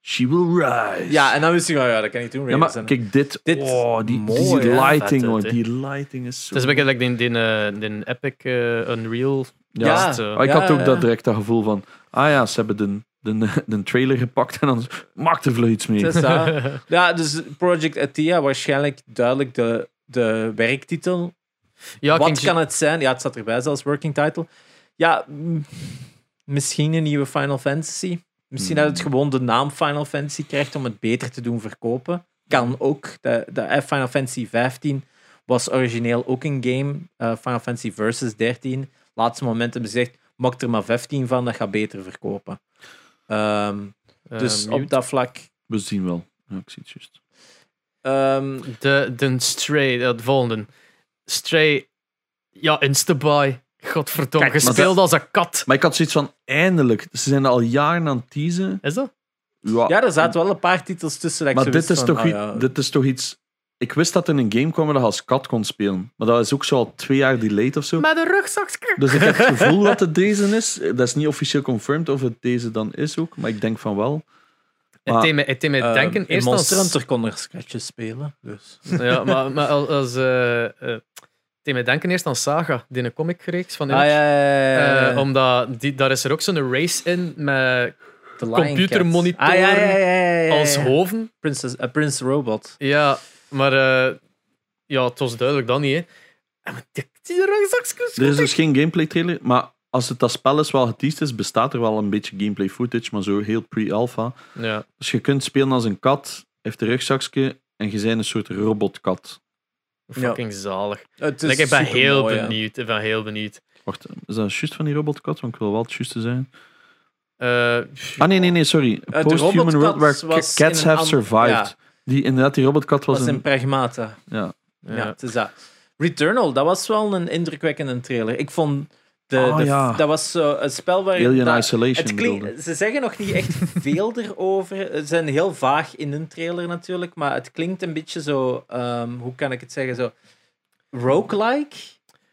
S3: She will rise.
S1: Ja, en dan wist ik wel, ja, dat kan niet Tomb
S3: Ja,
S1: Raider
S3: maar
S1: zijn.
S3: kijk, dit...
S1: Dit-
S3: oh, die,
S1: mooi,
S3: die
S1: hè?
S3: lighting,
S2: Vet,
S3: hoor.
S2: hè?
S3: Die lighting is zo...
S2: het is een beetje like die, die, eh, die Epic eh, Unreal.
S1: Ja.
S2: dat, eh,
S3: Maar ik
S1: Ja,
S3: had ook
S1: ja.
S3: dat direct dat gevoel van... Ah ja, ze hebben de, de, de trailer gepakt en dan... Maak er vlug iets mee.
S1: Het is (laughs) dat.
S2: (laughs)
S1: Ja, dus Project Athea, waarschijnlijk duidelijk de, de werktitel.
S2: ja, ik
S1: Wat
S2: denk-
S1: kan het zijn? Ja, het staat erbij zelfs, working title. Ja, mm, misschien een nieuwe Final Fantasy. Misschien dat
S2: Hmm.
S1: het gewoon de naam Final Fantasy krijgt om het beter te doen verkopen.
S2: Hmm.
S1: Kan ook. De, de Final Fantasy 15 was origineel ook een game. eh, Final Fantasy Versus 13. Laatste moment hebben ze gezegd, maak er maar 15 van, dat gaat beter verkopen. Ehm,
S2: eh,
S1: dus
S2: mute.
S1: op dat vlak...
S3: We zien wel. Ja, ik zie het juist.
S1: ehm,
S2: De, de Stray, dat volgende. Stray, ja, Instabuy. Godverdomme,
S1: Kijk, maar
S2: gespeeld als een kat.
S3: Maar ik had zoiets van, eindelijk. Ze zijn al jaren aan het teasen.
S2: Is dat?
S3: Ja,
S1: Ja, er zaten wel een paar titels tussen. dat ik
S3: maar
S1: zo
S3: dit
S1: wist
S3: is,
S1: van,
S3: toch
S1: ah,
S3: iets,
S1: ja.
S3: dit is toch iets... Ik wist dat er een game kwam waar je als kat kon spelen. Maar dat is ook zo al twee jaar delayed of zo.
S2: Met een rugzakje.
S3: Dus ik heb het gevoel dat het deze is. Dat is niet officieel confirmed of het deze dan is ook. Maar ik denk van wel.
S2: Het
S3: Maar,
S2: deed mij- het deed mij
S1: Ehm,
S2: denken
S1: in
S2: eerst
S1: Monster
S2: als...
S1: Hunter kon er scratches spelen. Dus.
S2: Ja, maar, maar als- als... eh, eh, het deed mij denken eerst aan Saga, die een comicreeks van
S1: Ah, ja,
S2: Image.
S1: ja, ja, ja, ja.
S2: Eh, omdat die, daar is er ook zo'n race in met
S1: The Lion Cat.
S2: computermonitoren
S1: Ah, ja, ja, ja, ja, ja, ja.
S2: als hoven.
S1: Princess, eh, Prince Robot.
S2: Ja, maar eh, ja, het was duidelijk dan niet. Hè. En met die, die rugzakjes.
S3: er is dus geen gameplay trailer. Maar als het dat spel is wel geteased is, bestaat er wel een beetje gameplay footage. Maar zo heel pre-alpha.
S2: Ja,
S3: Dus je kunt spelen als een kat. Heeft een rugzakje. En je bent een soort robotkat.
S2: fucking zalig.
S1: Het is
S2: Like, ik ben heel
S1: Dus supermooi, hè.
S2: benieuwd. Ik ben heel benieuwd.
S3: Wacht, is dat juist van die robotkat? Want ik wil wel het juiste zijn.
S2: Eh,
S3: Ah nee, nee, nee, sorry.
S1: Eh, de
S3: Post-human
S1: robotkat
S3: world where
S1: was in
S3: cats
S1: een
S3: have
S1: an-
S3: survived.
S1: ja.
S3: Die, inderdaad, die robotkat was,
S1: Dat was in
S3: een...
S1: Pragmata.
S3: Ja.
S1: Ja.
S2: ja.
S1: het is dat. Returnal, dat was wel een indrukwekkende trailer. Ik vond... De,
S3: Ah,
S1: de-
S3: ja.
S1: Dat was zo een spel waar...
S3: Alien
S1: dat-
S3: Isolation
S1: Het
S3: bedoelde.
S1: klinkt, ze zeggen nog niet
S3: (laughs)
S1: echt veel erover. Ze zijn heel vaag in een trailer natuurlijk, maar het klinkt een beetje zo, ehm, hoe kan ik het zeggen, zo roguelike.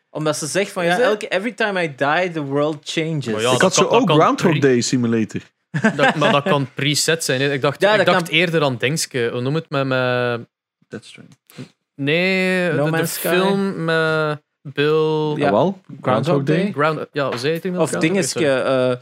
S1: Omdat ze zegt van ja,
S2: Is het?
S1: elke every time I die, the world changes.
S2: Maar ja,
S3: Ik
S2: dat
S3: had zo
S2: kan- dat
S3: ook
S2: kan
S3: Groundhog
S2: drie-
S3: Day Simulator.
S2: eh, dat, maar dat kan preset zijn. hè. Ik dacht,
S1: Ja,
S2: ik
S1: dat
S2: dacht
S1: kan-
S2: eerder aan Dingske. Hoe noem het met... met
S3: That's strange.
S2: nee,
S1: No
S2: de, de
S1: Man's Sky.
S2: film met Bill...
S1: Ja.
S3: Ja, Ah, wel. Groundhog Day.
S1: Day.
S2: Ground, ja, hoe zei je het toen?
S1: of
S2: Groundhog Day?
S1: dingetje, eh,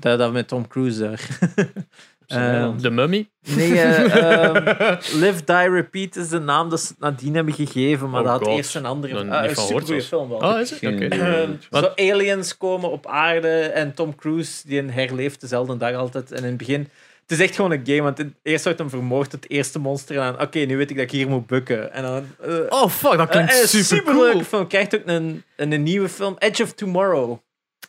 S1: dat, dat met Tom Cruise daar. (laughs) Eh,
S2: Sorry. De Mummy.
S1: nee,
S2: (laughs)
S1: eh, ehm, Live, Die, Repeat is de naam dat ze het nadien hebben gegeven, maar
S2: Oh
S1: dat had
S2: God.
S1: eerst een andere...
S2: Nog
S1: Ah,
S2: niet van
S1: een
S2: gehoord
S1: supergoeie
S2: zelfs.
S1: film wel.
S2: Oh, is het? Oké.
S3: Geen-
S1: Zo aliens komen op aarde en Tom Cruise die herleeft dezelfde dag altijd. En in het begin, het is echt gewoon een game, want in- eerst wordt hem vermoord, het eerste monster aan. Oké, nu weet ik dat ik hier moet bukken. En dan. eh,
S2: Oh, fuck, dat klinkt
S1: eh, eh,
S2: super
S1: superleuke
S2: cool.
S1: film. Krijgt ook een, een, een nieuwe film, Edge of Tomorrow.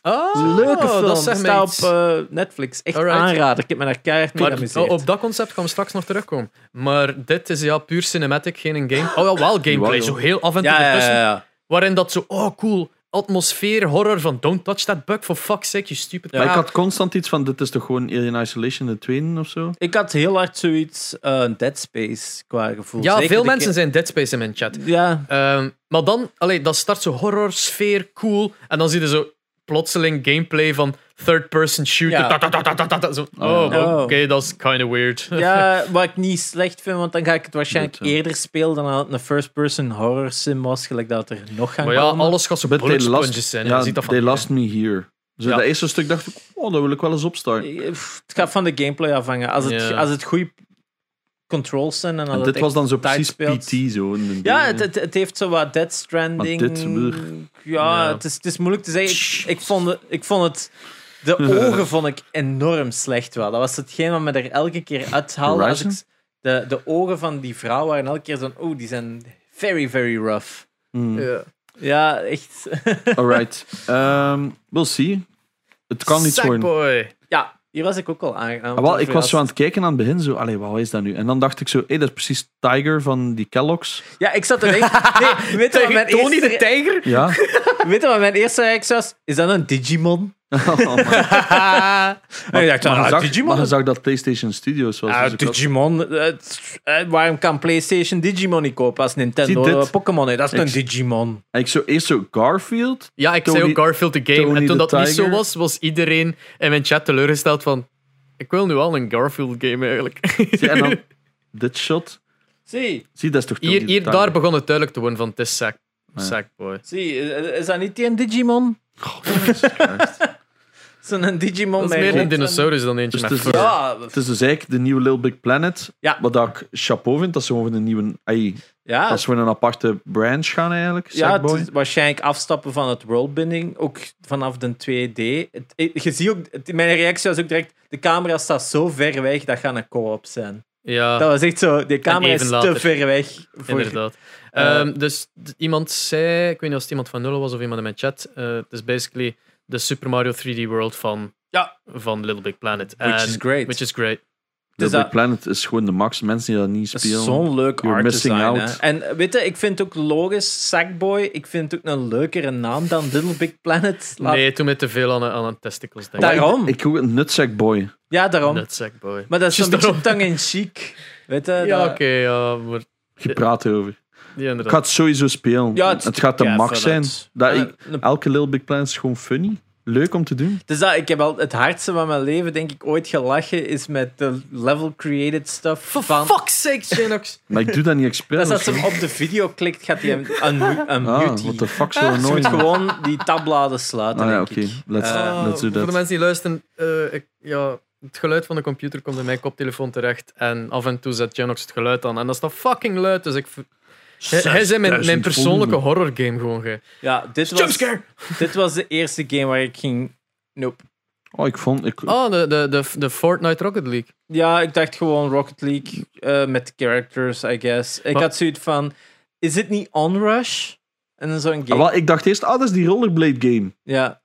S2: Oh,
S1: Leuke film.
S2: Dat zegt mij
S1: staat op
S2: iets.
S1: eh, Netflix. Echt
S2: Alright.
S1: aanrader. Ik heb me daar keihard mee
S2: maar
S1: geamuseerd.
S2: op dat concept gaan we straks nog terugkomen. Maar dit is ja puur cinematic, geen een game. Oh ja, wel gameplay.
S3: Jawel.
S2: Zo heel af en toe
S1: ja, ja,
S2: ertussen.
S1: ja, ja.
S2: Waarin dat zo, oh cool, atmosfeer, horror van don't touch that bug, for fuck's sake, you stupid
S3: Maar ik
S2: crap.
S3: had constant iets van, dit is toch gewoon Alien Isolation de tweede of zo?
S1: Ik had heel hard zoiets eh, Dead Space qua gevoel.
S2: Ja,
S1: Zeker
S2: veel
S1: de
S2: mensen
S1: ke-
S2: zijn Dead Space in mijn chat. (laughs)
S1: Ja,
S2: Ehm, maar dan, allee, dat start zo horror, sfeer, cool. En dan zie je zo plotseling gameplay van third-person shooter.
S1: Ja.
S2: Ta, ta, ta, ta, ta, ta, ta, zo. Oh,
S3: ja.
S2: oké,
S1: Oh.
S2: dat is kind of weird.
S1: Ja, wat ik niet slecht vind, want dan ga ik het waarschijnlijk
S3: Goed, ja.
S1: eerder spelen dan dat het een first-person horror sim was, gelijk dat er nog gaan
S2: (laughs) maar ja,
S1: komen.
S2: alles gaat zo
S3: But
S2: bullet
S3: they last,
S2: sponges zijn.
S3: ja,
S2: je ziet dat van
S3: they last me here. Zo,
S2: Ja.
S3: Dat eerste stuk dacht ik, oh, dat wil ik wel eens opstarten.
S1: Eh, pff, Het gaat van de gameplay afhangen. Als het,
S2: Ja.
S1: als het goed controls zijn. En, dat
S3: En
S1: het
S3: dit
S1: echt
S3: was dan zo
S1: tijd
S3: precies
S1: speelt.
S3: PT. Zo, in de
S1: Ja,
S3: dingen.
S1: het, het, het heeft zo wat Dead Stranding.
S3: Maar dit, brr.
S1: ja,
S2: Ja.
S1: Het, is, het is moeilijk te zeggen. Ik, ik, vond, het- ik vond het.
S3: (laughs)
S1: De ogen vond ik enorm slecht wel. Dat was hetgeen wat me er elke keer uithaalde. Als ik,
S3: Horizon?
S1: de, de ogen van die vrouw waren elke keer zo'n. Oeh, die zijn very, very rough.
S3: Hmm.
S2: Ja.
S1: Ja, echt. (laughs)
S3: Alright. Ehm, we'll see. Het kan niet worden.
S2: Sackboy.
S1: ja, hier was ik ook al aan. aan
S3: Ah, wel, ik was zo aan het kijken aan het begin, zo, allee, wat is dat nu? En dan dacht ik zo, hé, dat is precies Tiger van die Kellogg's.
S1: Ja, ik zat er
S3: (laughs)
S1: echt. Nee, weet je wat mijn
S2: Tony de
S1: eerste,
S2: Tijger?
S1: (laughs)
S3: Ja.
S1: weet je wat mijn eerste reactie was? Is dat een Digimon?
S3: Oh,
S1: en
S3: man.
S1: ik dacht,
S3: Maar je
S1: ah,
S3: zag-
S1: Digimon.
S3: maar je zag dat PlayStation Studios was.
S1: Ah,
S3: dus ik had-
S1: Digimon. eh, het- eh, waarom kan PlayStation Digimon niet kopen als Nintendo
S3: Zie dit.
S1: eh, Pokémon heeft? Dat is
S3: Ik-
S1: een Digimon.
S3: En ik zo eerst zo Garfield.
S2: Ja, ik zei
S3: Tony-
S2: ook Garfield the Game.
S3: Tony
S2: en toen
S3: the
S2: dat niet zo
S3: Tiger.
S2: was, was iedereen in mijn chat teleurgesteld van... Ik wil nu al een Garfield game eigenlijk.
S3: Zie,
S1: (laughs)
S3: en dan dit shot.
S1: Zie,
S3: Zie, dat is toch
S2: hier,
S3: Tony
S2: hier
S3: the
S2: daar
S3: Tiger?
S2: begon het duidelijk te worden van het is sack, Sackboy.
S1: zie, eh, is dat niet die een Digimon?
S3: (laughs)
S1: Zo'n Digimon
S2: Dat is
S1: met
S2: meer een
S1: rond en-
S2: dinosaurus dan eentje met
S3: Dus het is-
S2: fur.
S1: Ja,
S3: Het is dus eigenlijk de nieuwe Little Big Planet.
S1: Ja.
S3: Wat dat ik chapeau vind, dat ze gewoon voor een nieuwe... ai,
S1: ja,
S3: dat ze voor een aparte branch gaan eigenlijk.
S1: ja het
S3: Sackboy.
S1: is waarschijnlijk afstappen van het worldbinding, ook vanaf de 2D. Het- eh, je ziet ook, het- mijn reactie was ook direct, de camera staat zo ver weg, dat gaat een co-op zijn.
S2: Ja,
S1: Dat was echt zo, de camera
S2: even
S1: is te
S2: later.
S1: ver weg. Voor,
S2: inderdaad.
S1: Eh,
S2: Ehm, dus d- iemand zei... Ik weet niet of het iemand van Nullen was of iemand in mijn chat. eh, het is basically de Super Mario 3D World van,
S1: Ja.
S2: van Little Big Planet.
S1: Which
S2: En-
S1: is great.
S2: Which is great.
S1: Dus
S3: Little
S1: dat-
S3: Big Planet is gewoon de max. Mensen die dat niet
S1: Dat is
S3: spelen.
S1: Zo'n leuk
S3: You're
S1: art
S3: missing
S1: design.
S3: out.
S1: hè. En eh, weet je, ik vind ook logisch Sackboy. Ik vind het ook een leukere naam dan Little Big Planet. Laat-
S2: Nee, toen met te veel aan, aan aan testicles denk
S1: Daar-
S2: ik.
S1: Daarom.
S3: Ik hoor een Nutsack Boy.
S1: Ja, daarom.
S2: Net Sackboy.
S1: Maar eh, dat is
S2: Just
S1: een beetje
S2: daarom.
S1: tongue in cheek. Weet je?
S2: Ja,
S1: dat-
S2: oké, ja, maar...
S3: Je
S1: Eh,
S3: praat erover.
S2: Ja,
S3: Ik
S2: inderdaad.
S3: ga het sowieso spelen.
S1: Ja,
S3: het, gaat de
S1: ja,
S3: max zijn.
S1: voilà.
S3: Dat
S1: Eh,
S3: ik,
S1: een-
S3: elke Little Big Planet is gewoon funny. Leuk om te doen.
S1: Dus dat, ik heb al het hardste van mijn leven, denk ik, ooit gelachen is met de level created stuff. van,
S2: fuck's sake, Xenox!
S3: Maar ik doe
S1: (laughs)
S3: dat niet expres.
S1: dat is
S3: of
S1: als
S3: zo.
S1: hem op de video klikt, gaat hij hem unmu-
S3: Ah,
S1: unmute.
S3: what
S1: die.
S3: the fuck zullen we
S1: Dus je
S3: nooit
S1: moet (laughs)
S3: doen?
S1: gewoon die tabbladen sluiten,
S3: Ah ja,
S1: denk
S3: oké.
S1: ik.
S3: Let's,
S1: Eh,
S3: let's do
S2: Ah, voor de
S3: that.
S2: mensen die luisteren, eh, ik, ja, het geluid van de computer komt in mijn koptelefoon terecht en af en toe zet Xenox het geluid aan en dat is dan fucking luid, dus ik... ver- Hij- Hij is in mijn, mijn
S3: 6000
S2: persoonlijke
S3: volume.
S2: horrorgame gewoon ge...
S1: Ja, dit was,
S2: Jumpscare!
S1: dit was de eerste game waar ik ging... Nope.
S3: Oh, ik vond... Ik,
S2: Oh, de, de, de, de Fortnite Rocket League.
S1: Ja, ik dacht gewoon Rocket League eh, met characters, I guess. Ik
S2: Wat?
S1: had zoiets van: is dit niet Onrush? En dan zo'n
S3: Ah,
S1: game.
S3: wel, ik dacht eerst, ah, dat is die rollerblade game
S1: Ja.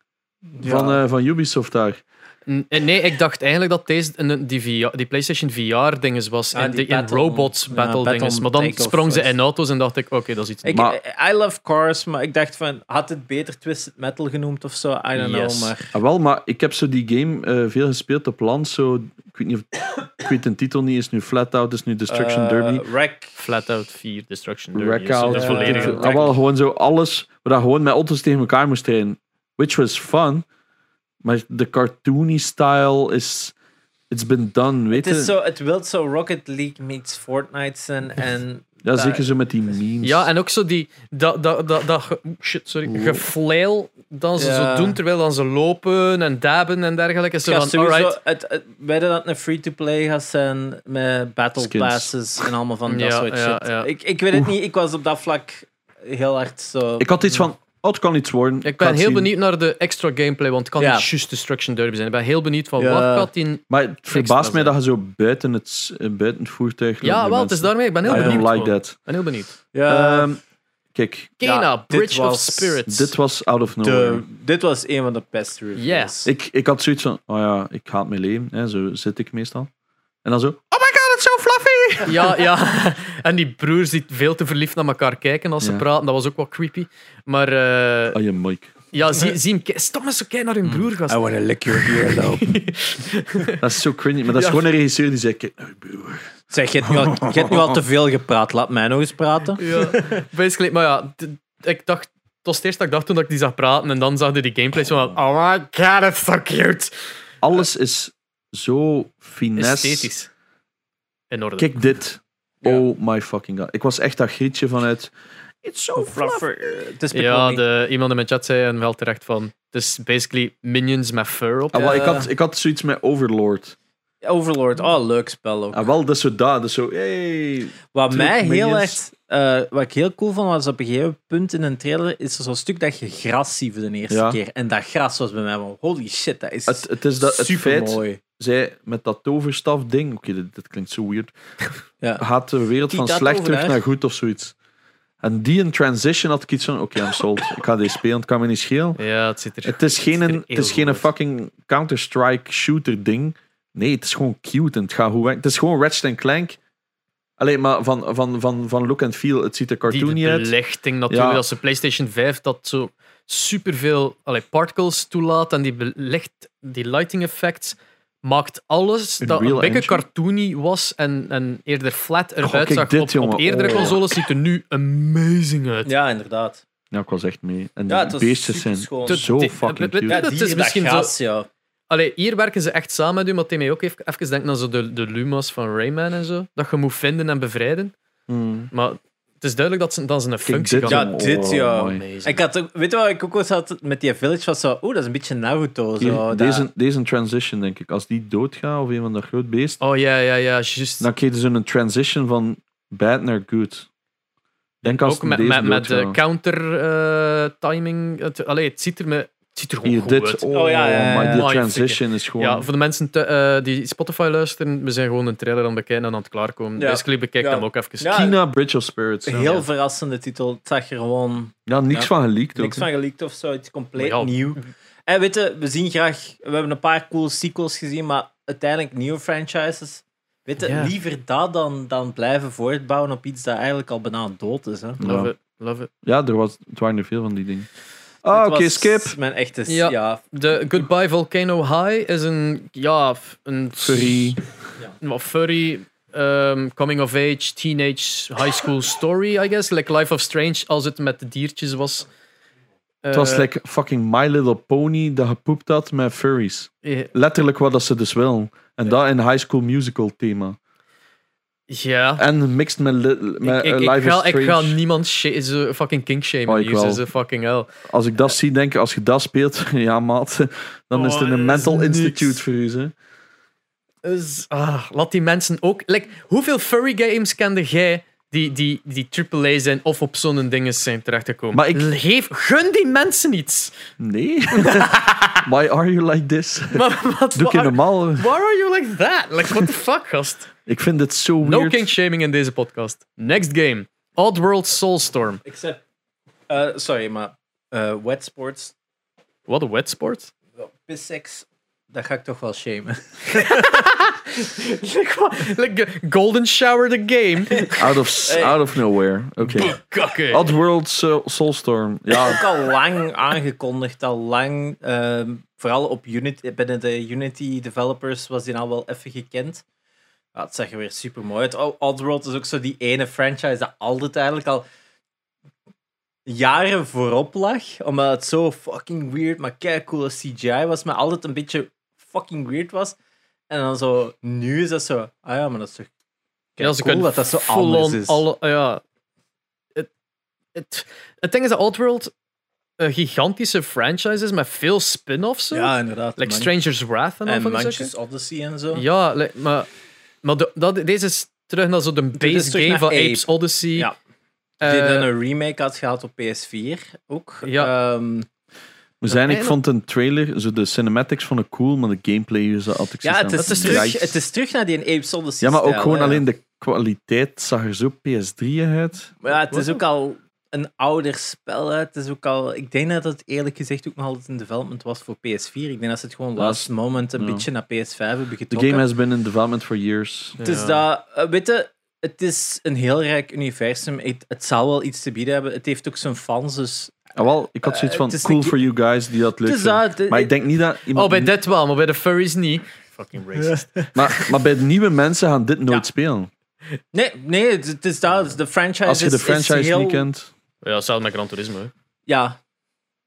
S3: van,
S1: Ja.
S3: eh, van Ubisoft daar.
S2: N- eh, Nee, ik dacht eigenlijk dat deze, een- die, VR die PlayStation VR-dinges was.
S1: Ah,
S2: en
S1: die
S2: die, in
S1: battle-
S2: robots
S1: ja,
S2: battle
S1: battle
S2: dinges. maar dan
S1: takeoff
S2: sprong ze
S1: was.
S2: in auto's en dacht ik, oké, dat is iets
S1: ik, eh,
S3: maar-
S1: I love cars, maar ik dacht van: had het beter Twisted Metal genoemd of zo? I don't
S2: Yes.
S1: know, maar.
S3: Ah, wel, maar ik heb zo die game eh, veel gespeeld op land. Zo, ik weet niet of... ik weet de titel niet. Is nu Flatout, is nu Destruction
S1: eh,
S3: Derby.
S1: Wreck.
S2: Flat Out 4 Destruction Derby.
S3: Wreck-out.
S2: Dus
S1: Ja.
S2: dat is volledig.
S1: Ja.
S2: een-
S3: Ah, wel, gewoon zo alles waar dat gewoon met auto's tegen elkaar moest trainen. Which was fun. Maar de cartoony style is... It's been done, weet
S1: Het,
S3: je?
S1: is zo, het wil zo Rocket League meets Fortnite zijn. En
S3: Ja, zeker zo met die memes.
S2: Ja, en ook zo die. Dat, dat, dat, dat ge- shit, sorry. Geflail dat ze
S1: Ja.
S2: zo doen terwijl dan ze lopen en daben en dergelijke. Zo
S1: Ja,
S2: van,
S1: sowieso,
S2: alright.
S1: het, het, weet je dat het een free-to-play gaat zijn met battle
S3: Skins.
S1: passes en allemaal van dat
S2: Ja,
S1: soort
S2: ja,
S1: shit.
S2: ja.
S1: Ik, ik weet het
S3: Oeh.
S1: niet, ik was op dat vlak heel hard zo...
S3: Ik had iets van... Oh, het kan iets worden.
S2: Ik
S3: ga
S2: ben
S3: het
S2: heel
S3: zien.
S2: benieuwd naar de extra gameplay, want het kan
S1: Ja.
S2: niet juist Destruction Derby zijn. Ik ben heel benieuwd van
S1: Ja.
S2: wat gaat die.
S3: Maar het verbaast
S2: Extra
S3: mij dat je zo buiten het, eh, buiten het voertuig loopt
S2: Ja,
S3: met
S2: wel, het is
S3: mensen.
S2: daarmee. Ik ben heel
S3: I
S2: benieuwd. Eh,
S3: don't like
S2: gewoon. Ik
S3: that.
S2: ben heel benieuwd.
S1: ja,
S3: Ehm, kijk,
S2: Kena,
S1: Ja, dit
S2: Bridge of
S1: was-
S2: Spirits.
S3: dit was out of nowhere.
S1: de, dit was een van de beste reviews.
S2: Ja.
S3: Ik, ik had zoiets van, oh ja, ik haat mijn leven. Hè, zo zit ik meestal. En dan zo, oh my god, it's so fluffy!
S2: Ja, (laughs) ja. En die broers die veel te verliefd naar elkaar kijken als ze
S3: Ja.
S2: praten, dat was ook wat creepy. Maar eh,
S3: Ah, je Mike.
S2: ja, zie, zie hem. ki- Stop met zo kijken naar
S1: Mm.
S2: hun broer, gast.
S1: want to lick your earlobe.
S3: Dat is zo cringy. Maar dat is
S2: Ja.
S3: gewoon een regisseur die zei, kijk, nou, broer.
S1: zeg, je hebt, nu al, je hebt nu al te veel gepraat, laat mij nog eens praten.
S2: Ja, basically. Maar ja, d- ik dacht. Het was het eerst dat ik dacht toen ik die zag praten. En dan zag je die gameplay zo van... Oh my god, it's so cute.
S3: Alles is zo finesse.
S2: Esthetisch. In orde.
S3: Kijk dit.
S1: Ja.
S3: Oh my fucking god. Ik was echt dat grietje vanuit, it's so fluffy.
S1: Het is
S2: ja,
S1: Piccolo.
S2: de, iemand in mijn chat zei en wel terecht van... Het is basically minions met fur op.
S3: Ah, wel, ik,
S1: Ja.
S3: had, ik had zoiets met Overlord.
S1: Overlord, oh, leuk spel ook.
S3: Ah, wel, dat is zo daar. Dat is zo, hey.
S1: Wat
S3: Truc
S1: mij heel
S3: minions.
S1: echt, eh, wat ik heel cool vond, was op een gegeven punt in een trailer is er zo'n stuk dat je gras ziet voor de eerste
S3: Ja.
S1: keer. En dat gras was bij mij van, holy shit, dat is
S3: Het, het is dat, het feit,
S1: mooi.
S3: zij met dat toverstaf ding, oké, dit, dit klinkt zo weird,
S1: Ja.
S3: gaat de wereld
S1: Die
S3: van
S1: dat
S3: slecht terug
S1: tovenaar.
S3: naar goed of zoiets. En die in transition had ik iets van, oké, I'm sold. ik ga deze spelen, het kan me niet schelen.
S2: Ja, het zit er.
S3: Het is geen,
S2: er
S3: een, het
S2: heel
S3: is geen
S2: goed
S3: een fucking Counter-Strike shooter ding. Nee, het is gewoon cute en het gaat goed weg. Het is gewoon Ratchet Clank. Alleen maar van, van, van, van look and feel, het ziet er cartoony
S2: die
S3: uit.
S2: belichting natuurlijk.
S3: Ja.
S2: Als de PlayStation 5 dat zo superveel allee, particles toelaat en die, belicht, die lighting effects maakt alles
S3: Een
S2: dat een
S3: real
S2: beetje
S3: engine?
S2: cartoony was en, en eerder flat
S3: Oh,
S2: eruit
S3: kijk
S2: zag
S3: dit,
S2: op,
S3: jongen.
S2: op eerdere
S3: Oh.
S2: consoles, ziet er nu amazing uit.
S1: ja, inderdaad.
S3: Ja, ik was echt mee. En die
S1: Ja, het was
S3: beestjes zijn
S1: superschoon.
S3: zo
S2: Dit-
S3: fucking
S2: dit- dit-
S1: Ja,
S3: cute.
S2: Dat
S1: die,
S2: is
S1: dat
S2: misschien zo-
S1: gras, ja.
S2: Allee, hier werken ze echt samen met u, maar het deed mij ook even, even denken aan zo de, de Luma's van Rayman en zo. Dat je moet vinden en bevrijden.
S3: Mm.
S2: Maar het is duidelijk dat ze dan zijn een
S3: Kijk,
S2: functie
S3: dit,
S2: gaan
S1: Ja,
S3: jongen.
S1: dit, ja.
S3: Oh, mooi.
S2: Amazing.
S1: Ik had ook, weet je wat ik ook was had met die village? Was zo, oeh, dat is een beetje Naruto. Zo,
S3: Hier,
S1: dat-
S3: deze, deze transition, denk ik. Als die doodgaat of een van de groot beest,
S2: Oh ja, ja, ja, juist.
S3: dan krijg je zo'n transition van bad naar good. Denk als
S2: ook met,
S3: deze
S2: met, met
S3: doodgaat.
S2: de counter-timing. het, allee, het ziet er, me, het ziet er gewoon
S3: Hier,
S2: goed uit.
S3: dit, oh,
S1: Oh, ja, ja, ja, ja.
S3: maar die
S2: Mooi,
S3: transition is gewoon...
S2: Ja, voor de mensen te- eh, die Spotify luisteren, we zijn gewoon een trailer aan het bekijken en aan het klaarkomen.
S1: Ja.
S2: Basically, bekijk
S1: Ja.
S2: hem ook even.
S1: Ja.
S3: China Bridge of Spirits.
S1: Een
S3: Ja,
S1: heel verrassende titel. Het zag er gewoon
S3: niks
S1: Ja.
S3: van geleakt. ook,
S1: niks
S3: hè.
S1: van geleakt of zo. Het is compleet
S2: Maar ja.
S3: (laughs)
S1: nieuw. En weet je, we zien graag... We hebben een paar cool sequels gezien, maar uiteindelijk nieuwe franchises. Weet je,
S2: Ja.
S1: liever dat dan, dan blijven voortbouwen op iets dat eigenlijk al bijna dood is. Hè.
S2: Love
S3: Ja.
S2: it, love it.
S3: Ja, er was, het waren er veel van die dingen. Ah,
S1: Dit
S3: oké,
S1: was
S3: skip.
S1: Mijn echte... s-
S2: Ja.
S1: Ja.
S2: De Goodbye Volcano High is een. Ja, f- een.
S3: Furry.
S2: Well, furry. ehm, coming of age, teenage, high school story, I guess. Like Life of Strange, als het met de diertjes was.
S3: Het was
S2: Eh,
S3: like fucking My Little Pony dat gepoept had met furries. Letterlijk wat dat ze dus willen. En dat in High School Musical thema.
S2: Ja.
S3: En mixed met, li- met
S2: ik,
S3: eh,
S2: ik,
S3: Life
S2: ik, ga,
S3: is
S2: ik
S3: Strange.
S2: ga niemand sh- zo fucking kink shamen
S3: Oh, ik
S2: hier,
S3: wel.
S2: ze fucking hell.
S3: Als ik dat zie, denk ik, als je dat speelt, (laughs) ja maat, dan is
S2: Oh,
S3: het een
S2: dat is
S3: mental
S2: niks.
S3: institute voor u. Hè.
S2: Dus, ah, laat die mensen ook... Like, hoeveel furry games kende jij die, die, die AAA zijn of op zo'n dingen zijn terechtgekomen?
S3: Maar ik-
S2: Geef, gun die mensen iets! (laughs)
S3: Nee. (laughs) Why are you like this?
S2: Maar wat...
S3: Doe je
S2: waar-
S3: normaal?
S2: Why are you like that? Like, what the fuck,
S3: (laughs)
S2: gast?
S3: Ik vind dit zo
S2: No
S3: weird.
S2: kink shaming in deze podcast. Next game. Oddworld Soulstorm.
S1: Except... eh, sorry, maar... eh, wet sports,
S2: Wat een wet sport. (laughs)
S1: pissex, dat ga ik toch wel shamen. (laughs)
S2: like, wat- like, eh, golden shower the game.
S3: (laughs) Out of, out of nowhere. Oké.
S2: Kakke.
S3: Oddworld Soul- Soulstorm. Ja,
S1: ook al lang aangekondigd, al lang. ehm, vooral op Unity, binnen de Unity developers was die nou wel even gekend. Ja, het zag er weer super mooi uit. O- Oddworld is ook zo die ene franchise dat altijd eigenlijk al jaren voorop lag. Omdat het zo fucking weird, maar kei coole CGI was, maar altijd een beetje fucking weird was. En dan zo, nu is dat zo, ah ja, maar dat is toch
S2: Ja, ze
S1: cool
S2: kunnen
S1: dat dat zo
S2: full
S1: anders
S2: on
S1: is.
S2: Alle, ja. Het, het, het ding is dat Oddworld een gigantische franchise is met veel spin-offs. zo.
S1: Ja, inderdaad.
S2: like
S1: man-
S2: Stranger's Wrath en al
S1: en
S2: van die
S1: Manchus
S2: zakken.
S1: Odyssey en zo.
S2: Ja, like, maar, maar de- dat, deze is terug naar zo de
S1: is
S2: base
S1: terug
S2: game
S1: naar
S2: van
S1: Ape.
S2: Apes Odyssey.
S1: Ja.
S2: Eh,
S1: die dan een remake had gehad op PS4 ook.
S2: Ja.
S1: Ehm,
S3: we zijn, ik vond een trailer, zo de cinematics vond ik cool, maar de gameplay is had ik
S1: ja
S3: zoiets
S1: het, is
S3: van,
S2: is
S1: terug,
S3: yikes.
S1: het is terug naar die Apes Odyssey.
S3: Ja, maar ook
S1: stijl,
S3: gewoon
S1: hè.
S3: alleen de kwaliteit zag er zo PS3 uit.
S1: Maar ja, het is ook al een ouder spel. hè. Het is ook al... Ik denk dat het eerlijk gezegd ook nog altijd in development was voor PS4. Ik denk dat ze het gewoon last moment een
S3: ja.
S1: beetje naar PS5 hebben
S3: The
S1: getrokken.
S3: game has been in development for years.
S1: Het is dat... eh, Weet je, het is een heel rijk universum. Het, het zal wel iets te bieden hebben. Het heeft ook zijn fans, dus...
S3: Ah, wel, ik had zoiets
S1: Eh,
S3: van,
S1: het is
S3: cool
S1: de-
S3: for you guys die dat leuk
S1: Het is
S3: vinden.
S1: dat, eh, het-
S3: Maar ik denk niet dat iemand...
S2: Oh, bij dit wel, maar bij de furries niet.
S3: maar, maar bij nieuwe mensen gaan dit nooit spelen.
S1: Nee, nee het, het is dat. De franchise
S3: Als je
S1: is,
S3: de
S1: is
S3: franchise
S1: heel...
S3: niet
S2: (laughs)
S3: kent...
S2: Ja, hetzelfde met Gran Turismo. hè.
S1: Ja.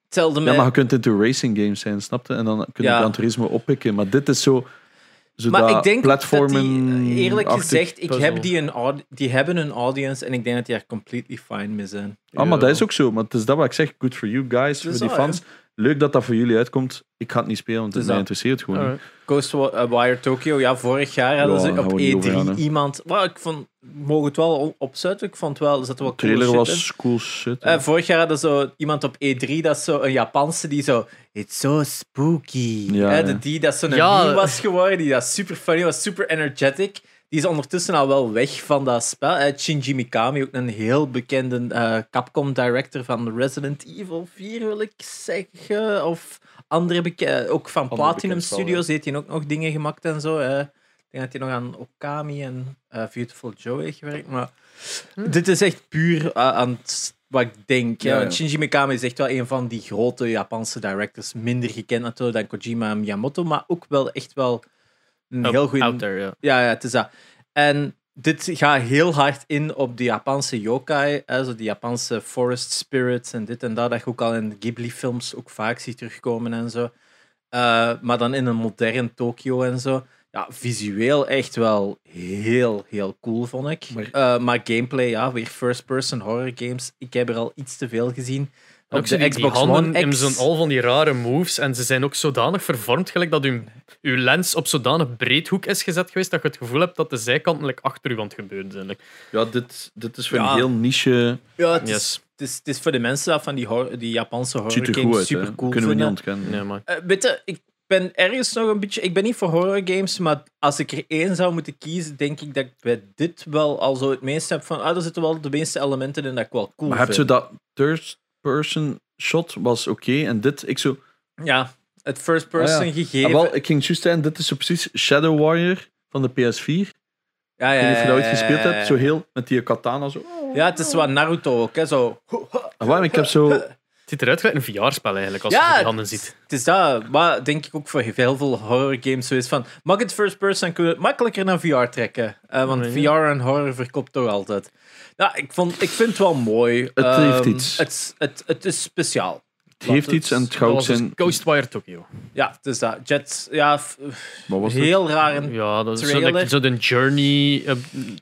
S1: Hetzelfde
S3: Ja,
S1: met...
S3: maar je kunt into racing games zijn, snapte? En dan kun je
S1: Ja.
S3: Gran Turismo oppikken. Maar dit is zo... Zodat
S1: maar ik denk ook dat
S3: platformen
S1: die, eh, eerlijk gezegd, ik
S2: puzzle.
S1: heb die, een aud- die hebben een audience en ik denk dat die er completely fine mee zijn.
S3: Ah, maar dat is ook zo. Maar het is dat wat ik zeg. Good for you guys,
S1: Dat is
S3: voor die
S1: waar,
S3: fans. Leuk dat dat voor jullie uitkomt. Ik ga het niet spelen, want
S1: Het
S3: het
S1: is
S3: mij
S1: dat.
S3: interesseert gewoon niet.
S2: Alright.
S1: Ghostwire eh, Tokyo, ja, vorig jaar hadden
S3: Ja,
S1: ze
S3: daar
S1: op
S3: gaan we niet
S1: E3
S3: over gaan, hè.
S1: iemand... Maar ik vond, mogen het wel on- opzetten, ik vond wel, er zat wel
S3: De
S1: coole
S3: trailer
S1: shit in.
S3: was cool shit.
S1: Eh, vorig jaar hadden zo iemand op E3, dat is zo een Japanse die zo. It's so spooky.
S3: Ja,
S1: Eh,
S3: ja.
S1: dat Die dat zo'n
S2: Ja.
S1: meme was geworden, die dat super funny was, super energetic. Die is ondertussen al wel weg van dat spel. Eh, Shinji Mikami, ook een heel bekende eh, Capcom director van Resident Evil 4, wil ik zeggen. Of andere beke- eh, ook van
S3: Andere
S1: Platinum
S3: bekend spel, ja.
S1: Studios heeft hij ook nog dingen gemaakt en zo. eh. Ik denk dat hij nog aan Okami en eh, Beautiful Joe heeft gewerkt. Maar dit is echt puur eh, aan het- wat ik denk. hè.
S3: Ja,
S1: Want
S3: ja.
S1: Shinji Mikami is echt wel een van die grote Japanse directors. Minder gekend natuurlijk dan Kojima en Miyamoto, maar ook wel echt wel een heel goede...
S2: Out there, ja.
S1: Ja, ja, het is dat. En dit gaat heel hard in op die Japanse yokai, hè, zo die Japanse forest spirits en dit en dat, dat je ook al in Ghibli-films ook vaak ziet terugkomen en zo. Eh, maar dan in een modern Tokio en zo. Ja, visueel echt wel heel, heel cool, vond ik. Eh,
S3: Maar-
S1: Maar, gameplay, ja, weer first-person horror games. Ik heb er al iets te veel gezien. Op
S2: Ook zo
S1: de
S2: die,
S1: Xbox
S2: die handen
S1: One
S2: hebben
S1: X.
S2: zo'n al van die rare moves en ze zijn ook zodanig vervormd gelijk dat uw, uw lens op zodanig breedhoek is gezet geweest dat je het gevoel hebt dat de zijkanten like, achter u aan het gebeuren zijn. like.
S3: Ja, dit, dit is
S1: voor een heel
S3: niche.
S1: Ja, het, is,
S2: Yes.
S1: het, is, het is voor de mensen dat van die, horror- die Japanse horror
S3: Ziet er
S1: games
S3: goed uit.
S1: super
S3: Hè.
S1: cool
S3: Kunnen we niet
S1: vinden.
S3: ontkennen.
S2: Nee, maar.
S1: Eh, weet je, ik ben ergens nog een beetje. Ik ben niet voor horror games, maar als ik er één zou moeten kiezen, denk ik dat ik bij dit wel al zo het meeste heb van. Ah, er zitten wel de meeste elementen in dat ik wel cool
S3: Maar heb
S1: vind.
S3: je dat third person shot was oké en dit ik zo
S1: Ja, het first person
S3: Ah, ja.
S1: gegeven.
S3: ah, wel ik ging juist zeggen dit is zo precies Shadow Warrior van de PS4 ik
S1: ja, ja,
S3: weet niet of je dat ooit
S1: ja,
S3: gespeeld
S1: ja,
S3: hebt zo heel met die katana zo
S1: Ja, het is wat Naruto ook, hè? Zo.
S3: Ah, waarom ik heb zo
S2: Het ziet eruit gelijk een VR-spel eigenlijk, als
S1: Ja,
S2: je die handen ziet.
S1: Het is dat, maar denk ik ook voor heel veel horror games zo is van. Mag het first person kunnen we het makkelijker naar VR trekken? Eh, want
S2: Nee,
S1: VR en horror verkoopt toch altijd. Ja, ik, vond, ik vind het wel mooi.
S3: Het
S1: Ehm,
S3: heeft iets.
S1: Het, het, het is speciaal.
S3: het heeft iets en het gaat ook
S2: Dat was dus
S3: zijn
S2: Ghostwire Tokyo.
S1: Ja, dus dat. Jets, ja, f-
S3: wat was het?
S1: heel raar. en-
S2: Ja, dat is zo,
S1: Trailer.
S2: like, zo de journey, eh,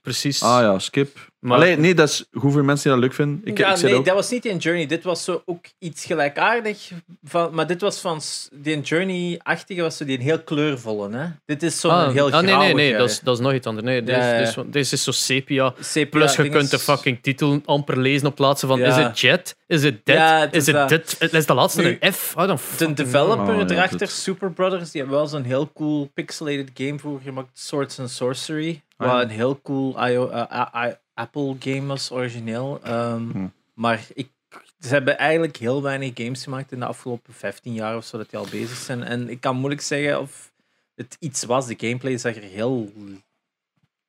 S2: precies.
S3: ah ja skip
S2: Maar-
S3: Allee, nee dat is goed voor mensen die dat leuk vinden ik,
S1: ja,
S3: ik zei
S1: nee,
S3: ook
S1: dat was niet in Journey. Dit was zo ook iets gelijkaardig. Van, maar dit was van s- die Journey-achtige, was zo die een heel kleurvolle. Hè? Dit is zo'n
S2: Ah,
S1: heel
S2: ah, nee, nee, nee,
S1: grauwige.
S2: dat is, dat is nog iets anders. Nee, deze,
S1: Ja, ja.
S2: Deze, deze is zo sepia.
S1: Sepia
S2: Plus, je
S1: dinges.
S2: kunt de fucking titel amper lezen op plaatsen van
S1: Ja.
S2: is het jet, is het dit,
S1: Ja, het
S2: is
S1: is
S2: het
S1: dat.
S2: dit. Het is de laatste
S1: Nu,
S2: een F. Oh, dan
S1: De
S2: fucking-
S1: developer
S3: Oh, ja,
S1: erachter,
S3: dit-
S1: Super Brothers, die hebben wel zo'n heel cool pixelated game voor gemaakt, Swords and Sorcery.
S3: Ah,
S1: wat
S3: ja.
S1: een heel cool IO, eh, I- I- Apple game was, origineel. Ehm,
S3: Hm.
S1: Maar ik, ze hebben eigenlijk heel weinig games gemaakt in de afgelopen 15 jaar of zo, dat die al bezig zijn. En ik kan moeilijk zeggen of het iets was. De gameplay zag er heel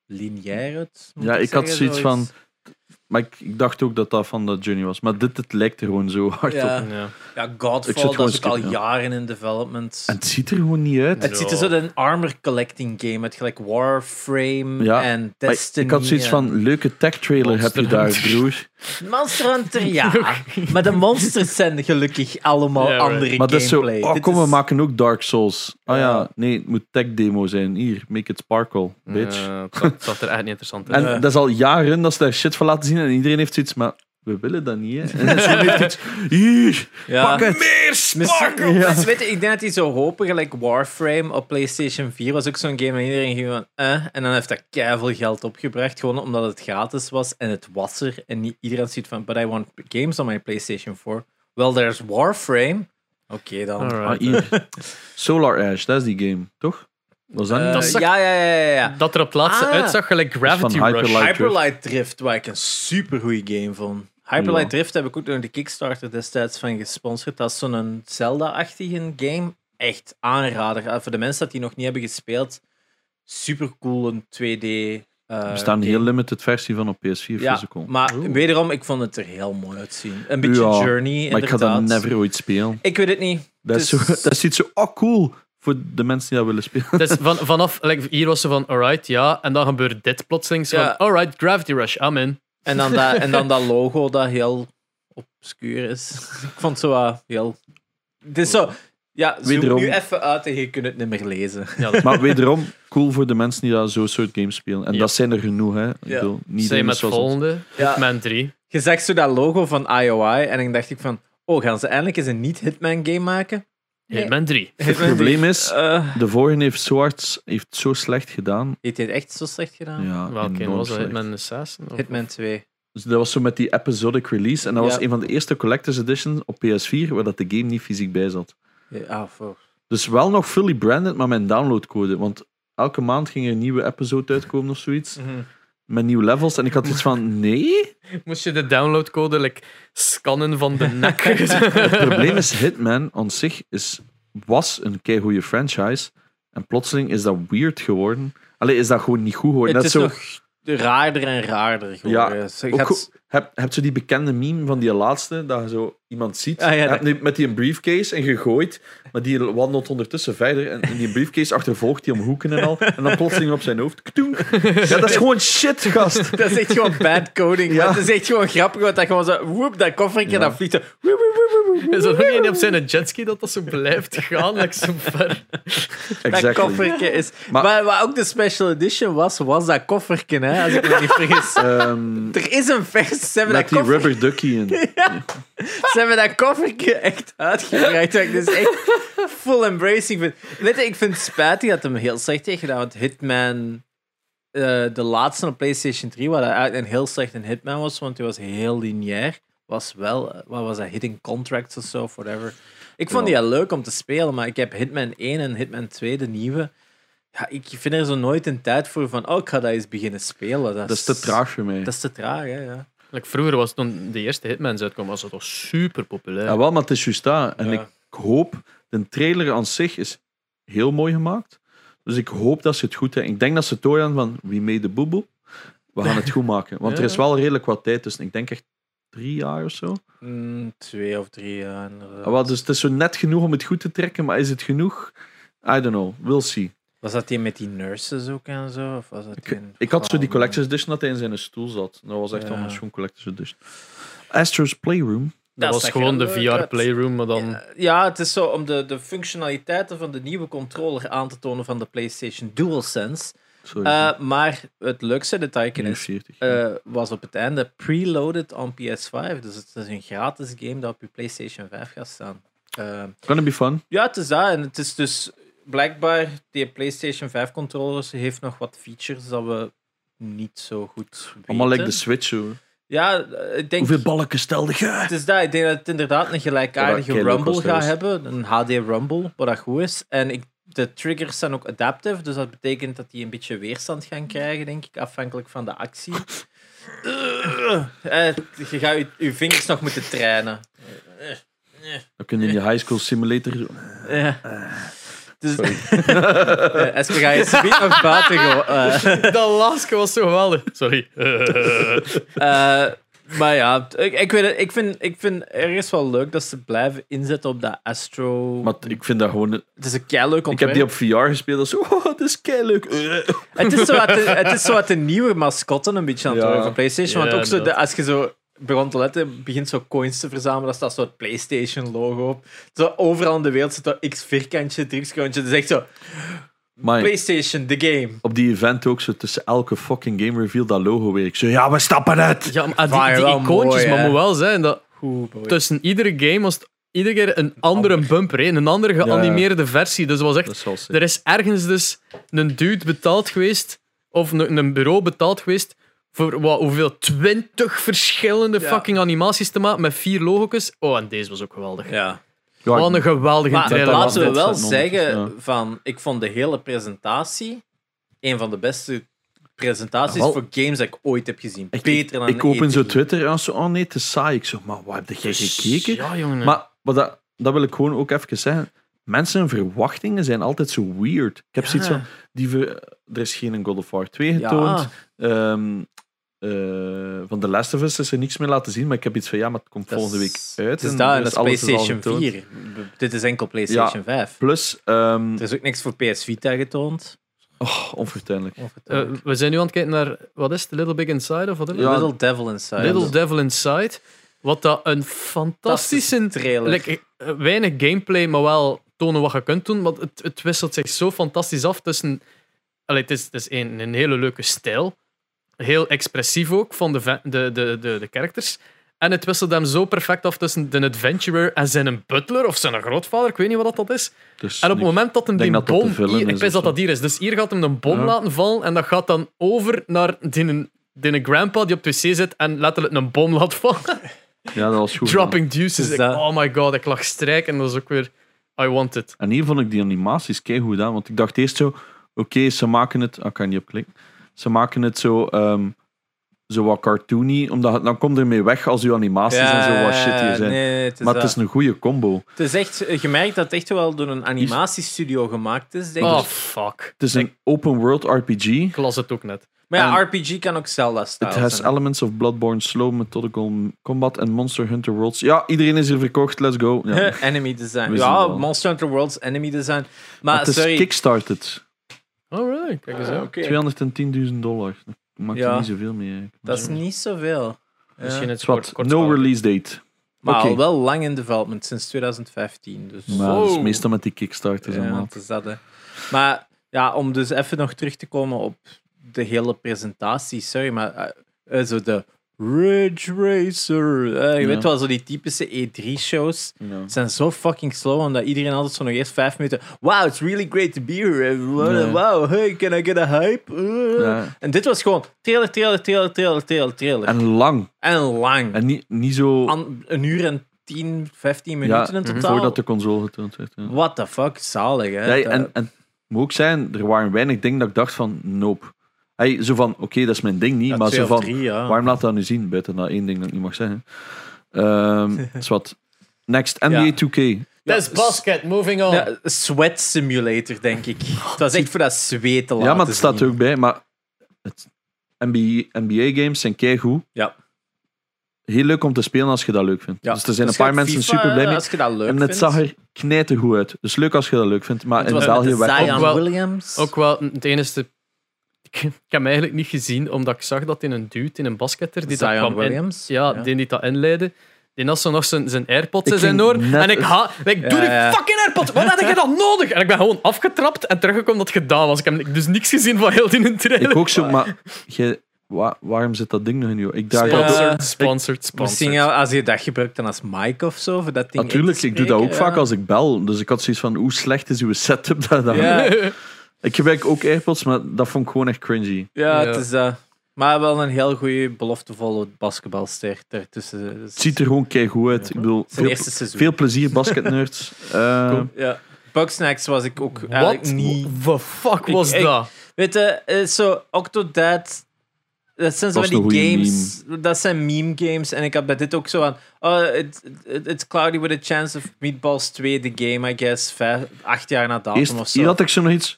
S1: lineair uit. moet
S3: ja ik had
S1: zeggen,
S3: zoiets van
S1: zoiets.
S3: maar ik, ik dacht ook dat dat van de journey was maar dit het lijkt er gewoon zo hard
S1: Ja.
S3: op
S2: Ja.
S1: Ja,
S3: Ik zit
S1: Godfall, dat
S3: gewoon
S1: is ook al
S3: skip, ja.
S1: jaren in development.
S3: en het ziet er gewoon niet uit
S1: Het ziet er zo uit als een armor collecting game uit, gelijk Warframe
S3: Ja,
S1: en
S3: Maar
S1: Destiny.
S3: ik had zoiets
S1: en-
S3: van leuke tech trailer heb je
S2: Monster
S3: daar
S2: Hunter.
S3: broer
S1: Monster
S3: (laughs)
S1: Hunter, ja. maar de monsters zijn gelukkig allemaal
S2: Ja, right.
S1: andere
S3: Maar dat is zo,
S1: gameplay.
S3: oh
S1: Dit
S3: kom, we
S1: is-
S3: maken ook Dark Souls. Ah ja,
S1: Ja.
S3: nee, het moet tech demo zijn. Hier, make it sparkle, bitch.
S2: Ja, het zat- het zat er echt niet interessant uit.
S3: en dat is al jaren dat ze daar shit van laten zien en iedereen heeft zoiets, maar we willen dat niet, hè. En (laughs) ze heeft iets, hier,
S1: Ja.
S3: pak het.
S1: Misschien- Dus weet je, ik denk dat die zo hopen, gelijk Warframe op PlayStation 4 was ook zo'n game waar iedereen ging van eh, en dan heeft dat keiveel geld opgebracht, gewoon omdat het gratis was en het was er en niet iedereen ziet van, but I want games on my PlayStation 4. Well, there's Warframe. Oké dan.
S2: Alright.
S3: Ah, hier. Solar Ash, dat is die game, toch? Was dat
S1: Eh,
S3: niet?
S2: Dat is-
S1: ja, ja, ja, ja, ja.
S2: Dat er op het laatste
S1: Ah.
S2: uitzag gelijk Gravity
S3: van Hyper
S2: Rush.
S3: Light- Drift.
S1: Hyperlight Drift, waar ik een super goede game vond. Hyperlight
S3: Ja.
S1: Drift heb ik ook door de Kickstarter destijds van gesponsord. Dat is zo'n Zelda-achtige game. Echt aanrader. Eh, voor de mensen dat die nog niet hebben gespeeld, super cool een 2D. eh,
S3: er staat een heel limited versie van op PS4
S1: ja,
S3: physical. Maar,
S1: maar wederom, ik vond het er heel mooi uitzien. Een beetje
S3: Ja,
S1: Journey,
S3: ik ga
S1: inderdaad.
S3: dat never ooit spelen.
S1: Ik weet het niet.
S3: Dat is, zo,
S1: Het is-
S3: dat is iets zo, oh cool, voor de mensen die dat willen spelen. (laughs)
S2: Dus van, vanaf, like, hier was ze van, alright, ja. En dan gebeurde dit plotseling. Ze van,
S1: Ja.
S2: alright, Gravity Rush, amen.
S1: En dan, dat, en dan dat logo dat heel obscuur is. Ik vond het zo wat heel... Het is zo... Ja, zoek
S3: Wederom.
S1: nu even uit en je kunt het niet meer lezen.
S2: Ja, dat-
S3: (laughs) Maar wederom, cool voor de mensen die dat zo'n soort games spelen. En
S1: Ja.
S3: dat zijn er genoeg, hè. Ik
S1: Ja.
S3: bedoel, niet
S2: Zijn
S3: iedereen
S2: met
S3: is
S2: het
S3: zoals ons.
S2: volgende,
S1: Ja.
S2: Hitman 3.
S1: Je zegt zo dat logo van IOI en dan dacht ik van, oh, gaan ze eindelijk eens een niet-Hitman-game maken? Nee.
S2: Hitman
S1: (laughs)
S2: 3.
S1: Het
S3: Het probleem is,
S1: eh
S3: de vorige heeft Swartz heeft zo slecht gedaan.
S1: heeft hij het echt zo slecht gedaan?
S3: Ja,
S2: Welke
S3: enorm
S2: was dat?
S3: slecht.
S2: Hitman 6? Of-
S1: Hitman 2.
S3: Dus dat was zo met die episodic release. En dat was
S1: Ja.
S3: een van de eerste collector's editions op PS4, waar dat de game niet fysiek bij zat.
S1: Ja, Ah, voor.
S3: Dus wel nog fully branded, maar met een downloadcode. Want elke maand ging er een nieuwe episode uitkomen of zoiets.
S1: Mhm.
S3: Met nieuwe levels. En ik had iets van, nee?
S2: Moest je de downloadcode like, scannen
S1: (laughs)
S2: van de nek?
S3: Het probleem is, Hitman aan zich is, was een keigoede franchise. En plotseling is dat weird geworden. Allee, is dat gewoon niet goed geworden.
S1: Het
S3: Net
S1: is
S3: zo,
S1: nog raarder en raarder geworden.
S3: Ja,
S1: Ze
S3: ook
S1: gaat-
S3: goed. Heb, heb je die bekende meme van die laatste, dat je zo iemand ziet
S1: Ah, ja,
S3: heb
S1: dat-
S3: nu met die een briefcase en gegooid, maar die wandelt ondertussen verder en, en die briefcase achtervolgt die om hoeken en al, en dan plotseling op zijn hoofd. ktoeng. Ja, dat is gewoon shit, gast.
S1: Dat is echt gewoon bad coding.
S3: (laughs) Ja.
S1: maar Het is echt gewoon grappig, want dat gewoon zo... Woep, dat koffertje,
S3: Ja.
S1: dat vliegt zo... woep, woep, woep, woep, woep.
S2: Is dat ook niet op zijn jetski dat dat zo blijft gaan? Like, zo ver.
S1: Dat
S3: Exactly.
S1: koffertje is...
S3: Maar-
S1: Maar, wat ook de special edition was, was dat koffertje, hè, als ik me niet
S3: (laughs)
S1: vergis.
S3: Ehm,
S1: Er is een vers, ze hebben dat
S3: met die
S1: koffer-
S3: rubber ducky
S1: (laughs)
S3: in.
S1: Ze hebben dat koffertje echt uitgebreid. Dat ik dus echt full embracing vind. Weet je, ik vind het spijtig dat hem heel slecht heeft gedaan. Want Hitman, eh, de laatste op PlayStation 3, waar dat eigenlijk een heel slecht een Hitman was, want die was heel lineair. Was wel, eh, wat was dat, Hitting Contracts of zo, of whatever. Ik vond die
S3: Ja.
S1: al leuk om te spelen, maar ik heb Hitman 1 en Hitman 2, de nieuwe. Ja, ik vind er zo nooit een tijd voor van, oh, ik ga dat eens beginnen spelen. Dat,
S3: Dat is te traag voor mij.
S1: Dat is te traag, hè, ja.
S2: Like, vroeger was het toen de eerste Hitmans uitkwamen, was dat toch super populair.
S3: Ja, wel, maar het is juist dat. En
S1: Ja.
S3: ik hoop, de trailer aan zich is heel mooi gemaakt. Dus ik hoop dat ze het goed hebben. Ik denk dat ze doorgaan van We Made the Boeboe. We gaan het goed maken.
S1: (laughs)
S3: Want er is wel redelijk wat tijd tussen. Ik denk echt drie jaar of zo.
S1: Mm, twee of drie jaar. inderdaad.
S3: Ah, wel, dus het is zo net genoeg om het goed te trekken, maar is het genoeg? I don't know. We'll see.
S1: Was dat die met die nurses ook en zo? Of was dat die
S3: Ik,
S1: een
S3: ik had zo die
S1: vrouw?
S3: Collector's Edition dat hij in zijn stoel zat. Dat was echt
S1: Ja.
S3: allemaal zo'n Collector's Edition. Astro's Playroom.
S2: dat was
S1: zag
S2: gewoon
S1: er
S2: de
S1: leuk uit.
S2: VR-playroom, maar dan...
S1: Eh, Ja, het is zo om de, de functionaliteiten van de nieuwe controller aan te tonen van de PlayStation DualSense.
S3: Sorry.
S1: Eh maar het leukste detail is,
S3: 40.
S1: eh, was op het einde preloaded on PS5. Dus het is een gratis game dat op je PlayStation 5 gaat staan. Eh,
S3: Gonna be fun.
S1: ja, het is dat. En het is dus blijkbaar, die PlayStation 5 controller heeft nog wat features dat we niet zo goed weten.
S3: Allemaal like de Switch, hoor.
S1: Ja, eh, ik denk...
S3: Hoeveel balken stelde je?
S1: Het is dat. Ik denk dat het inderdaad een gelijkaardige
S3: Ja, dat
S1: Rumble
S3: Kilo
S1: gaat
S3: kost
S1: hebben. Een HD Rumble, wat dat goed is. En ik, de triggers zijn ook adaptive, dus dat betekent dat die een beetje weerstand gaan krijgen, denk ik, afhankelijk van de actie. Eh, je gaat je, je vingers nog moeten trainen.
S3: Dan kun je in je high school simulator. zo-
S1: Ja. Dus, (laughs) Eh, Espen, ga je subiet nog buiten eh, gewoon.
S2: Dat laatste was zo geweldig. (laughs) Sorry.
S1: Eh, maar ja, ik, ik, weet het, ik, vind, ik vind ergens wel leuk dat ze blijven inzetten op dat Astro.
S3: Maar ik vind dat gewoon.
S1: het is een keihard
S3: Ik heb die op VR gespeeld. Dat is zo. (laughs) Oh, het is kei leuk. Eh.
S1: Het is zo wat de, het is zo wat de nieuwe mascotten een beetje aan het
S3: Ja.
S1: worden van PlayStation. Want
S2: Ja,
S1: ook zo de,
S2: inderdaad.
S1: als je zo begon te letten, begint zo coins te verzamelen. Daar staat zo het PlayStation logo op. Zo overal in de wereld zit dat X vierkantje, x Het is echt zo
S3: Maar
S1: PlayStation, the game.
S3: op die event ook zo tussen elke fucking game reveal dat logo weer. Ik zo, ja, we stappen uit.
S2: Ja, maar die,
S1: Waren
S2: die
S1: wel
S2: icoontjes,
S1: mooi,
S2: maar
S1: hè?
S2: moet wel zijn dat
S1: Goed, boy.
S2: tussen iedere game was het iedere keer een andere bumper, hè, een andere geanimeerde versie. Dus het was echt
S3: Dat zal zijn.
S2: Er is ergens dus een dude betaald geweest, of een, een bureau betaald geweest, voor wat, hoeveel? Twintig verschillende
S1: Ja.
S2: fucking animaties te maken met vier logos. Oh, en deze was ook geweldig.
S1: Ja.
S3: Ja,
S2: Wat een geweldige
S1: Maar
S2: trailer.
S3: laat-
S2: was.
S1: laten we
S3: dit
S1: wel
S3: zijn nonnetjes,
S1: zeggen:
S3: ja.
S1: van, ik vond de hele presentatie een van de beste presentaties
S3: Jawel.
S1: voor games dat ik ooit heb gezien.
S3: Ah, echt,
S1: Beter dan
S3: ik, ik open
S1: E3.
S3: zo Twitter en zo. Oh nee, te saai. Ik zo, maar waar heb jij gekeken?
S2: Ja, jongen.
S3: Maar, maar dat, dat wil ik gewoon ook even zeggen. Mensen hun verwachtingen zijn altijd zo weird. Ik heb
S1: Ja.
S3: zoiets van, die ver- er is geen God of War 2
S1: Ja.
S3: getoond. Ehm, eh, van The Last of Us is er niks meer laten zien, maar ik heb iets van ja, maar het komt
S1: Dat
S3: volgende week
S1: is-
S3: uit.
S1: Het is
S3: en
S1: daar, en
S3: dus
S1: dat is
S3: alles al
S1: PlayStation
S3: getoond.
S1: 4. Dit is enkel PlayStation 5.
S3: Plus, ehm
S1: Er is ook niks voor PS Vita getoond.
S3: oh, onfortuinlijk.
S2: Eh, we zijn nu aan het kijken naar, wat is het, Little Big Inside of wat is het?
S3: Ja,
S1: Little Devil Inside.
S2: Little
S1: Fantastische
S2: Devil Inside. Wat dat een fantastische
S1: trailer.
S2: Like, eh, weinig gameplay, maar wel tonen wat je kunt doen. Want het, het wisselt zich zo fantastisch af tussen Allee, het is, het is een, een hele leuke stijl. Heel expressief ook van de, ve- de, de, de, de characters. En het wisselt hem zo perfect af tussen de adventurer en zijn butler of zijn grootvader. Ik weet niet wat dat is.
S3: Dus
S2: En op het
S3: niet-
S2: moment dat hem
S3: denk
S2: die
S3: dat dat
S2: bom...
S3: te vullen
S2: hier- ik
S3: is
S2: wist dat
S3: of
S2: dat
S3: zo.
S2: hier is. Dus hier gaat hem een bom
S3: Ja.
S2: laten vallen en dat gaat dan over naar die, die grandpa die op het wc zit en letterlijk een bom laat vallen.
S3: (laughs) ja, dat was goed. gedaan.
S2: Dropping deuces.
S1: Dus
S2: Ik-
S1: dat-
S2: oh my god, ik lag strijk en dat is ook weer... I want it.
S3: En hier vond ik die animaties keigoed aan, want ik dacht eerst zo, oké, ze maken het... Ah, ik kan niet op klikken. Ze maken het zo, ehm, zo wat cartoony, omdat het- dan komt er mee weg als uw animaties en zo wat shit hier zijn.
S1: Nee, nee, het is
S3: maar het
S1: dat.
S3: is een goede combo.
S1: Het is echt, eh, je merkt dat het echt wel door een animatiestudio gemaakt is, denk ik.
S2: Oh, fuck.
S3: Het is een open world RPG.
S2: Ik las het ook net.
S1: Maar ja,
S3: en-
S1: RPG kan ook
S3: It
S1: Zelda-style
S3: has
S1: zijn.
S3: elements of Bloodborne, slow methodical combat en Monster Hunter Worlds. Ja, iedereen is hier verkocht, let's go.
S1: (laughs)
S3: Ja.
S1: Huh, (laughs) enemy design.
S3: We zien
S1: Ja,
S3: wel.
S1: Monster Hunter Worlds enemy design. Maar
S3: het is
S1: Ah, sorry.
S3: kickstarted.
S2: Oh, really? Kijk eens
S1: Ah,
S2: aan.
S1: oké.
S3: 210.000 dollar. Dat maakt
S1: Ja.
S3: er niet zoveel mee. eigenlijk.
S1: Dat is niet zoveel. Ja.
S2: Misschien het
S3: Zwat,
S2: kort, kort
S3: no
S2: verhaal.
S3: release date.
S1: Maar
S3: Oké.
S1: al wel lang in development, sinds 2015. Dus
S3: Maar dat is
S2: Wow.
S3: meestal met die kickstarters
S1: ja,
S3: allemaal.
S1: het is dat, hè. Maar ja, om dus even nog terug te komen op de hele presentatie, sorry, maar eh, eh, zo de Ridge Racer. eh, je
S3: Ja.
S1: weet wel, zo die typische E E3-shows
S3: Ja.
S1: zijn zo fucking slow, omdat iedereen altijd zo nog eerst vijf minuten. Wow, it's really great to be here. everyone.
S3: Ja.
S1: Wow, hey, can I get a hype? Uh.
S3: Ja.
S1: En dit was gewoon trailer, trailer, trailer, trailer, trailer, trailer. En,
S3: En lang.
S1: lang.
S3: En niet, niet zo
S1: An- een uur en 10, 15
S3: ja,
S1: minuten in totaal.
S3: voordat de console getoond werd. Ja.
S1: What the fuck, zalig hè.
S3: Ja,
S1: Dat-
S3: en, en moet ook zijn, er waren weinig dingen dat ik dacht van, nope. Hey, zo van, oké, dat is mijn ding niet,
S1: ja,
S3: maar
S1: twee
S3: zo
S1: of
S3: van,
S1: drie, ja.
S3: Waarom laat dat nu zien? Buiten dat één ding dat ik niet mag
S1: (laughs)
S3: zeggen. Ehm is wat. Next, NBA
S1: Ja.
S3: 2K.
S2: This basket, moving on.
S1: Ja, sweat simulator, denk ik. Het was echt voor dat zweet te laten
S3: ja, maar het staat er
S1: zien.
S3: ook bij. Maar het, NBA, NBA games zijn keigoed.
S1: Ja.
S3: Heel leuk om te spelen als je dat leuk vindt.
S1: Ja.
S3: Dus er zijn
S1: Dus
S3: een paar
S1: je hebt
S3: mensen
S1: FIFA,
S3: super blij mee.
S1: Als je dat leuk
S3: En
S1: vindt.
S3: het zag er knijtergoed uit. Dus leuk als je dat leuk vindt. Maar
S1: Het
S3: in
S1: was met
S3: België
S1: de
S3: werd
S1: Zion
S2: Ook wel-
S1: Williams.
S2: Ook wel het enige... Ik, ik heb hem eigenlijk niet gezien, omdat ik zag dat in een dude, in een basketter, die daar
S1: Zion
S2: kwam in,
S1: Williams.
S2: Ja, die die dat inleidde. Die had zo nog zijn, zijn AirPods in
S3: Ik
S2: zijn
S3: ging
S2: oor.
S3: net-
S2: En ik, ha ik doe die
S1: ja.
S2: fucking AirPods. Wat had je dat nodig? En ik ben gewoon afgetrapt en teruggekomen dat het gedaan was. Ik heb dus niks gezien van heel die trailer.
S3: Ik ook zo, maar jij- wa- waarom zit dat ding nog in jou? Ik dacht,
S1: Sponsor.
S3: dat-
S1: Ja.
S2: Sponsored, sponsored,
S1: Misschien
S2: (laughs) sponsored.
S1: ja, als je dat gebruikt dan als mic of zo. Voor dat ding
S3: natuurlijk,
S1: in te
S3: ik doe dat ook
S1: spreken,
S3: vaak
S1: ja.
S3: als ik bel. Dus ik had zoiets van, hoe slecht is uw setup daar dan?
S1: Ja.
S3: Ik gebruik ook AirPods, maar dat vond ik gewoon echt cringy.
S1: Ja,
S2: Ja.
S1: het is dat. maar wel een heel goede, beloftevolle basketbalster ertussen. Dus-
S3: Het ziet er gewoon keigoed uit. Ik bedoel,
S1: zijn
S3: veel,
S1: eerste seizoen.
S3: veel plezier,
S1: (laughs)
S3: basketnerds. Eh,
S1: Ja. Bugsnax was ik ook
S2: Wat
S1: eigenlijk niet...
S2: the fuck
S1: Ik-
S2: was
S1: ik-
S2: dat?
S1: Weet je, eh, zo Octodad. Dat zijn zo
S3: Dat is
S1: van
S3: een
S1: die
S3: goeie
S1: games. Dat zijn meme games. En ik had bij dit ook zo aan. Oh, it, it- it's cloudy with a chance of meatballs 2, the game, I guess. Vijf, acht jaar na datum of
S3: Eerst
S1: zo.
S3: hier had ik zo nog iets. (laughs)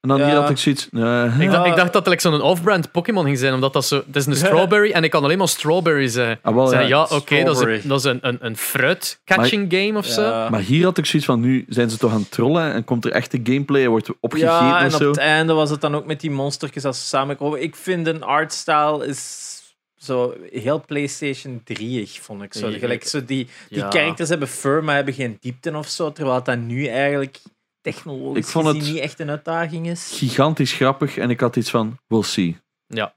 S3: en dan hier
S1: Ja.
S3: had ik zoiets. eh.
S2: Ik,
S1: Ja.
S2: dacht, ik dacht dat het like zo'n off-brand Pokémon ging zijn, omdat dat zo... Het is een strawberry en ik kan alleen maar strawberry zeggen.
S3: Ah, wel,
S2: Zeggen,
S3: ja.
S2: ja, oké, dat is,
S1: Strawberry.
S2: een, dat is een, een, een fruit-catching game of zo.
S1: Ja.
S3: Maar hier had ik zoiets van, nu zijn ze toch aan het trollen en komt er echte gameplay en wordt opgegeten
S1: ja,
S3: of
S1: en op
S3: zo.
S1: het einde was het dan ook met die monstertjes als ze samenkomen. Ik vind een artstyle is zo heel PlayStation 3 vond ik zo.
S2: Ja.
S1: Gelijk, zo die, die
S2: Ja.
S1: characters hebben fur, maar hebben geen diepte of zo. Terwijl dat nu eigenlijk technologisch
S3: Ik vond het-
S1: gezien niet echt een uitdaging is.
S3: Gigantisch grappig en ik had iets van, we'll see.
S1: Ja.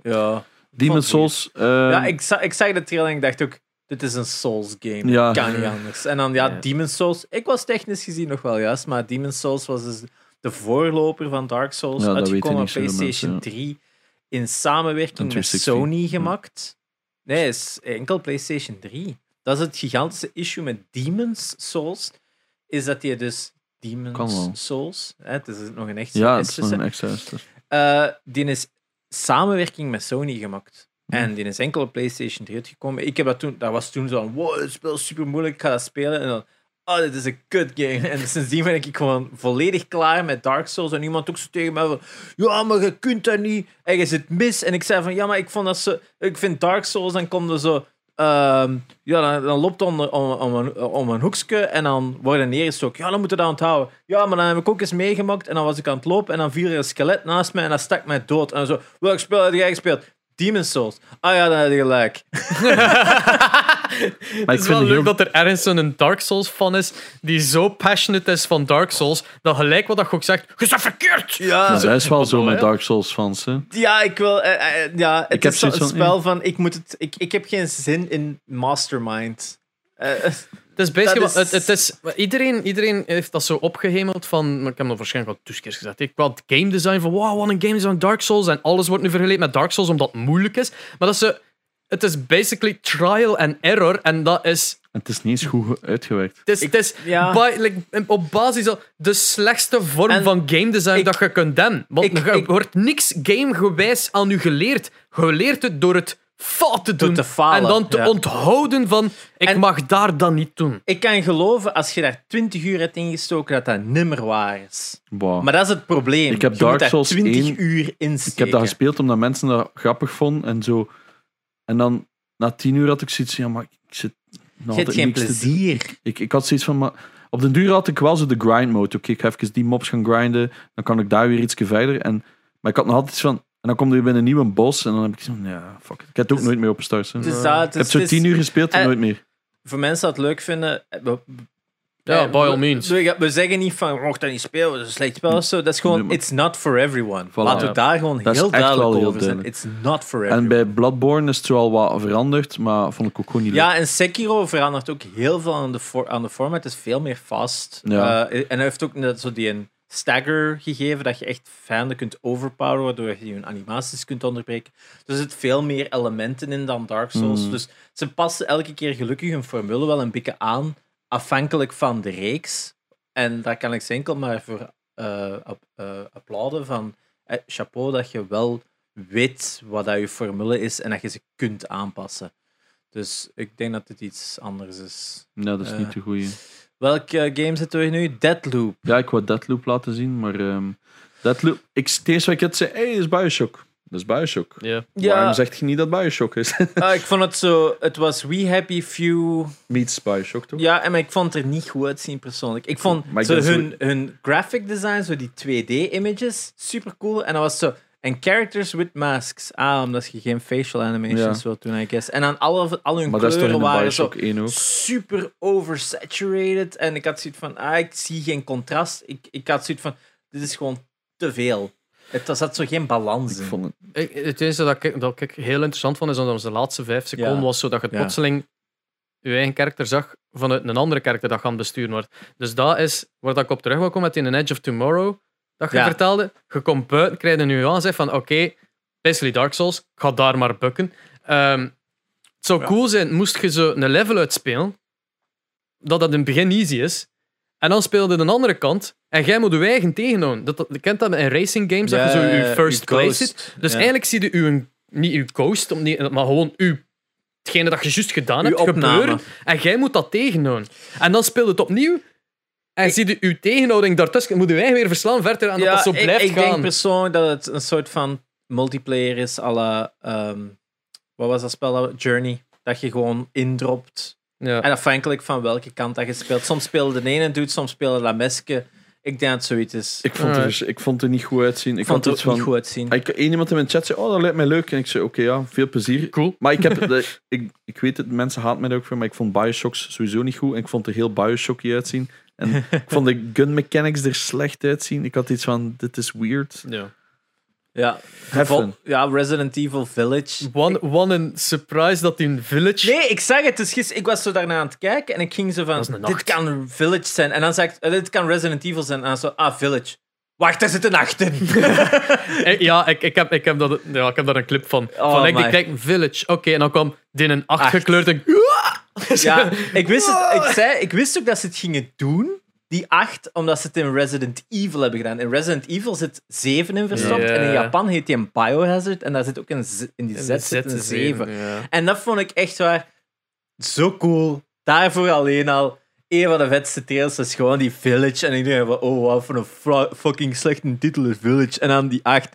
S3: Demon's
S1: Vond
S3: Souls. ehm,
S1: Ja,
S3: ja,
S1: ik, za ik zag de trailer en ik dacht ook, dit is een Souls game.
S3: Ja.
S1: Kan niet anders. En dan ja,
S2: Ja.
S1: Demon's Souls. Ik was technisch gezien nog wel juist, maar Demon's Souls was dus de voorloper van Dark Souls.
S3: Ja, dat
S1: uitgekomen op
S3: weten niet zoveel
S1: PlayStation
S3: mensen,
S1: 3 in samenwerking
S3: En
S1: met
S3: 360.
S1: Sony gemaakt. Nee, is enkel PlayStation 3. Dat is het gigantische issue met Demon's Souls. Is dat je dus
S3: Kan
S1: Demon's
S3: wel.
S1: Souls, hè, het is nog een echt
S3: ja,
S1: S
S3: het is nog
S1: tussen,
S3: een extra. dus-
S1: eh, die is samenwerking met Sony gemaakt. En die is enkel op PlayStation 3 uitgekomen. Ik heb dat toen, dat was toen zo van, wow, dit spel is super moeilijk, ik ga dat spelen. En dan, oh, dit is een kut game. En sindsdien ben ik gewoon volledig klaar met Dark Souls. En iemand ook zo tegen mij van, ja, maar je kunt dat niet. En je zit mis. En ik zei van, ja, maar ik vond dat zo, ik vind Dark Souls, dan komt er zo, ehm, ja, dan, dan loopt het om, om, om, een, om een hoekje en dan worden neergestoken. Ja, dan moeten we dat onthouden. Ja, maar dan heb ik ook eens meegemaakt en dan was ik aan het lopen en dan viel er een skelet naast mij en dat stak mij dood. En dan zo, welk spel heb jij gespeeld? Demon Souls. Ah ja, dan heb je gelijk.
S3: Maar
S2: het
S3: ik
S2: is
S3: vind
S2: wel
S3: het
S2: leuk
S3: heel-
S2: dat er ergens een Dark Souls fan is die zo passionate is van Dark Souls dat gelijk wat dat ook zegt, je bent verkeerd!
S1: (laughs) Ja,
S3: dat is wel zo
S2: wel,
S3: met
S2: hè?
S3: Dark Souls fans. Hè.
S1: ja ik wil... eh, eh, ja, het
S3: Ik heb
S1: is zo
S3: zoiets
S1: een
S3: van,
S1: spel van... Ik, moet het, ik, ik heb geen zin in Mastermind. Eh, eh,
S2: Het is basically,
S1: Dat is-
S2: wat- Het, het is, iedereen, iedereen heeft dat zo opgehemeld van, maar ik heb dat waarschijnlijk al tussen keer gezegd, ik qua game design van, wow, wat een game design Dark Souls en alles wordt nu vergeleken met Dark Souls omdat het moeilijk is, maar dat ze, het is basically trial and error en dat is
S3: Het is niet eens goed uitgewerkt.
S2: Het is, het is
S1: ja.
S2: ba- like, op basis van de slechtste vorm
S1: En
S2: van game design
S1: ik-
S2: dat je kunt doen. Want
S1: ik-
S2: er
S1: ik-
S2: wordt niks gamegewijs aan je geleerd. Je leert het door het fout te doen.
S1: te falen,
S2: en dan te
S1: ja.
S2: onthouden van, ik
S1: En-
S2: mag daar dan niet doen.
S1: ik kan geloven, als je daar 20 uur hebt ingestoken, dat dat nimmer waar is.
S3: Wow.
S1: Maar dat is het probleem.
S3: Ik heb
S1: je
S3: Dark
S1: moet daar
S3: Souls
S1: 20
S3: één-
S1: uur in
S3: Ik heb dat gespeeld omdat mensen dat grappig vonden en zo. En dan na tien uur had ik zoiets van, ja, maar ik zit nog
S1: Je hebt
S3: altijd
S1: geen
S3: niks te doen.
S1: plezier.
S3: Ik, ik had zoiets van, maar op den duur had ik wel zo de grind mode. Oké, ik ga even die mobs gaan grinden, dan kan ik daar weer iets verder. En, maar ik had nog altijd iets van, en dan komt er weer een nieuwe boss en dan heb ik zoiets van, ja, fuck it. Ik heb het ook
S1: Dus-
S3: nooit meer op start. hè.
S1: Dus
S3: ik
S1: dat- dus
S3: heb zo
S1: het is-
S3: tien uur gespeeld en
S1: eh,
S3: nooit meer.
S1: Voor mensen dat het leuk vinden... eh, we-
S2: Ja,
S1: eh,
S2: by all
S1: we-
S2: means.
S1: We, we zeggen niet van, mocht dat niet spelen, dat is een slecht spel of zo. Dat is
S3: Nee,
S1: gewoon,
S3: maar-
S1: it's not for everyone. Laten
S3: Ja.
S1: we daar gewoon
S3: Dat is
S1: heel
S3: echt
S1: duidelijk
S3: wel heel
S1: over zijn.
S3: duidelijk.
S1: It's not for everyone.
S3: En bij Bloodborne is het wel wat veranderd, maar vond ik ook gewoon niet leuk.
S1: Ja, en Sekiro verandert ook heel veel aan de, for- aan de format. Het is veel meer vast.
S3: Ja.
S1: Eh, en hij heeft ook net zo die een stagger gegeven, dat je echt vijanden kunt overpoweren, waardoor je hun animaties kunt onderbreken. Dus er zit veel meer elementen in dan Dark Souls. Dus ze passen elke keer gelukkig hun formule wel een beetje aan, afhankelijk van de reeks. En daar kan ik ze enkel maar voor eh, app- eh, applauden van eh, chapeau dat je wel weet wat dat je formule is en dat je ze kunt aanpassen. Dus ik denk dat dit iets anders is.
S3: Ja, dat is
S1: Eh.
S3: niet de goeie.
S1: Welke eh, game zitten we nu? Deadloop.
S3: Ja, ik wou Deadloop laten zien, maar ehm Deadloop... Ik, het eerste wat ik had, zei, hey, dat is Bioshock. Dat is Bioshock.
S2: Ja.
S3: Waarom zegt je niet dat Bioshock is? (laughs)
S1: Ah, ik vond het zo... Het was We Happy Few.
S3: Meets Bioshock, toch?
S1: Ja, en maar ik vond het er niet goed uitzien persoonlijk. Ik vond
S3: Maar ik
S1: zo
S3: ben zo-
S1: hun, hun graphic design, zo die 2D-images, super cool. En dat was zo... En characters with masks. Ah, omdat je geen facial animations
S3: Ja.
S1: wilt doen, I guess. En aan alle, al hun
S3: maar dat is toch
S1: kleuren
S3: in de
S1: waren zo...
S3: Bioshock 1 ook?
S1: super oversaturated. En ik had zoiets van, ah, ik zie geen contrast. Ik, ik had zoiets van, dit is gewoon te veel. Het er zat zo geen balans
S3: Ik
S1: in.
S3: vond het...
S2: Ik- Het enige dat ik, dat ik heel interessant vond, is dat de laatste vijf seconden
S1: Ja.
S2: was zo dat je
S1: Ja.
S2: plotseling je eigen karakter zag vanuit een andere karakter dat gaan besturen wordt. Dus dat is waar dat ik op terug wil komen met in The Edge of Tomorrow, dat je
S1: Ja.
S2: vertelde. Je komt buiten, krijg je een nuance van oké, basically Dark Souls, ik ga daar maar bukken. Ehm, het zou
S1: Ja.
S2: cool zijn, moest je zo een level uitspelen, dat dat in het begin easy is, en dan speelde de andere kant, en jij moet je eigen tegenhouden. Dat, dat, je kent dat in racing games, dat je zo je first place zit. Dus eigenlijk zie je uw, niet uw ghost, om niet- maar gewoon uw, hetgene dat je juist gedaan
S1: Uw
S2: hebt
S1: opname.
S2: gebeuren. En jij moet dat tegenhouden. En dan speelt het opnieuw. En zie je uw tegenhouding daartussen. Moet je eigen weer verslaan verder. En dat dat zo blijft
S1: ik, ik
S2: gaan.
S1: denk persoonlijk dat het een soort van multiplayer is à la, ehm, wat was dat spel? dat we- Journey. Dat je gewoon indropt.
S2: ja.
S1: En afhankelijk van welke kant dat je speelt. Soms speelde de ene doet, soms speelde Lameske. Ik denk dat het zoiets is. Ik
S3: Ik, vond het,
S2: Alright.
S3: er, ik vond het er niet goed uitzien. Ik
S1: vond het
S3: vond had
S1: ook
S3: iets van...
S1: niet goed uitzien.
S3: Ik, één iemand in mijn chat zei, oh, dat lijkt mij leuk. En ik zei, oké, ja, veel plezier.
S2: Cool.
S3: Maar ik heb... de- ik, ik weet het, mensen haat mij daar ook voor, maar ik vond Bioshock sowieso niet goed. En ik vond er heel Bioshocky uitzien. En ik vond de gun mechanics er slecht uitzien. Ik had iets van, dit is weird.
S2: Ja.
S1: Ja.
S3: Heffen.
S1: ja, Resident Evil Village.
S2: One, one een surprise dat in Village.
S1: Nee, ik zag het. Dus gisteren, ik was zo daarna aan het kijken en ik ging zo
S2: Dat is een
S1: van, dit
S2: nacht.
S1: kan Village zijn. En dan zei ik, eh, dit kan Resident Evil zijn. En dan zo, ah, Village. Wacht, daar zit een nacht in.
S2: Ik- Eh, ja, ik, ik, heb, ik, heb dat, ja, ik heb daar een clip van.
S1: Oh
S2: van ik,
S1: my.
S2: ik denk Village. Oké, en dan kwam dit een 8
S1: Acht.
S2: gekleurd. En,
S1: (laughs) ja, ik wist, het, ik, zei, ik wist ook dat ze het gingen doen, die acht, omdat ze het in Resident Evil hebben gedaan. In Resident Evil zit zeven in verstopt
S2: Ja.
S1: en in Japan heet die een Biohazard en daar zit ook een z- in
S2: Ah,
S1: die zet zit een zeven.
S2: Ja.
S1: En dat vond ik echt waar zo cool. Daarvoor alleen al. Een van de vetste trails is gewoon die Village. En ik denk van, oh, wat voor een fra- fucking slechte titel is Village. En dan die 8.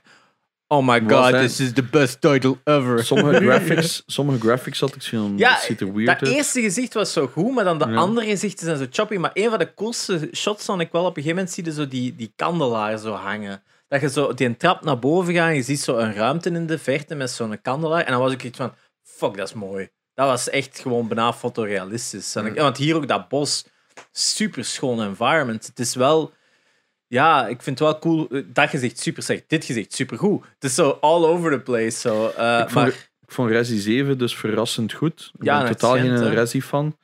S1: Oh my
S3: Was
S1: god,
S3: dat-
S1: this is the best title ever.
S3: Sommige graphics, sommige graphics had ik zoiets van,
S1: Ja,
S3: Mm, dat ziet er weird
S1: Dat
S3: uit.
S1: eerste gezicht was zo goed, maar dan de
S3: Ja.
S1: andere gezichten zijn zo choppy. Maar een van de coolste shots vond ik wel op een gegeven moment zie je zo die, die kandelaar zo hangen. Dat dat je zo die trap naar boven gaat en je ziet zo een ruimte in de verte met zo'n kandelaar. En dan was ik iets van, fuck, dat is mooi. Dat was echt gewoon bijna fotorealistisch. En ik-
S2: Mm.
S1: en Want hier ook dat bos, super schoon environment. Het is wel, ja, ik vind het wel cool. eh, Dat gezicht super slecht, dit gezicht super goed. Het is zo all over the place. Zo. eh,
S3: ik, vond,
S1: maar
S3: ik vond Resi 7 dus verrassend goed. Ik
S1: Ja,
S3: ben
S1: en
S3: totaal
S1: accent,
S3: geen
S1: hè.
S3: Resi-fan.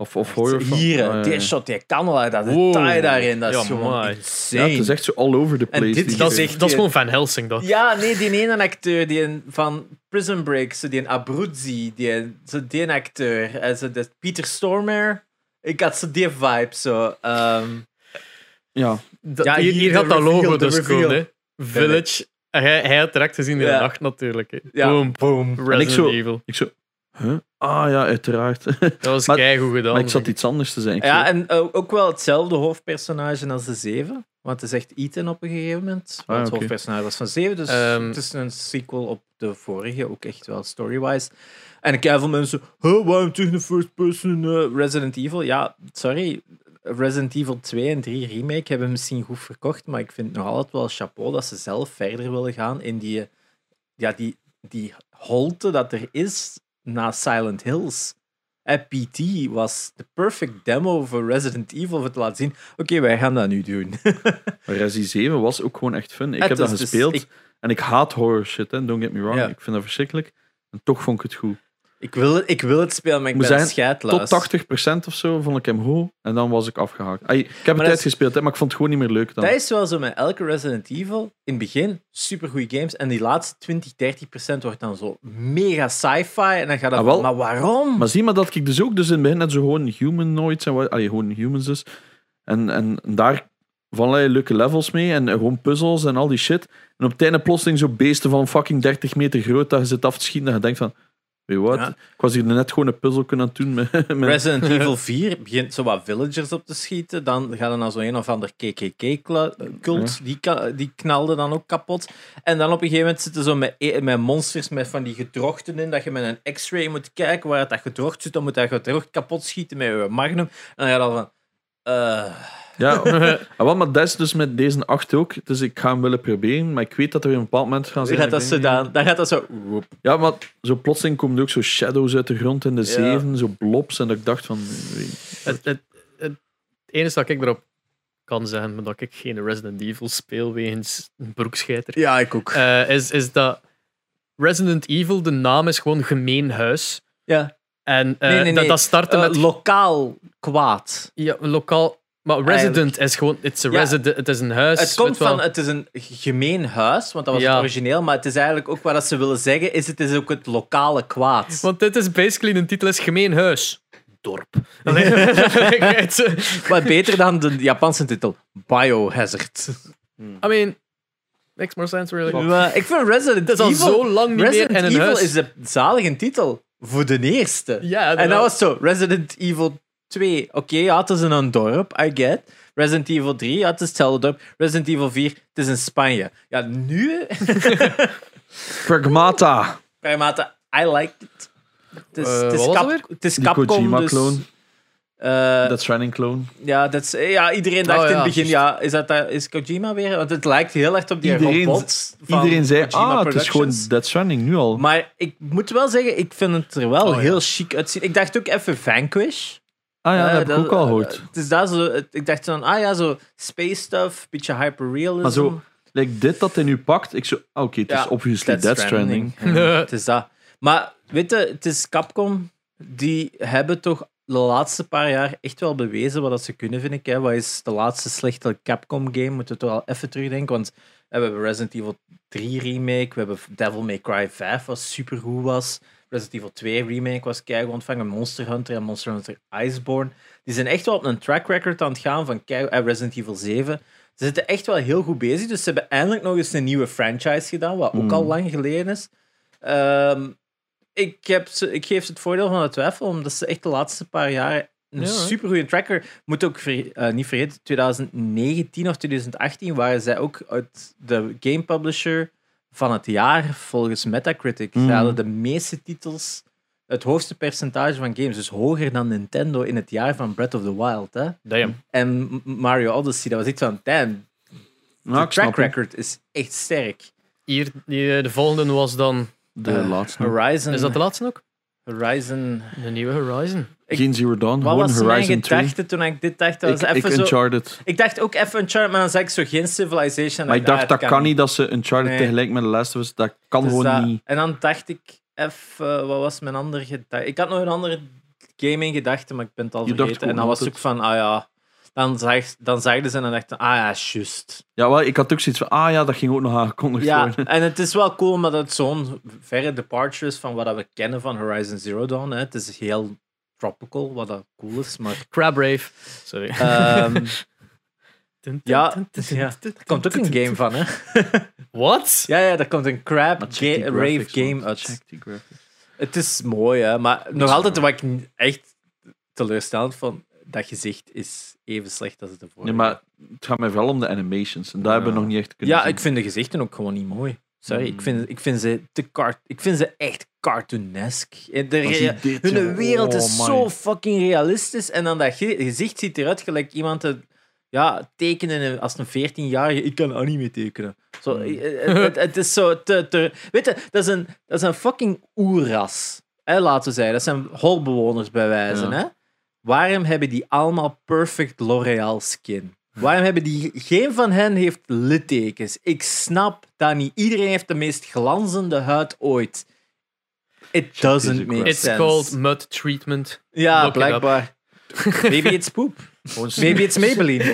S3: Of, of horror-fan.
S1: hier, eh,
S3: Ah, ja,
S1: die
S3: ja.
S1: shot, die kandelaar, dat
S2: Wow.
S1: detail daarin, dat is
S2: Ja,
S1: gewoon
S2: mooi.
S3: Ja,
S1: insane.
S3: het is echt zo all over the
S1: En
S3: place.
S1: dit
S3: die
S2: Dat,
S1: gezicht
S2: is,
S3: serie.
S2: dat
S1: die-
S2: is gewoon Van Helsing, dat.
S1: Ja, nee, die ene acteur die een, van Prison Break, zo die een Abruzzi, die, een- zo die een acteur, en zo dat Peter Stormare. Ik had zo die vibe zo. ehm,
S3: Ja,
S2: Dat-
S1: Ja,
S2: hier,
S1: hier
S2: hier
S1: de
S2: gaat dat
S1: reveal,
S2: logo
S1: de
S2: dus
S1: reveal.
S2: komen, hè. Village. En Hij, hij had direct gezien in
S1: Ja.
S2: de nacht natuurlijk. hè.
S1: ja,
S2: Boom.
S1: boom.
S2: Resident
S3: zo-
S2: Evil.
S3: ik zo... Huh? Ah ja, uiteraard. (laughs)
S2: Dat was
S3: Maar-
S2: keigoed gedaan.
S3: maar ik
S2: zeg.
S3: zat iets anders te zijn. Ik
S1: Ja,
S3: zo-
S1: en eh, ook wel hetzelfde hoofdpersonage als de zeven. Want het is echt Ethan op een gegeven moment. Want het
S3: Ah, oké.
S1: hoofdpersonage was van zeven, dus
S2: Ehm.
S1: het is een sequel op de vorige, ook echt wel story-wise. En ik heb veel mensen, huh, waarom terug naar first person eh, Resident Evil? Ja, sorry, Resident Evil 2 en 3 remake hebben misschien goed verkocht, maar ik vind nog altijd wel chapeau dat ze zelf verder willen gaan in die, eh, ja, die, die holte dat er is na Silent Hills. En PT was de perfect demo voor Resident Evil voor te laten zien. Oké, wij gaan dat nu doen. (laughs)
S3: Maar Resi 7 was ook gewoon echt fun. Ik
S1: Het
S3: heb dat
S1: is dus-
S3: gespeeld.
S1: ik-
S3: En ik haat horror shit, hè. don't get me wrong.
S1: Ja.
S3: Ik vind dat verschrikkelijk. En toch vond ik het goed.
S1: Ik wil, het- ik wil het spelen, maar ik
S3: Moet
S1: ben
S3: zijn,
S1: scheidlaas.
S3: Tot 80% of zo vond ik hem goed. En dan was ik afgehaakt. Ai, ik heb
S1: dat
S3: het
S1: is-
S3: uitgespeeld, hè, maar ik vond het gewoon niet meer leuk dan.
S1: Dat is wel zo met elke Resident Evil. In het begin supergoeie games. En die laatste 20, 30% wordt dan zo mega sci-fi. En dan gaat dat...
S3: Ah, wel.
S1: maar waarom?
S3: Maar zie maar dat ik dus ook dus in het begin net zo gewoon humanoids en wat, allee, gewoon humans dus. En, en daar van allerlei leuke levels mee en gewoon puzzels en al die shit. En op het einde plotseling zo beesten van fucking 30 meter groot dat je zit af te schieten en je denkt van, weet je wat,
S1: Ja.
S3: ik was hier net gewoon een puzzel kunnen aan het doen met, (laughs) met
S1: (laughs) Resident Evil 4 begint zo wat villagers op te schieten. Dan gaat er naar zo'n een of ander KKK-cult. Die, ka- die knalde dan ook kapot. En dan op een gegeven moment zitten zo met, e- met monsters met van die gedrochten in. Dat je met een x-ray moet kijken waar dat gedrocht zit. Dan moet dat gedrocht kapot schieten met je magnum. En dan ga je dan van... eh, (laughs)
S3: Ja, ah, wel, maar dat is dus met deze acht ook. Dus ik ga hem willen proberen, maar ik weet dat er een bepaald moment gaan zijn.
S1: gaat dat
S3: ik
S1: zo
S3: denk-
S1: dan, dan gaat dat zo... woep.
S3: Ja, maar zo plotseling komen er ook zo shadows uit de grond in de zeven, zo blobs. En dat ik dacht van, weet-
S2: Het, het, het enige dat ik erop kan zeggen, maar dat ik geen Resident Evil speel wegens een broekscheiter,
S1: Ja, ik ook.
S2: eh, is, is dat Resident Evil, de naam is gewoon gemeen huis.
S1: ja.
S2: En eh,
S1: Nee, nee,
S2: Dat,
S1: nee.
S2: dat startte
S1: Eh,
S2: met
S1: lokaal kwaad.
S2: ja, lokaal. Maar Resident is gewoon, it's a
S1: Ja.
S2: resident, het is een huis.
S1: Het komt
S2: weet wel.
S1: van, het is een gemeen huis, want dat was
S2: Ja.
S1: het origineel, maar het is eigenlijk ook wat ze willen zeggen, is het is ook het lokale kwaad.
S2: Want dit is basically, een titel is gemeen huis.
S1: (laughs)
S2: Dorp. Allee, het is-
S1: Maar beter dan de Japanse titel, Biohazard.
S2: I mean, makes more sense really.
S1: Maar ik vind Resident
S2: (laughs) Het is
S1: Evil...
S2: al zo lang niet
S1: Resident
S2: meer in een
S1: Evil
S2: huis.
S1: is de zalige titel voor de eerste.
S2: Ja,
S1: en dat
S2: wel.
S1: was zo, Resident Evil 2, oké, ja, het is in een dorp, I get. Resident Evil 3, ja, het is hetzelfde dorp. Resident Evil 4, het is in Spanje. Ja, nu...
S3: Pragmata.
S1: Pragmata, I liked it. Het is,
S2: Eh,
S1: het is,
S2: wat was
S1: Cap-
S2: dat weer?
S1: het is
S3: Die
S1: Capcom, dus...
S3: Kojima-clone,
S1: eh,
S3: dat Shining clone.
S1: ja, dat is, ja, iedereen dacht
S2: Oh,
S1: in
S2: ja,
S1: het begin,
S2: juist.
S1: ja, is, dat, daar- is Kojima weer? Want het lijkt heel erg op die
S3: Iedereen-
S1: robots van
S3: Iedereen zei,
S1: Kojima
S3: ah, het is gewoon
S1: Productions.
S3: Dead Stranding nu al.
S1: Maar ik moet wel zeggen, ik vind het er wel
S2: Oh, ja.
S1: heel chic uitzien. Ik dacht ook even Vanquish.
S3: ah ja, dat heb
S1: Eh,
S3: ik ook al gehoord.
S1: eh, Het is daar zo, het- ik dacht dan, ah ja, zo space stuff, beetje hyperrealism.
S3: maar zo, like dit dat hij nu pakt, ik zo, ah, oké, het
S1: Ja,
S3: is obviously Dead, Stranding.
S1: Ja, het is dat. Maar weet je, het is Capcom. Die hebben toch de laatste paar jaar echt wel bewezen wat dat ze kunnen, vind ik. Hè. Wat is de laatste slechte Capcom-game? Moeten we toch wel even terugdenken. Want hè, we hebben Resident Evil 3 remake, we hebben Devil May Cry 5, wat supergoed was. Resident Evil 2 remake was keihard ontvangen. Monster Hunter en Monster Hunter Iceborne. Die zijn echt wel op een track record aan het gaan van kei- eh, Resident Evil 7. Ze zitten echt wel heel goed bezig. Dus ze hebben eindelijk nog eens een nieuwe franchise gedaan, wat ook al lang geleden is. Ehm, ik, heb ze, ik geef ze het voordeel van de twijfel, omdat ze echt de laatste paar jaren een
S2: Ja, hè.
S1: supergoeie tracker. Moet ook ver- eh, niet vergeten, 2019 of 2018 waren zij ook uit de game publisher van het jaar volgens Metacritic. Ze
S3: Mm.
S1: hadden de meeste titels, het hoogste percentage van games, dus hoger dan Nintendo in het jaar van Breath of the Wild. Hè?
S2: Damn.
S1: En M- Mario Odyssey, dat was iets van, damn, de
S3: Nou, Ah, ik snap
S1: track
S3: hem.
S1: record is echt sterk.
S2: Hier, die, eh, de volgende was dan.
S3: De
S1: Eh,
S3: laatste.
S1: Horizon.
S2: Is dat de laatste ook?
S1: Horizon.
S2: De nieuwe Horizon.
S1: ik-
S3: Geen Zero Dawn,
S1: Wat
S3: gewoon
S1: was mijn
S3: Horizon 2.
S1: gedachte toen ik dit dacht? Dat
S3: Ik,
S1: was
S3: ik
S1: even zo...
S3: Uncharted.
S1: Ik dacht ook even Uncharted, maar dan zag ik zo geen Civilization.
S3: Maar ik dacht, dat kan niet dat ze Uncharted
S1: Nee.
S3: tegelijk met de Last of Us... Dat kan
S1: Dus
S3: gewoon
S1: dat-
S3: niet.
S1: En dan dacht ik even, eh, wat was mijn andere gedachte? Ik had nog een andere game in gedachten, maar ik ben het al
S3: Je dacht
S1: vergeten. En dan
S3: gewoon
S1: was het ook van, ah ja. Dan, zag, dan zeiden ze en dan dachten ah ja, juist.
S3: Ja, wel, ik had ook zoiets van... Ah ja, dat ging ook nog aangekondigd
S1: Ja, (laughs)
S3: worden.
S1: en het is wel cool omdat het zo'n verre departure is van wat dat we kennen van Horizon Zero Dawn. Hè. Het is heel tropical, wat dat cool is, maar...
S2: Crab Rave. Eh, Sorry.
S1: ehm,
S3: (laughs)
S1: ja, (laughs) ja, er komt ook een game van, hè.
S2: Wat?
S1: Ja, ja, er komt een crab
S3: Maar check
S1: ga- rave
S3: die graphics,
S1: game
S3: man.
S1: uit.
S3: Check die graphics.
S1: Het is mooi, hè, maar nog
S3: is
S1: altijd
S3: mooi.
S1: wat ik n- echt teleurstellend van dat gezicht is even slecht als het ervoor.
S3: Nee, maar het gaat mij vooral om de animations. En daar
S1: Ja.
S3: hebben we nog niet echt kunnen
S1: ja,
S3: zien.
S1: ik vind de gezichten ook gewoon niet mooi. Sorry, ik,
S3: Mm.
S1: vind, ik, vind ze te car- ik vind ze echt cartoonesk. En De
S3: Als
S1: rea-
S3: je dit,
S1: hun
S3: joh,
S1: wereld
S3: oh
S1: is
S3: my.
S1: zo fucking realistisch. En dan dat ge- gezicht ziet eruit gelijk iemand te ja, tekenen als een 14-jarige. Ik kan anime tekenen. Zo,
S3: Mm.
S1: eh, eh, het, het is zo te, te- Weet je, dat is een, dat is een fucking oerras. Hè, laten we zeggen. Dat zijn holbewoners bij wijze.
S3: Ja.
S1: Hè? Waarom hebben die allemaal perfect L'Oreal skin? Waarom hebben die... Geen van hen heeft littekens. Ik snap dat niet. Iedereen heeft de meest glanzende huid ooit. It doesn't
S3: Jesus
S1: make
S2: It's
S1: sense.
S2: called mud
S1: (laughs)
S2: treatment.
S1: Ja,
S2: Look it up.
S1: blijkbaar. Maybe it's poep.
S3: Gewoon,
S1: Maybe it's Maybelline.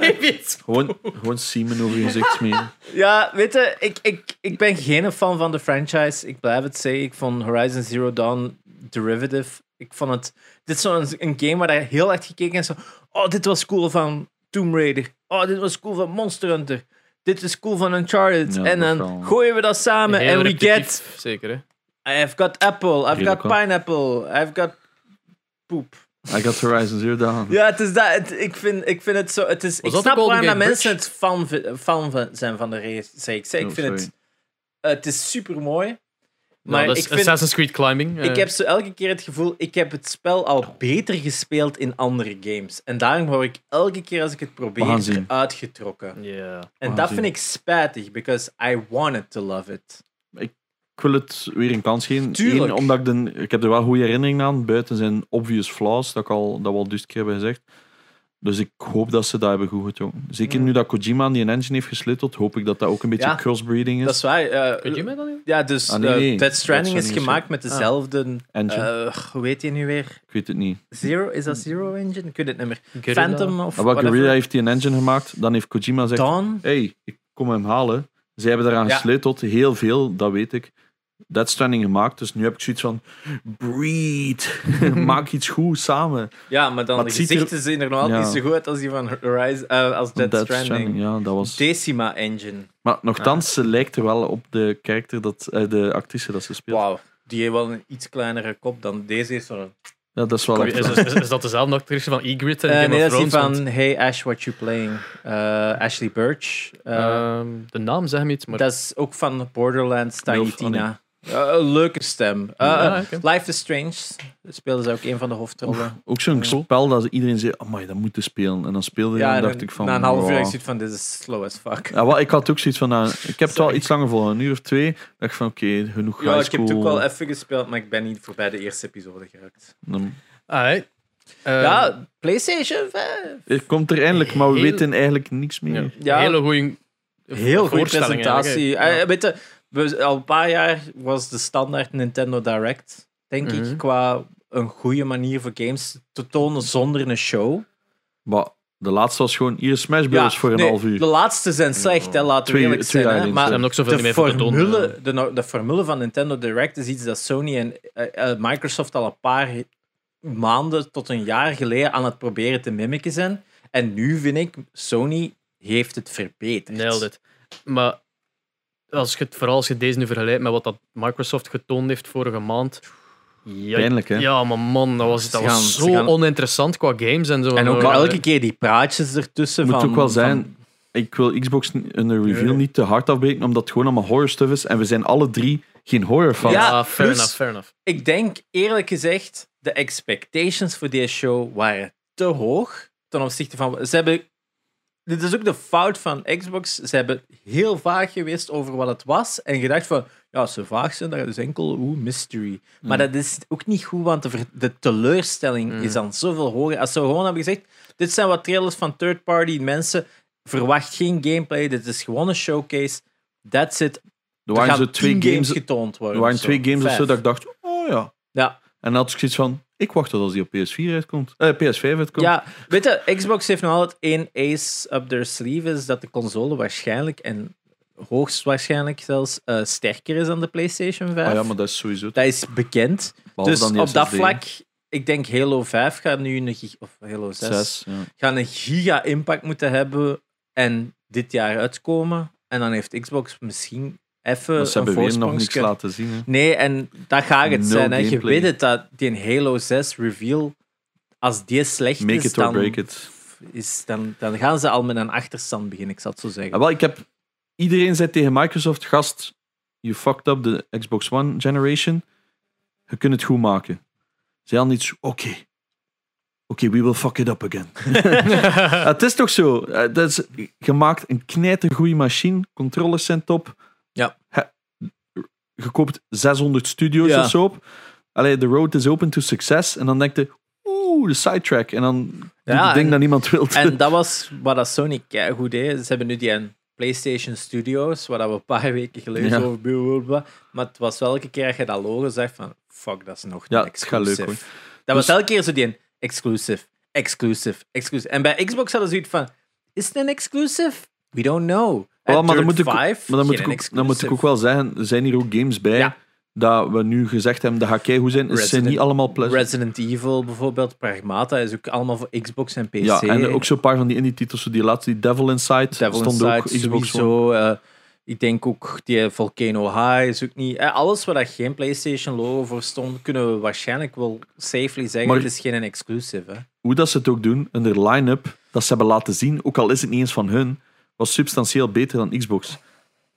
S2: Maybe it's
S3: gewoon, gewoon semen over je gezicht smeren.
S1: Ja, weet je, ik, ik, ik ben geen fan van de franchise. Ik blijf het zeggen. Ik vond Horizon Zero Dawn Derivative. Ik vond het... Dit is zo'n een game waar je heel echt gekeken is. van, Oh, dit was cool van Tomb Raider. Oh, dit was cool van Monster Hunter. Dit is cool van Uncharted.
S3: Ja,
S1: en
S3: dat
S1: dan
S3: is wel-
S1: gooien we dat samen.
S2: Heel
S1: En we
S2: repetitief,
S1: get...
S2: Zeker, hè?
S1: I've got apple. I've got
S3: Redelijk wel.
S1: pineapple. I've got... Poep.
S3: I got Horizon Zero Dawn.
S1: Ja, het is dat. Het- ik, vind, ik vind het zo. Het is, ik
S2: dat de
S1: snap
S2: Golden
S1: waarom dat
S2: Gate
S1: mensen het fan, vi- fan van- zijn van de reeks. Ik
S3: Oh,
S1: vind het,
S3: sorry.
S1: het is super mooi. Maar
S2: Maar Nou, dat
S1: ik,
S2: is
S1: vind,
S2: Assassin's Creed Climbing. eh.
S1: ik heb zo elke keer het gevoel. Ik heb het spel al beter gespeeld in andere games. En daarom word ik elke keer als ik het
S3: gaan
S1: probeer
S3: zien.
S1: uitgetrokken.
S2: Ja.
S1: En
S3: gaan
S1: dat
S3: zien.
S1: vind ik spijtig, because I wanted to love it.
S3: Ik wil het weer een kans geven.
S1: Tuurlijk.
S3: Eén, omdat ik, de, ik heb er wel goede herinneringen aan. Buiten zijn obvious flaws, dat, ik al, dat we al duizend keer hebben gezegd. Dus ik hoop dat ze dat hebben goed getrokken. Zeker
S1: Mm.
S3: nu dat Kojima aan die engine heeft gesleuteld, hoop ik dat dat ook een beetje
S1: Ja.
S3: crossbreeding is.
S1: Dat is waar. eh,
S2: Kun je mij dat doen?
S1: ja, dus
S3: Ah, nee,
S1: eh, Death
S3: nee.
S1: Stranding
S3: Death
S1: is
S3: Stranding is
S1: gemaakt met
S2: Ah.
S1: dezelfde.
S3: engine,
S1: eh, hoe heet die nu weer?
S3: ik weet het niet.
S1: Zero? Is dat Zero Engine? Ik weet het niet meer.
S2: Guerrilla.
S1: Phantom of
S3: Maar wat
S1: whatever.
S3: Guerrilla heeft die een engine gemaakt, dan heeft Kojima gezegd...
S1: Dawn?
S3: hey, ik kom hem halen. Zij hebben daaraan
S1: Ja.
S3: gesleuteld, heel veel, dat weet ik. Dead Stranding gemaakt, dus nu heb ik zoiets van... Breed! (laughs) Maak iets goed samen.
S1: Ja, maar dan
S3: Maar
S1: de
S3: het ziet er-
S1: gezichten zien er nog altijd
S3: Ja.
S1: niet zo goed uit als die van Horizon, eh, als Dead, Stranding.
S3: ja, dat was...
S1: Decima Engine.
S3: Maar
S1: Ah.
S3: nogthans, ze lijkt er wel op de karakter dat... eh, de actrice dat ze speelt.
S1: Wauw. Die heeft wel een iets kleinere kop dan deze. Is van,
S3: Ja, dat is wel
S2: Is,
S3: echt waar.
S2: is, is- is dat dezelfde actrice van Ygritte en
S1: Eh,
S2: Game
S1: nee,
S2: of
S1: dat is die
S2: Thrones?
S1: van
S2: want,
S1: Hey Ash, what you playing? Eh, Ashley Birch. Eh,
S2: ehm, de naam zeg me iets, maar...
S1: dat is ook van Borderlands, Tiny
S3: Milf, oh nee.
S1: Tina. Eh, een leuke stem. Eh,
S2: Ja, oké.
S1: Life is Strange speelde ze ook een van de hoofdrollen.
S3: Ook zo'n
S1: Ja.
S3: spel dat iedereen zei, amai, dat moeten spelen. En dan speelde je en
S1: en
S3: Oh, dacht
S1: dan-
S3: ik van...
S1: na een half uur
S3: wauw.
S1: ik zoiets van, dit is slow as fuck.
S3: ja, wel, ik had ook zoiets van, nou, ik heb het wel
S1: Sorry.
S3: iets langer voor, een uur of twee. dacht ik van, oké, genoeg
S1: Ja,
S3: high
S1: ik heb het ook
S3: school.
S1: wel even gespeeld, maar ik ben niet voorbij de eerste episode geraakt.
S3: Dan-
S2: Alright. Eh,
S1: ja, PlayStation 5.
S3: Het komt er eindelijk, maar we
S2: Heel-
S3: weten eigenlijk niks meer.
S2: ja.
S1: Ja.
S2: Hele goede
S1: Heel goede presentatie. Eh, weet je, we- al een paar jaar was de standaard Nintendo Direct, denk
S2: Mhm.
S1: ik, qua een goede manier voor games te tonen zonder een show.
S3: Maar de laatste was gewoon hier Smash Bros. voor een
S1: nee,
S3: half uur.
S1: De laatste zijn slecht, hè, laten we
S3: Twee-
S1: eerlijk
S3: twee
S1: zijn.
S3: jaar
S1: Hè,
S3: niet,
S1: maar
S2: Ze
S3: ja.
S2: hebben ook zoveel niet
S1: de
S2: meer voor te doen.
S1: formule, de, no- de formule van Nintendo Direct is iets dat Sony en eh, eh, Microsoft al een paar maanden tot een jaar geleden aan het proberen te mimiken zijn. En nu vind ik, Sony heeft het verbeterd.
S2: Nailed it. Maar als je, het- vooral als je deze nu vergelijkt met wat dat Microsoft getoond heeft vorige maand. Ja,
S3: Pijnlijk, hè?
S2: Ja, maar man, dat was, dat
S1: Ze gaan-
S2: was
S1: ze
S2: zo
S1: gaan-
S2: oninteressant qua games en zo.
S1: En ook
S2: Maar-
S1: elke keer die praatjes ertussen.
S3: Het moet
S1: van,
S3: ook wel zijn,
S1: van-
S3: ik wil Xbox n- een review
S1: Nee.
S3: niet te hard afbreken, omdat het gewoon allemaal horror stuff is. En we zijn alle drie geen horror fans.
S1: Ja,
S2: Ah, fair
S1: plus-
S2: enough, fair enough.
S1: Ik denk eerlijk gezegd, de expectations voor deze show waren te hoog ten opzichte van. Ze hebben dit is ook de fout van Xbox. Ze hebben heel vaag geweest over wat het was. En gedacht van, ja, als ze vaag zijn, dat is enkel oeh, mystery. Maar
S3: Mm.
S1: dat is ook niet goed, want de, ver- de teleurstelling is dan zoveel hoger. Als ze gewoon hebben gezegd, dit zijn wat trailers van third-party mensen. Verwacht geen gameplay, dit is gewoon een showcase. That's it.
S3: Er
S1: Er
S3: waren
S1: gaan
S3: zo twee
S1: tien
S3: games,
S1: getoond worden.
S3: er waren
S1: of zo.
S3: twee games of zo
S1: Vijf.
S3: dat ik dacht, oh ja.
S1: Ja,
S3: En dan had ik zoiets van, ik wacht tot als die op PS4 uitkomt. Eh, PS5 uitkomt.
S1: Ja, weet je, Xbox heeft nog altijd één ace up their sleeve, is dat de console waarschijnlijk, en hoogstwaarschijnlijk zelfs, eh, sterker is dan de PlayStation 5.
S3: Ah ja, maar dat is sowieso...
S1: Dat is bekend.
S3: behalve
S1: dus
S3: dan die
S1: op dat
S3: SSD.
S1: vlak, ik denk Halo 5 gaat nu een, gig- of Halo 6,
S3: Zes, ja.
S1: gaat een giga-impact moeten hebben en dit jaar uitkomen. En dan heeft Xbox misschien even
S3: Maar Dus ze
S1: een
S3: hebben weer nog niks
S1: voorsprongske.
S3: laten zien. Hè.
S1: Nee, en dat gaat het
S3: Nul
S1: zijn. Hè. Je
S3: gameplay.
S1: weet het, dat die een Halo 6 reveal, als die slecht
S3: Make
S1: is,
S3: it or
S1: dan,
S3: break it.
S1: Is, dan, dan gaan ze al met een achterstand beginnen, ik zal het zo zeggen.
S3: Ah, wel, ik heb... Iedereen zei tegen Microsoft, gast, you fucked up de Xbox One generation. Je kunt het goed maken. Ze hadden iets, oké. Oké, we will fuck it up
S1: (laughs)
S3: again. Ah, het is toch zo. Eh, dat is, je maakt een knijtergoeie machine. Controllers zijn top.
S1: Ja.
S3: He- je koopt 600 studios
S1: Ja.
S3: of zo op. Allee, the road is open to success. En dan denkt je, oeh, de sidetrack. En dan doe
S1: Ja,
S3: je ding
S1: en-
S3: dat niemand wil.
S1: En dat was wat dat Sony goed deed. Ze hebben nu die een PlayStation Studios, waar dat we een paar weken geleden
S3: Ja.
S1: over blablabla. Maar het was wel elke keer dat je dat logo zegt van, fuck, dat is nog
S3: Ja,
S1: niet
S3: het gaat leuk,
S1: exclusief.
S3: hoor.
S1: Dat was
S3: Dus-
S1: elke keer zo die een exclusive, exclusive, exclusive. En bij Xbox hadden ze zoiets van, is het een exclusive? We don't know. En
S3: Wel, Oh, maar dan
S1: Dirt
S3: moet ik,
S1: 5,
S3: maar dan moet
S1: geen
S3: ik, ook, dan moet ik
S1: exclusive.
S3: ook wel zeggen, er zijn hier ook games bij
S1: Ja.
S3: dat we nu gezegd hebben, de ga kei goed zijn. Het zijn
S1: Resident-
S3: niet allemaal pleasant.
S1: Resident Evil bijvoorbeeld, Pragmata is ook allemaal voor Xbox en PC.
S3: Ja, en ook zo'n paar van die indie titels, zo die laatste, die Devil Inside,
S1: Devil
S3: stond
S1: Inside
S3: ook Xbox One.
S1: sowieso. eh, ik denk ook die Volcano High is ook niet... eh, alles waar daar geen PlayStation logo voor stond, kunnen we waarschijnlijk wel safely zeggen,
S3: Maar-
S1: het is geen exclusive. Hè?
S3: hoe dat ze het ook doen, en de line-up dat ze hebben laten zien, ook al is het niet eens van hun, was substantieel beter dan Xbox.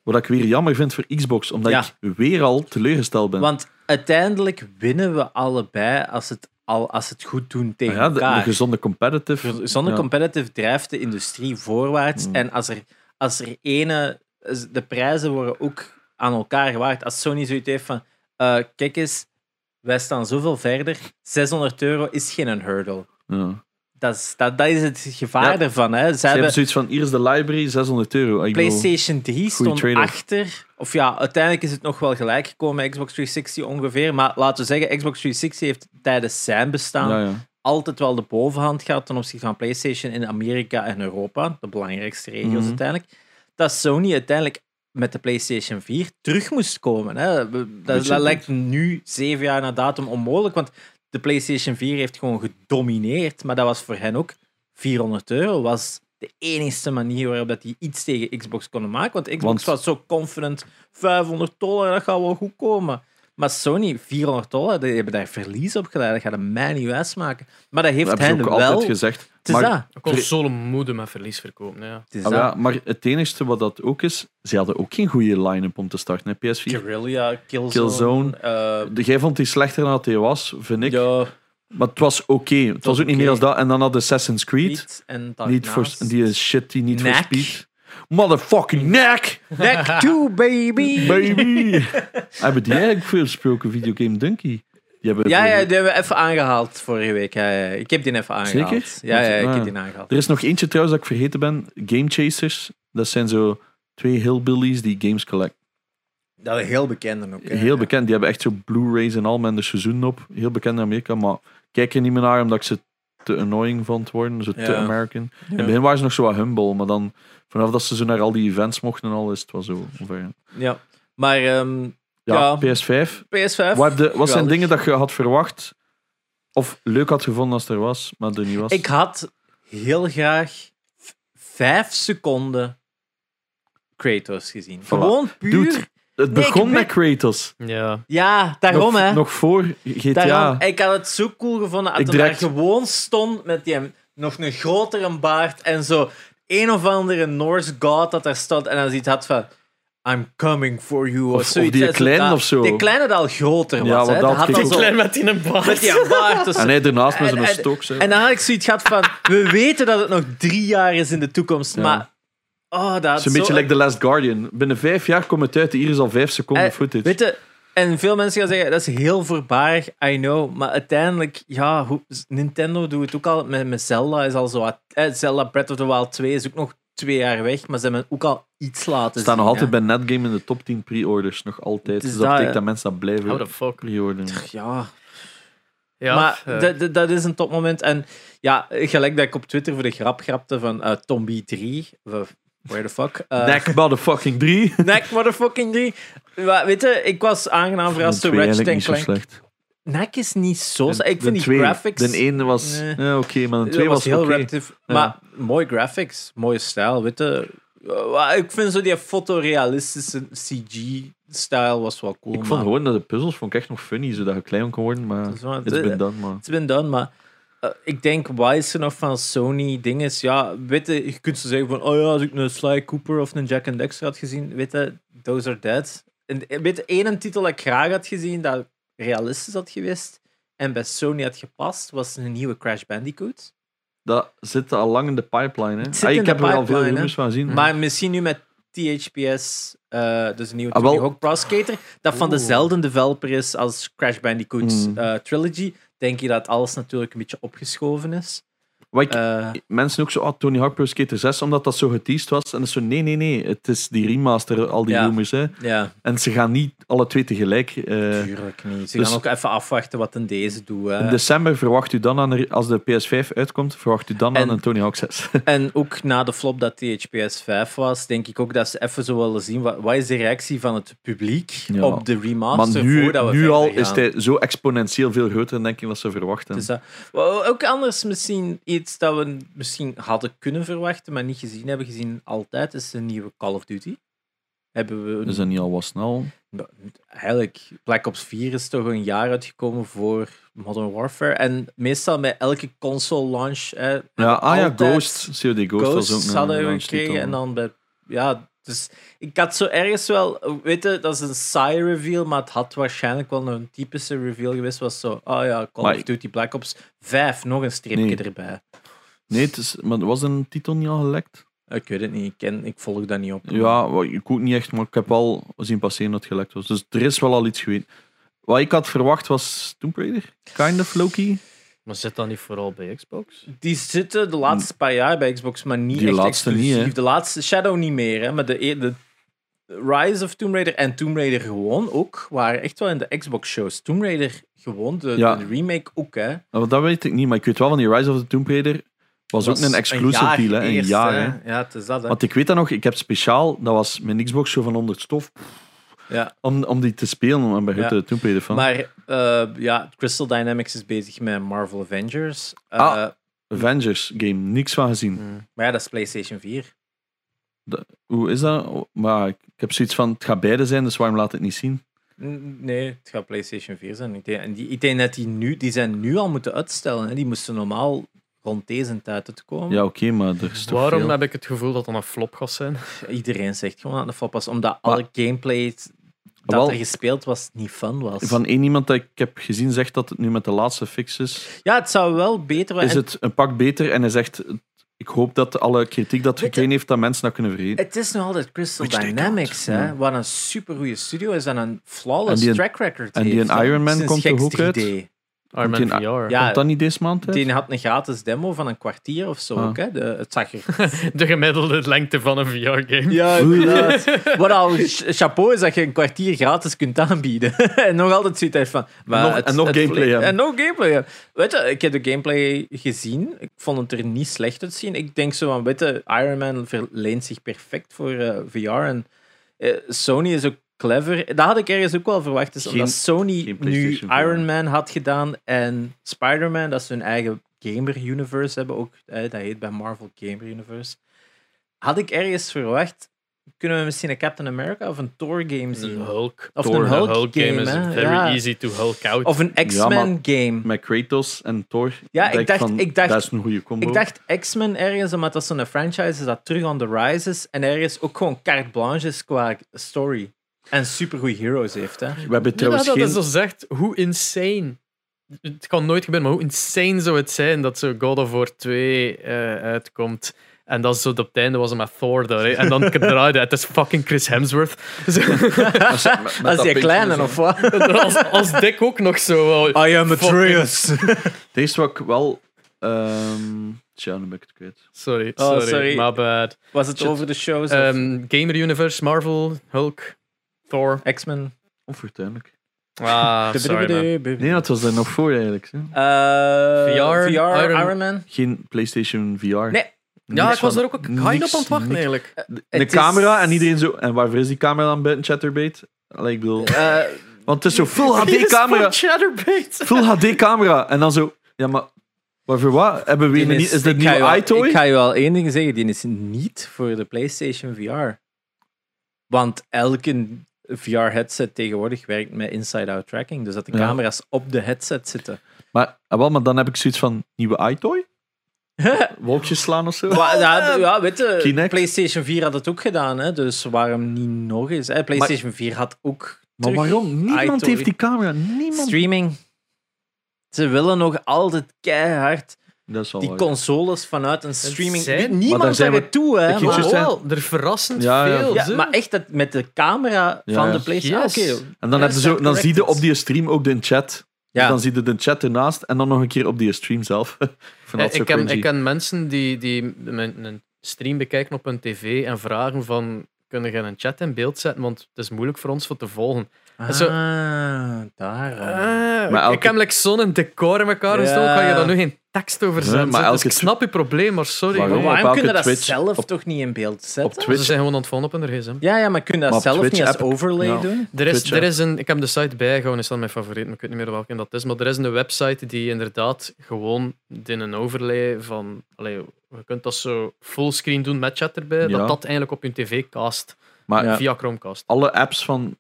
S3: Wat ik weer jammer vind voor Xbox, omdat
S1: Ja.
S3: ik weer al teleurgesteld ben.
S1: Want uiteindelijk winnen we allebei als het, al, als het goed doen tegen
S3: Maar Ah ja, de, een
S1: elkaar.
S3: gezonde competitive.
S1: Zonder
S3: ja. Hmm.
S1: competitive drijft de industrie voorwaarts. En als er, als er ene... De prijzen worden ook aan elkaar gewaard. Als Sony zoiets heeft van... eh, kijk eens, wij staan zoveel verder. 600 euro is geen een hurdle.
S3: ja.
S1: Dat is, dat, dat is het gevaar
S3: Ja.
S1: ervan. Hè. Ze
S3: Ze hebben
S1: hebben
S3: zoiets van, hier is de library, 600 euro. Ik bedoel,
S1: PlayStation 3 stond
S3: trailer.
S1: achter. Of ja, uiteindelijk is het nog wel gelijk gekomen met Xbox 360 ongeveer. Maar laten we zeggen, Xbox 360 heeft tijdens zijn bestaan
S3: ja, ja.
S1: altijd wel de bovenhand gehad ten opzichte van PlayStation in Amerika en Europa, de belangrijkste regio's
S3: Mhm.
S1: uiteindelijk, dat Sony uiteindelijk met de PlayStation 4 terug moest komen. Hè. We- Dat,
S3: Beetje
S1: dat lijkt nu, zeven jaar na datum, onmogelijk, want de PlayStation 4 heeft gewoon gedomineerd, maar dat was voor hen ook 400 euro, was de enigste manier waarop dat die iets tegen Xbox konden maken, want Xbox
S3: Want-
S1: was zo confident, 500 dollar, dat gaat wel goed komen. Maar Sony, 400 dollar, die hebben daar verlies op gedaan. Dat gaat een man US maken. Maar dat heeft
S3: Dat hebben
S1: hen
S3: ze ook
S1: wel...
S3: altijd gezegd.
S1: Het is dat.
S2: Een console moeder met verlies verkopen. Ja.
S1: Het is
S3: ah,
S1: dat.
S3: ja, maar het enige wat dat ook is, ze hadden ook geen goede line-up om te starten, hè, PS4.
S1: Guerrilla, Killzone...
S3: Killzone.
S1: eh,
S3: De- Jij vond die slechter dan dat hij was, vind ik.
S1: ja,
S3: Maar het was oké. Het was ook niet
S1: oké.
S3: meer als dat. En dan had Assassin's Creed.
S1: Heat en
S3: Niet voor
S1: daarnaast. (laughs)
S3: die shit die niet voor
S1: Knack.
S3: speed. Motherfucking neck,
S1: Neck 2, baby!
S3: baby. (laughs) hebben die eigenlijk veel gesproken videogame Dunky? Die hebben
S1: Ja, ja,
S3: voor-
S1: die hebben we even aangehaald vorige week. Ja, ja. Ik heb die even aangehaald.
S3: Zeker?
S1: Ja, ja, ik
S3: Ah.
S1: heb die aangehaald.
S3: Er is nog eentje trouwens dat ik vergeten ben. Game Chasers. Dat zijn zo twee hillbillies die games collect.
S1: Dat is heel bekend ook. hè.
S3: Heel bekend. Die hebben echt zo Blu-rays en al met de seizoenen op. Heel bekend in Amerika. Maar kijk er niet meer naar omdat ik ze te annoying vond worden. Zo te
S1: Ja.
S3: American. In
S1: Ja.
S3: het begin waren ze nog zo wat humble. Maar dan, vanaf dat ze zo naar al die events mochten en al, is het wel zo. ongeveer.
S1: Ja. Maar ehm,
S3: Ja,
S1: Ja.
S3: PS5.
S1: PS5...
S3: Wat, heb je- wat zijn
S1: geweldig.
S3: dingen dat je had verwacht of leuk had gevonden als er was, maar er niet was?
S1: Ik had heel graag v- vijf seconden Kratos gezien. Gewoon puur.
S3: Dude, het
S1: Nee,
S3: begon
S1: ik
S3: met
S1: weet-
S3: Kratos.
S2: ja.
S1: Ja, daarom
S3: nog,
S1: hè.
S3: nog voor GTA.
S1: daarom. Ik had het zo cool gevonden
S3: Ik
S1: dat hij
S3: direct-
S1: daar gewoon stond met die nog een grotere baard en zo een of andere Norse god dat daar stond en dan iets had van I'm coming for you. Of,
S3: Of- of
S1: zoiets,
S3: die
S1: hè, zo
S3: kleine
S1: dat-
S3: of zo.
S1: Die kleine dat al groter was.
S3: Ja, want
S1: hè.
S3: dat
S1: had
S3: kreeg
S1: al
S3: ik
S1: zo-
S2: Klein met die een baard.
S1: Met die baard. dus-
S3: (laughs) En hij daarnaast met zo'n
S1: en-
S3: stok. zo.
S1: En dan had ik zoiets gehad van, we weten dat het nog drie jaar is in de toekomst,
S3: Ja.
S1: maar... Oh, dat had
S3: Het is een
S1: zo-
S3: beetje like The Last Guardian. Binnen vijf jaar komt het uit. Hier is al vijf seconden
S1: Eh,
S3: footage.
S1: Weet je, en veel mensen gaan zeggen, dat is heel voorbarig, I know. Maar uiteindelijk, ja, hoe- Nintendo doet het ook al met, met Zelda. Is al zo, wat- eh, Zelda Breath of the Wild 2 is ook nog twee jaar weg, maar ze hebben ook al iets laten
S3: Ze staan nog
S1: zien,
S3: altijd
S1: hè.
S3: bij Netgame in de top 10 pre-orders. Nog altijd.
S1: Het is
S3: Dus
S1: dat,
S3: dat betekent
S1: hè.
S3: dat mensen dat
S2: How the
S3: blijven
S2: fuck.
S3: pre-orderen.
S1: Ja,
S2: Ja,
S1: maar
S2: eh,
S1: dat- dat- dat is een topmoment. En ja, gelijk dat ik op Twitter voor de grap grapte van eh Tombi 3, of where the fuck. eh,
S3: (laughs) Neck
S1: (laughs)
S3: motherfucking 3.
S1: Nek motherfucking 3. Maar weet je, ik was aangenaam verrast door Ratchet en Clank.
S3: slecht.
S1: Nek is niet zo...
S3: De-
S1: slecht. ik
S3: de
S1: vind die
S3: twee-
S1: graphics...
S3: De ene was
S1: Nee.
S3: ja, oké, maar de
S1: dat
S3: twee was,
S1: heel
S3: oké.
S1: repetitief. Maar mooi graphics, mooie stijl, weet je. Eh, Ik vind zo die fotorealistische CG-stijl was wel cool.
S3: Ik
S1: maar-
S3: vond gewoon dat de puzzels vond ik echt nog funny, zodat je klein kon worden, maar
S1: Dat is waar.
S3: it's been done, man.
S1: It's been done, maar eh, ik denk wijzer nog van Sony ding is, ja, weet je, je kunt ze zeggen van, oh ja, als ik een Sly Cooper of een Jack and Dexter had gezien, weet je, those are dead. En eh, weet je, één titel dat ik graag had gezien, dat realistisch had geweest en bij Sony had gepast, was een nieuwe Crash Bandicoot.
S3: Dat zit al lang in de pipeline, hè.
S1: Het zit
S3: Ah,
S1: in
S3: ik
S1: de
S3: heb er al veel
S1: pipeline,
S3: rumors van gezien.
S1: Maar misschien nu met THPS, eh, dus een nieuwe
S3: Ah,
S1: Tony
S3: wel.
S1: Hawk Pro Skater, dat van
S2: Oeh.
S1: dezelfde developer is als Crash Bandicoot's
S3: Mm.
S1: eh, trilogy, denk je dat alles natuurlijk een beetje opgeschoven is.
S3: Wat ik,
S1: Eh,
S3: mensen ook zo, ah, Tony Hawk Pro Skater 6, omdat dat zo geteased was. En dat is zo, nee, nee, nee, het is die remaster, al die
S1: Ja.
S3: rumors, hè.
S1: ja.
S3: En ze gaan niet alle twee tegelijk. eh,
S1: Tuurlijk niet. Ze
S3: dus-
S1: gaan ook even afwachten wat een deze doet. hè.
S3: in december verwacht u dan, aan een- als de PS5 uitkomt, verwacht u dan
S1: En-
S3: aan een Tony Hawk
S1: (laughs)
S3: 6.
S1: En ook na de flop dat THPS 5 was, denk ik ook dat ze even zo willen zien wat, wat is de reactie van het publiek
S3: Ja.
S1: op de
S3: maar
S1: remaster
S3: nu,
S1: voordat we
S3: nu
S1: verder
S3: al
S1: gaan.
S3: is hij zo exponentieel veel groter, denk ik, wat ze verwachten.
S1: Dus dat- wel, ook anders misschien iets dat we misschien hadden kunnen verwachten, maar niet gezien hebben. Gezien altijd is de nieuwe Call of Duty. Hebben we
S3: Is dat niet al wat snel?
S1: Nou,
S3: eh,
S1: Eigenlijk, Black Ops 4 is toch een jaar uitgekomen voor Modern Warfare. En meestal met elke console launch, hè,
S3: Ja, ah ja,
S1: altijd
S3: Ghost. COD Ghost, was
S1: Ghosts
S3: ook een
S1: hadden we
S3: launch titel.
S1: gekregen. En dan bij, ja, dus ik had zo ergens wel, weet je, dat is een saaie reveal, maar het had waarschijnlijk wel een typische reveal geweest. Was zo, oh ja, Call
S3: Maar-
S1: of Duty Black Ops 5, nog een streepje
S3: Nee.
S1: erbij.
S3: Nee, het is, maar was een titel niet al gelekt?
S1: Ik weet het niet, ik, ken, ik volg dat niet op.
S3: Ja, wa- ik ook niet echt, maar ik heb al zien passeren dat het gelekt was. Dus er is wel al iets geweten. Wat ik had verwacht was Tomb Raider. Kind of Loki.
S2: Maar zit dat niet vooral bij Xbox?
S1: Die zitten de laatste paar jaar bij Xbox, maar niet
S3: Die
S1: echt
S3: laatste niet,
S1: exclusief.
S3: hè?
S1: de laatste Shadow niet meer, hè, maar de, e- de Rise of Tomb Raider en Tomb Raider gewoon ook waren echt wel in de Xbox-shows. Tomb Raider gewoon, de,
S3: Ja.
S1: de remake ook, hè.
S3: Nou, dat weet ik niet, maar ik weet wel van die Rise of the Tomb Raider. Was, ook een exclusive
S1: jaar
S3: deal, hè? Een
S1: eerst,
S3: jaar, hè?
S1: Ja, het is dat, hè.
S3: Want ik weet dat nog, ik heb speciaal, dat was mijn Xbox zo van onder het stof,
S1: Ja.
S3: om, om die te spelen, om bij
S1: Ja.
S3: de Tomb Raider van.
S1: Maar eh, ja, Crystal Dynamics is bezig met Marvel Avengers. Eh,
S3: Ah. Avengers game, niks van gezien.
S1: Maar ja, dat is PlayStation 4.
S3: Hoe is dat? Maar ik ik heb zoiets van, het gaat beide zijn, dus waarom laat het niet zien?
S1: N- Nee, het gaat PlayStation 4 zijn. Ik denk, en die, ik denk dat die nu, die zijn nu al moeten uitstellen. Hè. Die moesten normaal rond deze tijd uitkomen.
S3: Ja, oké, maar er is toch
S2: Waarom
S3: veel.
S2: heb ik het gevoel dat dat een flop gaat zijn?
S1: Iedereen zegt gewoon dat het een flop was, omdat alle gameplay dat
S3: Wel-
S1: er gespeeld was niet fun was.
S3: Van één iemand dat ik heb gezien zegt dat het nu met de laatste fix is,
S1: Ja, het zou wel beter
S3: is
S1: en-
S3: het een pak beter. En hij zegt, ik hoop dat alle kritiek dat het gekregen heeft, dat mensen dat kunnen vergeten.
S1: Het is nog altijd Crystal
S3: Which they
S1: Dynamics,
S3: don't.
S1: hè?
S3: Ja.
S1: Wat een supergoeie studio is en een flawless
S3: En die-
S1: track record
S3: en die
S1: heeft,
S3: een
S1: hè,
S3: Iron Man
S1: sinds
S3: komt toch
S1: Geks
S3: ook uit?
S1: 3D.
S2: Armin
S3: Meteen-
S2: VR.
S1: Ja.
S3: Komt dat niet deze maand uit?
S1: Die had een gratis demo van een kwartier of zo
S3: Ah.
S1: ook, hè? De, het zag er...
S2: (laughs) De gemiddelde lengte van een VR-game.
S3: (laughs)
S1: Ja, inderdaad. (laughs) Wat al ch- chapeau is dat je een kwartier gratis kunt aanbieden. (laughs) en nog altijd zoiets uit van... maar
S3: nog- en nog gameplay hebben.
S1: En nog gameplay hebben. Weet je, ik heb de gameplay gezien. Ik vond het er niet slecht uitzien. Ik denk zo van, weet je, Iron Man verleent zich perfect voor eh, VR. En eh, Sony is ook clever. Dat had ik ergens ook wel verwacht. Dus
S3: Geen-
S1: omdat Sony
S3: geen
S1: nu
S3: PlayStation VR.
S1: Iron Man had gedaan en Spider-Man, dat ze hun eigen gamer-universe hebben ook. eh, dat heet bij Marvel Gamer Universe had ik ergens verwacht Kunnen we misschien een Captain America of een Thor game zien?
S2: Een Hulk.
S1: Of
S3: Thor,
S1: een
S2: Een
S1: Hulk,
S2: Hulk game is
S1: hè?
S2: very
S1: Ja.
S2: easy to Hulk out.
S1: Of een X-Men game.
S3: Met Kratos en Thor.
S1: Ja, ik
S3: denk
S1: dacht- ik dacht-
S3: Dat is een goede combo.
S1: Ik dacht X-Men ergens, omdat dat zo'n franchise is dat terug on the rise is. En ergens ook gewoon carte blanche is qua story. En supergoeie heroes heeft, hè.
S3: We hebben
S2: Ja,
S3: trouwens
S2: dat
S3: geen...
S2: is zo zegt, hoe insane. Het kan nooit gebeuren, maar hoe insane zou het zijn dat zo God of War 2 eh, uitkomt. En dat is zo op het einde was het met Thor daar. hè. En (laughs) dan draaide het, het is fucking Chris Hemsworth. (laughs) Zo,
S3: Als, met- met
S1: (laughs) Als
S3: dat
S1: die
S3: puntje
S1: kleine
S3: zo.
S1: of
S2: (laughs)
S1: wat?
S2: als, als Dick ook nog zo. wel-
S1: I am
S2: Fucking-
S1: Atreus.
S3: Het is wat ik wel... ehm Tja, nu ben ik het kwijt.
S2: Sorry,
S1: Oh,
S2: sorry,
S1: sorry.
S2: my bad.
S1: (laughs) Was het
S2: Shit.
S1: over de shows? of-
S2: Ehm, Gamer Universe, Marvel, Hulk, Thor.
S1: X-Men.
S3: Onfortuinlijk.
S1: (laughs)
S2: Ah, sorry man.
S3: Nee, dat was er nog voor eigenlijk. hè.
S1: Eh,
S2: VR,
S1: VR, Iron...
S2: Iron-
S1: Man.
S3: Geen PlayStation VR.
S1: Nee.
S2: Ja,
S3: Niks
S2: ik was
S3: van-
S2: er ook een kind
S3: niks,
S2: op aan het wachten
S3: niks.
S2: eigenlijk.
S3: De
S1: Het is-
S3: camera en iedereen zo... En waarvoor is die camera dan buiten Chatterbait? Allee, ik bedoel...
S1: Eh,
S3: Want het is zo
S1: (laughs)
S3: full
S2: Oh, Die is
S3: HD-camera.
S2: van Chatterbait.
S3: (laughs) Full HD-camera. En dan zo... Ja, maar... Waarvoor wat? Hebben we
S1: die
S3: een, is, is dit
S1: ik ga je wel-
S3: nieuwe iToy?
S1: Ik ga je wel één ding zeggen. Die is niet voor de PlayStation VR. Want elke VR-headset tegenwoordig werkt met inside-out tracking. Dus dat de
S3: Ja.
S1: camera's op de headset zitten.
S3: Maar, ah, wel, maar dan heb ik zoiets van... Nieuwe
S1: (laughs)
S3: iToy? Wolkjes slaan of zo?
S1: Maar, ja, ja, weet je,
S3: Oh, Kinect.
S1: PlayStation 4 had het ook gedaan, hè, dus waarom niet nog eens? Hè? PlayStation 4 had ook
S3: Maar
S1: terug
S3: waarom? Niemand
S1: iToy.
S3: heeft die camera. Niemand.
S1: streaming. Ze willen nog altijd keihard
S3: Dat is wel
S1: die
S3: waar.
S1: consoles vanuit een streaming.
S2: zijn-
S1: Wie-
S3: Maar daar
S1: Niemand
S3: zijn
S1: zegt het toe, hè?
S3: Ik
S2: Maar
S3: juist
S2: wel, er verrassend
S3: Ja, ja.
S2: veel.
S1: Ja,
S2: zo.
S1: maar echt dat met de camera
S3: Ja,
S1: van
S3: ja.
S1: de PlayStation.
S2: Yes.
S1: Oké,
S3: En dan,
S1: Ja,
S3: heb je zo, dan
S1: correct.
S3: zie je op die stream ook de chat.
S1: ja.
S3: Dus dan zie je de chat ernaast en dan nog een keer op die stream zelf. (laughs) ik vind dat
S2: Eh,
S3: zo
S2: ik, ken,
S3: cringy.
S2: ik ken mensen die, die mijn, een stream bekijken op hun tv en vragen van kunnen je een chat in beeld zetten, want het is moeilijk voor ons voor te volgen. Zo-
S1: Ah, daarom.
S2: maar
S3: elke-
S2: Eh, Ik heb like, zo'n decor in elkaar gestoken,
S1: Ja.
S2: kan je daar nu geen tekst over
S3: Nee,
S2: zetten.
S3: maar
S2: zo. Dus
S3: elke-
S2: ik snap je probleem, maar sorry.
S3: Waarom?
S2: hoor.
S1: Maar waarom
S3: elke
S1: kunnen dat
S3: Twitch-
S1: zelf
S3: op-
S1: toch niet in beeld
S3: op
S1: zetten?
S2: Ze
S3: Twitch.
S2: zijn gewoon aan het van op hun gsm.
S1: ja, ja, maar kun je dat
S3: Maar op
S1: zelf
S3: Twitch
S1: niet als
S3: heb ik-
S1: overlay
S3: ja.
S1: doen?
S2: Er is,
S3: Twitch,
S2: er
S3: ja.
S2: is een, ik heb de site bijgehouden, is dat mijn favoriet, maar ik weet niet meer welke dat is. Maar er is een website die inderdaad gewoon in een overlay van. Allee, je kunt dat zo fullscreen doen met chat erbij,
S3: Ja.
S2: dat dat eigenlijk op je tv cast
S3: Maar
S1: Ja.
S2: via Chromecast.
S3: alle apps van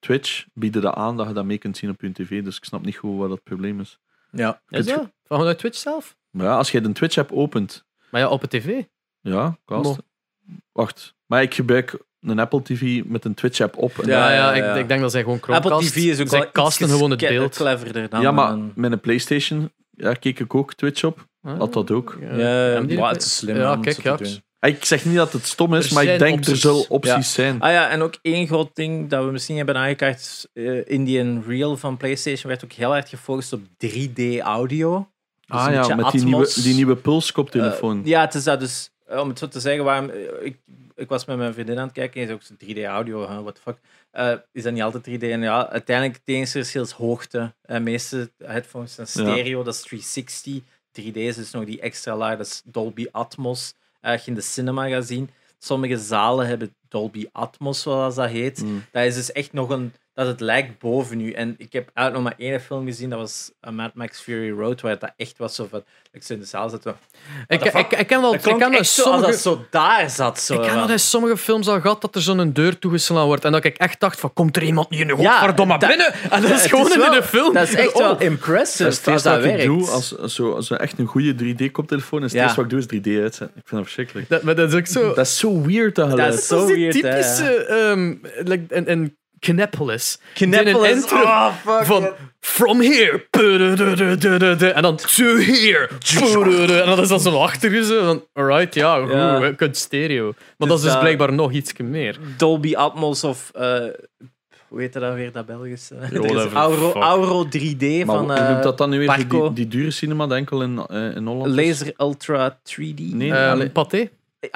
S3: Twitch bieden dat aan dat je dat mee kunt zien op je tv. Dus ik snap niet goed wat dat probleem is.
S1: Ja.
S3: Je
S2: Is
S3: kunt
S2: dat? Vanuit Twitch zelf?
S3: ge- Maar ja, als je de Twitch-app opent...
S2: Maar ja, op het tv.
S3: Ja, cast.
S2: Mo.
S3: Wacht. Maar ik gebruik een Apple TV met een Twitch-app op. En
S1: Ja,
S2: Ja, ja,
S1: ja, ja.
S2: Ik, ik denk dat zij gewoon Chromecast.
S1: Apple TV is ook
S2: zij
S1: wel
S2: casten
S1: ietsjes
S2: gewoon het
S1: ke-
S2: beeld.
S1: cleverder dan.
S3: ja, maar
S1: dan-
S3: met een PlayStation ja, keek ik ook Twitch op.
S2: Ah,
S3: Had dat ook.
S2: ja.
S1: Ja,
S2: Hebben die
S1: maar
S2: dat-
S1: het is slim.
S2: Ja,
S1: om het
S2: kijk,
S1: zo
S2: ja.
S1: te doen.
S3: Ik zeg niet dat het stom is,
S2: Er
S3: maar ik
S2: zijn
S3: denk er
S2: opties.
S3: zullen opties zijn.
S1: Ah ja, en ook één groot ding dat we misschien hebben aangekaart. is, eh, Indian Reel van PlayStation werd ook heel hard gefocust op 3D-audio.
S3: ah ja, met die nieuwe, die nieuwe pulskoptelefoon.
S1: ja, het is dat dus. eh, Om het zo te zeggen, waarom, eh, ik, ik was met mijn vriendin aan het kijken en ze ook zo 3D-audio, hè, what the fuck. Eh, is dat niet altijd 3D? En ja, uiteindelijk het enige verschil is hoogte. De meeste headphones zijn
S3: Ja.
S1: stereo, dat is 360. 3D is dus nog die extra laag, dat is Dolby Atmos. Eh, Als je in de cinema gaat zien, sommige zalen hebben Dolby Atmos, zoals dat heet.
S3: Mm.
S1: Dat is dus echt nog een... Dat het lijkt boven u. En ik heb eigenlijk nog maar één film gezien, dat was eh, Mad Max Fury Road, waar dat echt was zo van... Ik zit in de zaal zitten...
S2: Ik,
S1: What the
S2: ik,
S1: fuck?
S2: ik ken wel.
S1: Dat
S2: Ik ken
S1: klonk
S2: wel
S1: echt zo als
S2: sommige,
S1: dat zo daar zat. Zo,
S2: ik dus- ken
S1: wel.
S2: dat in sommige films al gehad dat er zo'n deur toegeslaan wordt. En dat ik echt dacht: van, komt er iemand niet in de godverdomme
S1: dat-
S2: binnen? En dat is
S1: (laughs) (laughs) Het
S2: gewoon in
S1: wel-
S2: de film.
S1: Dat is echt
S2: Oh,
S1: wel impressive
S3: Dat is het
S1: dat
S3: eerste
S1: dat
S3: wat ik
S1: werkt.
S3: doe, als, als, zo, als zo echt een goede 3D-koptelefoon is, het
S1: Ja.
S3: eerste wat ik doe is 3D uitzetten. Ik vind dat verschrikkelijk.
S2: Dat, maar dat is ook zo.
S3: Dat is zo weird, dat
S1: Dat
S3: geluid.
S1: is-
S2: Dat is
S1: zo
S2: die
S1: weird, hè,
S2: typische. ehm like, en, en Knepolis.
S1: Kneppel
S2: In een
S1: is...
S2: intro
S1: Oh, fuck.
S2: Van
S1: yeah.
S2: from here. pudududududu, En dan to here. pudududu, En dat is dan zo'n achter zo. Van, alright, ja, goed,
S1: Ja.
S2: je kunt stereo. Maar dat is dus
S1: dat-
S2: blijkbaar nog iets meer.
S1: Dolby Atmos of... eh, hoe heet dat weer, dat (laughs) Belgische? Er is
S2: whatever,
S1: Auro,
S2: fuck.
S1: Auro 3D
S3: maar
S1: van eh,
S3: hoe noemt dat dan nu weer? Die,
S1: Barco.
S3: die, die dure cinema, dat enkel in, eh, in Holland is?
S1: Laser Ultra 3D.
S3: Nee,
S1: eh,
S3: allee,
S2: Ehm Pathé?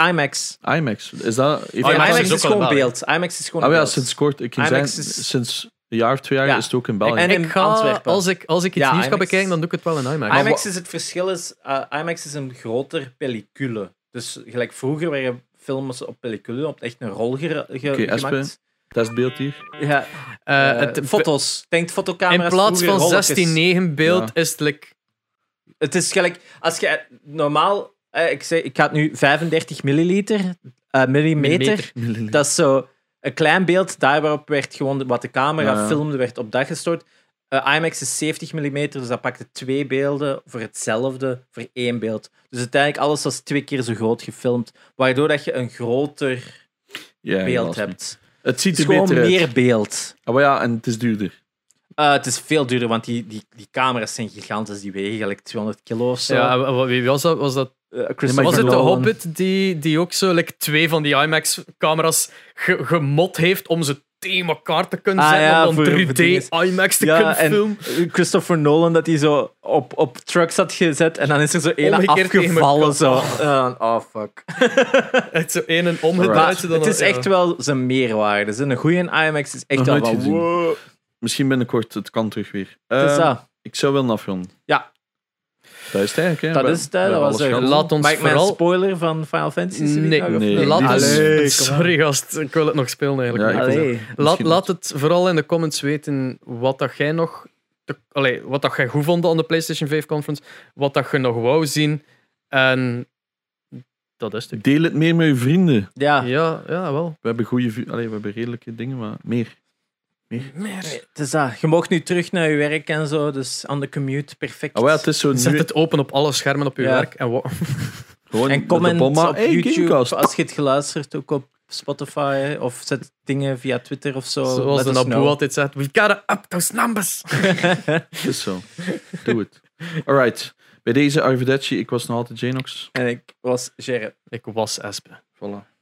S1: IMAX.
S3: IMAX. Is dat... heeft
S2: Ah,
S3: dat-
S1: Oh,
S2: IMAX
S1: IMAX
S2: is
S1: is,
S2: ook al
S1: gewoon
S2: in
S1: beeld. IMAX is gewoon
S3: Ah ja,
S1: beeld.
S3: sinds kort. Ik ging
S1: IMAX
S3: zeggen,
S1: is-
S3: sinds een jaar of twee jaar
S1: Ja.
S3: is het ook in België.
S1: En
S2: En
S1: in
S2: ik ga,
S1: Antwerpen.
S2: als ik, als ik iets
S1: Ja,
S2: nieuws ga
S1: IMAX.
S2: bekijken, dan doe ik het wel in IMAX.
S1: IMAX is het verschil is, eh, IMAX is een groter pellicule. Dus gelijk vroeger werden films op pellicule op echt een rol ge- ge-
S3: Oké,
S1: gemaakt.
S3: Testbeeld hier.
S1: Ja,
S2: Eh,
S1: eh,
S2: het,
S1: foto's. Denkt fotocamera's
S2: in plaats
S1: vroeger
S2: van
S1: rolletjes.
S2: 16-9 beeld
S3: Ja.
S2: is het like,
S1: Het is gelijk, als je normaal, eh, ik, zeg, ik ga het nu 35 milliliter, eh, eh, millimeter.
S2: Millimeter.
S1: Dat is zo een klein beeld, daar waarop werd gewoon wat de camera
S3: Ja.
S1: filmde, werd op dat gestort. Eh, IMAX is 70 mm, dus dat pakte twee beelden voor hetzelfde, voor één beeld. Dus uiteindelijk alles was twee keer zo groot gefilmd, waardoor dat je een groter
S3: Ja,
S1: beeld
S3: helaas niet.
S1: hebt.
S3: Het
S1: Het
S3: ziet
S1: is
S3: er
S1: gewoon
S3: beter uit.
S1: meer beeld.
S3: Ah, maar ja, en het is duurder.
S1: Eh, het is veel duurder, want die, die, die camera's zijn gigantisch, die wegen gelijk 200 kilo of zo.
S2: Ja, wa- wa- wie was dat? Was, dat,
S1: Eh,
S3: Maar
S1: Christopher
S2: was het de
S1: Nolan.
S2: Hobbit die, die ook zo like, twee van die IMAX-camera's ge- gemot heeft om ze tegen elkaar te kunnen
S1: Ah,
S2: zetten
S1: ja,
S2: om dan
S1: voor- voor
S2: 3D
S1: dinges.
S2: IMAX te kunnen
S1: Ja, en
S2: filmen?
S1: Christopher Nolan, dat hij zo op, op trucks had gezet en dan is er zo één
S2: Omgekeerd tegen
S1: afgevallen.
S2: elkaar.
S1: Zo. Eh, oh, fuck.
S2: Echt zo één en
S1: Maar
S2: omgedraaid. ze dan
S1: het is
S2: ja.
S1: echt wel zijn meerwaarde. Zijn een goede IMAX is echt
S3: Nog
S1: wel
S3: nooit
S1: wat...
S3: gezien.
S1: Wow.
S3: Misschien binnenkort, het kan terug weer.
S1: Het is
S3: Ehm,
S1: dat.
S3: Ik zou willen afronden.
S1: Ja.
S3: Dat is het eigenlijk, hè?
S1: Dat
S3: We-
S1: is het, hè.
S3: we
S1: Dat
S3: hebben
S1: was
S3: alles
S1: er.
S3: gehad.
S2: Laat ons
S1: Maak ik mij een
S2: vooral...
S1: spoiler van Final Fantasy?
S2: Nee,
S1: nog, of
S3: nee.
S2: Laat
S3: Dit is-
S1: Allee,
S2: ons...
S1: kom aan.
S2: Sorry gast, ik wil het nog spelen eigenlijk.
S3: Ja, ik
S2: Maar-
S3: wil-
S1: Allee.
S2: Laat,
S3: Misschien
S2: laat het vooral in de comments weten wat dat jij nog. te- allee, wat dat jij goed vond aan de PlayStation 5 conference. Wat dat je nog wou zien. En dat is het.
S3: Deel het meer met je vrienden.
S1: Ja.
S2: Ja, ja, wel.
S3: We hebben goede... vu- Allee, we hebben redelijke dingen, maar meer.
S1: Nee, Het is dat. Je mag nu terug naar je werk en zo, dus aan de commute, perfect.
S2: Oh,
S3: Ah, wel, het
S1: (laughs)
S3: is zo nu...
S2: Zet het open op alle schermen op je
S1: Ja.
S2: werk. En wa- (laughs)
S3: Gewoon
S1: En comment
S3: dat de bomma-
S1: op
S3: Hey,
S1: YouTube
S3: Gamecast.
S1: als je het geluisterd ook op Spotify of zet dingen via Twitter of zo.
S2: zoals
S1: Let
S2: de
S1: us
S2: Naboe
S1: know.
S2: altijd zegt: We gotta up those numbers.
S3: Het (laughs) is zo. Doe het. Alright. Bij deze Arrivederci, ik was nog altijd Janox.
S1: En ik was Gerrit.
S2: Ik was Espe.
S3: Voilà.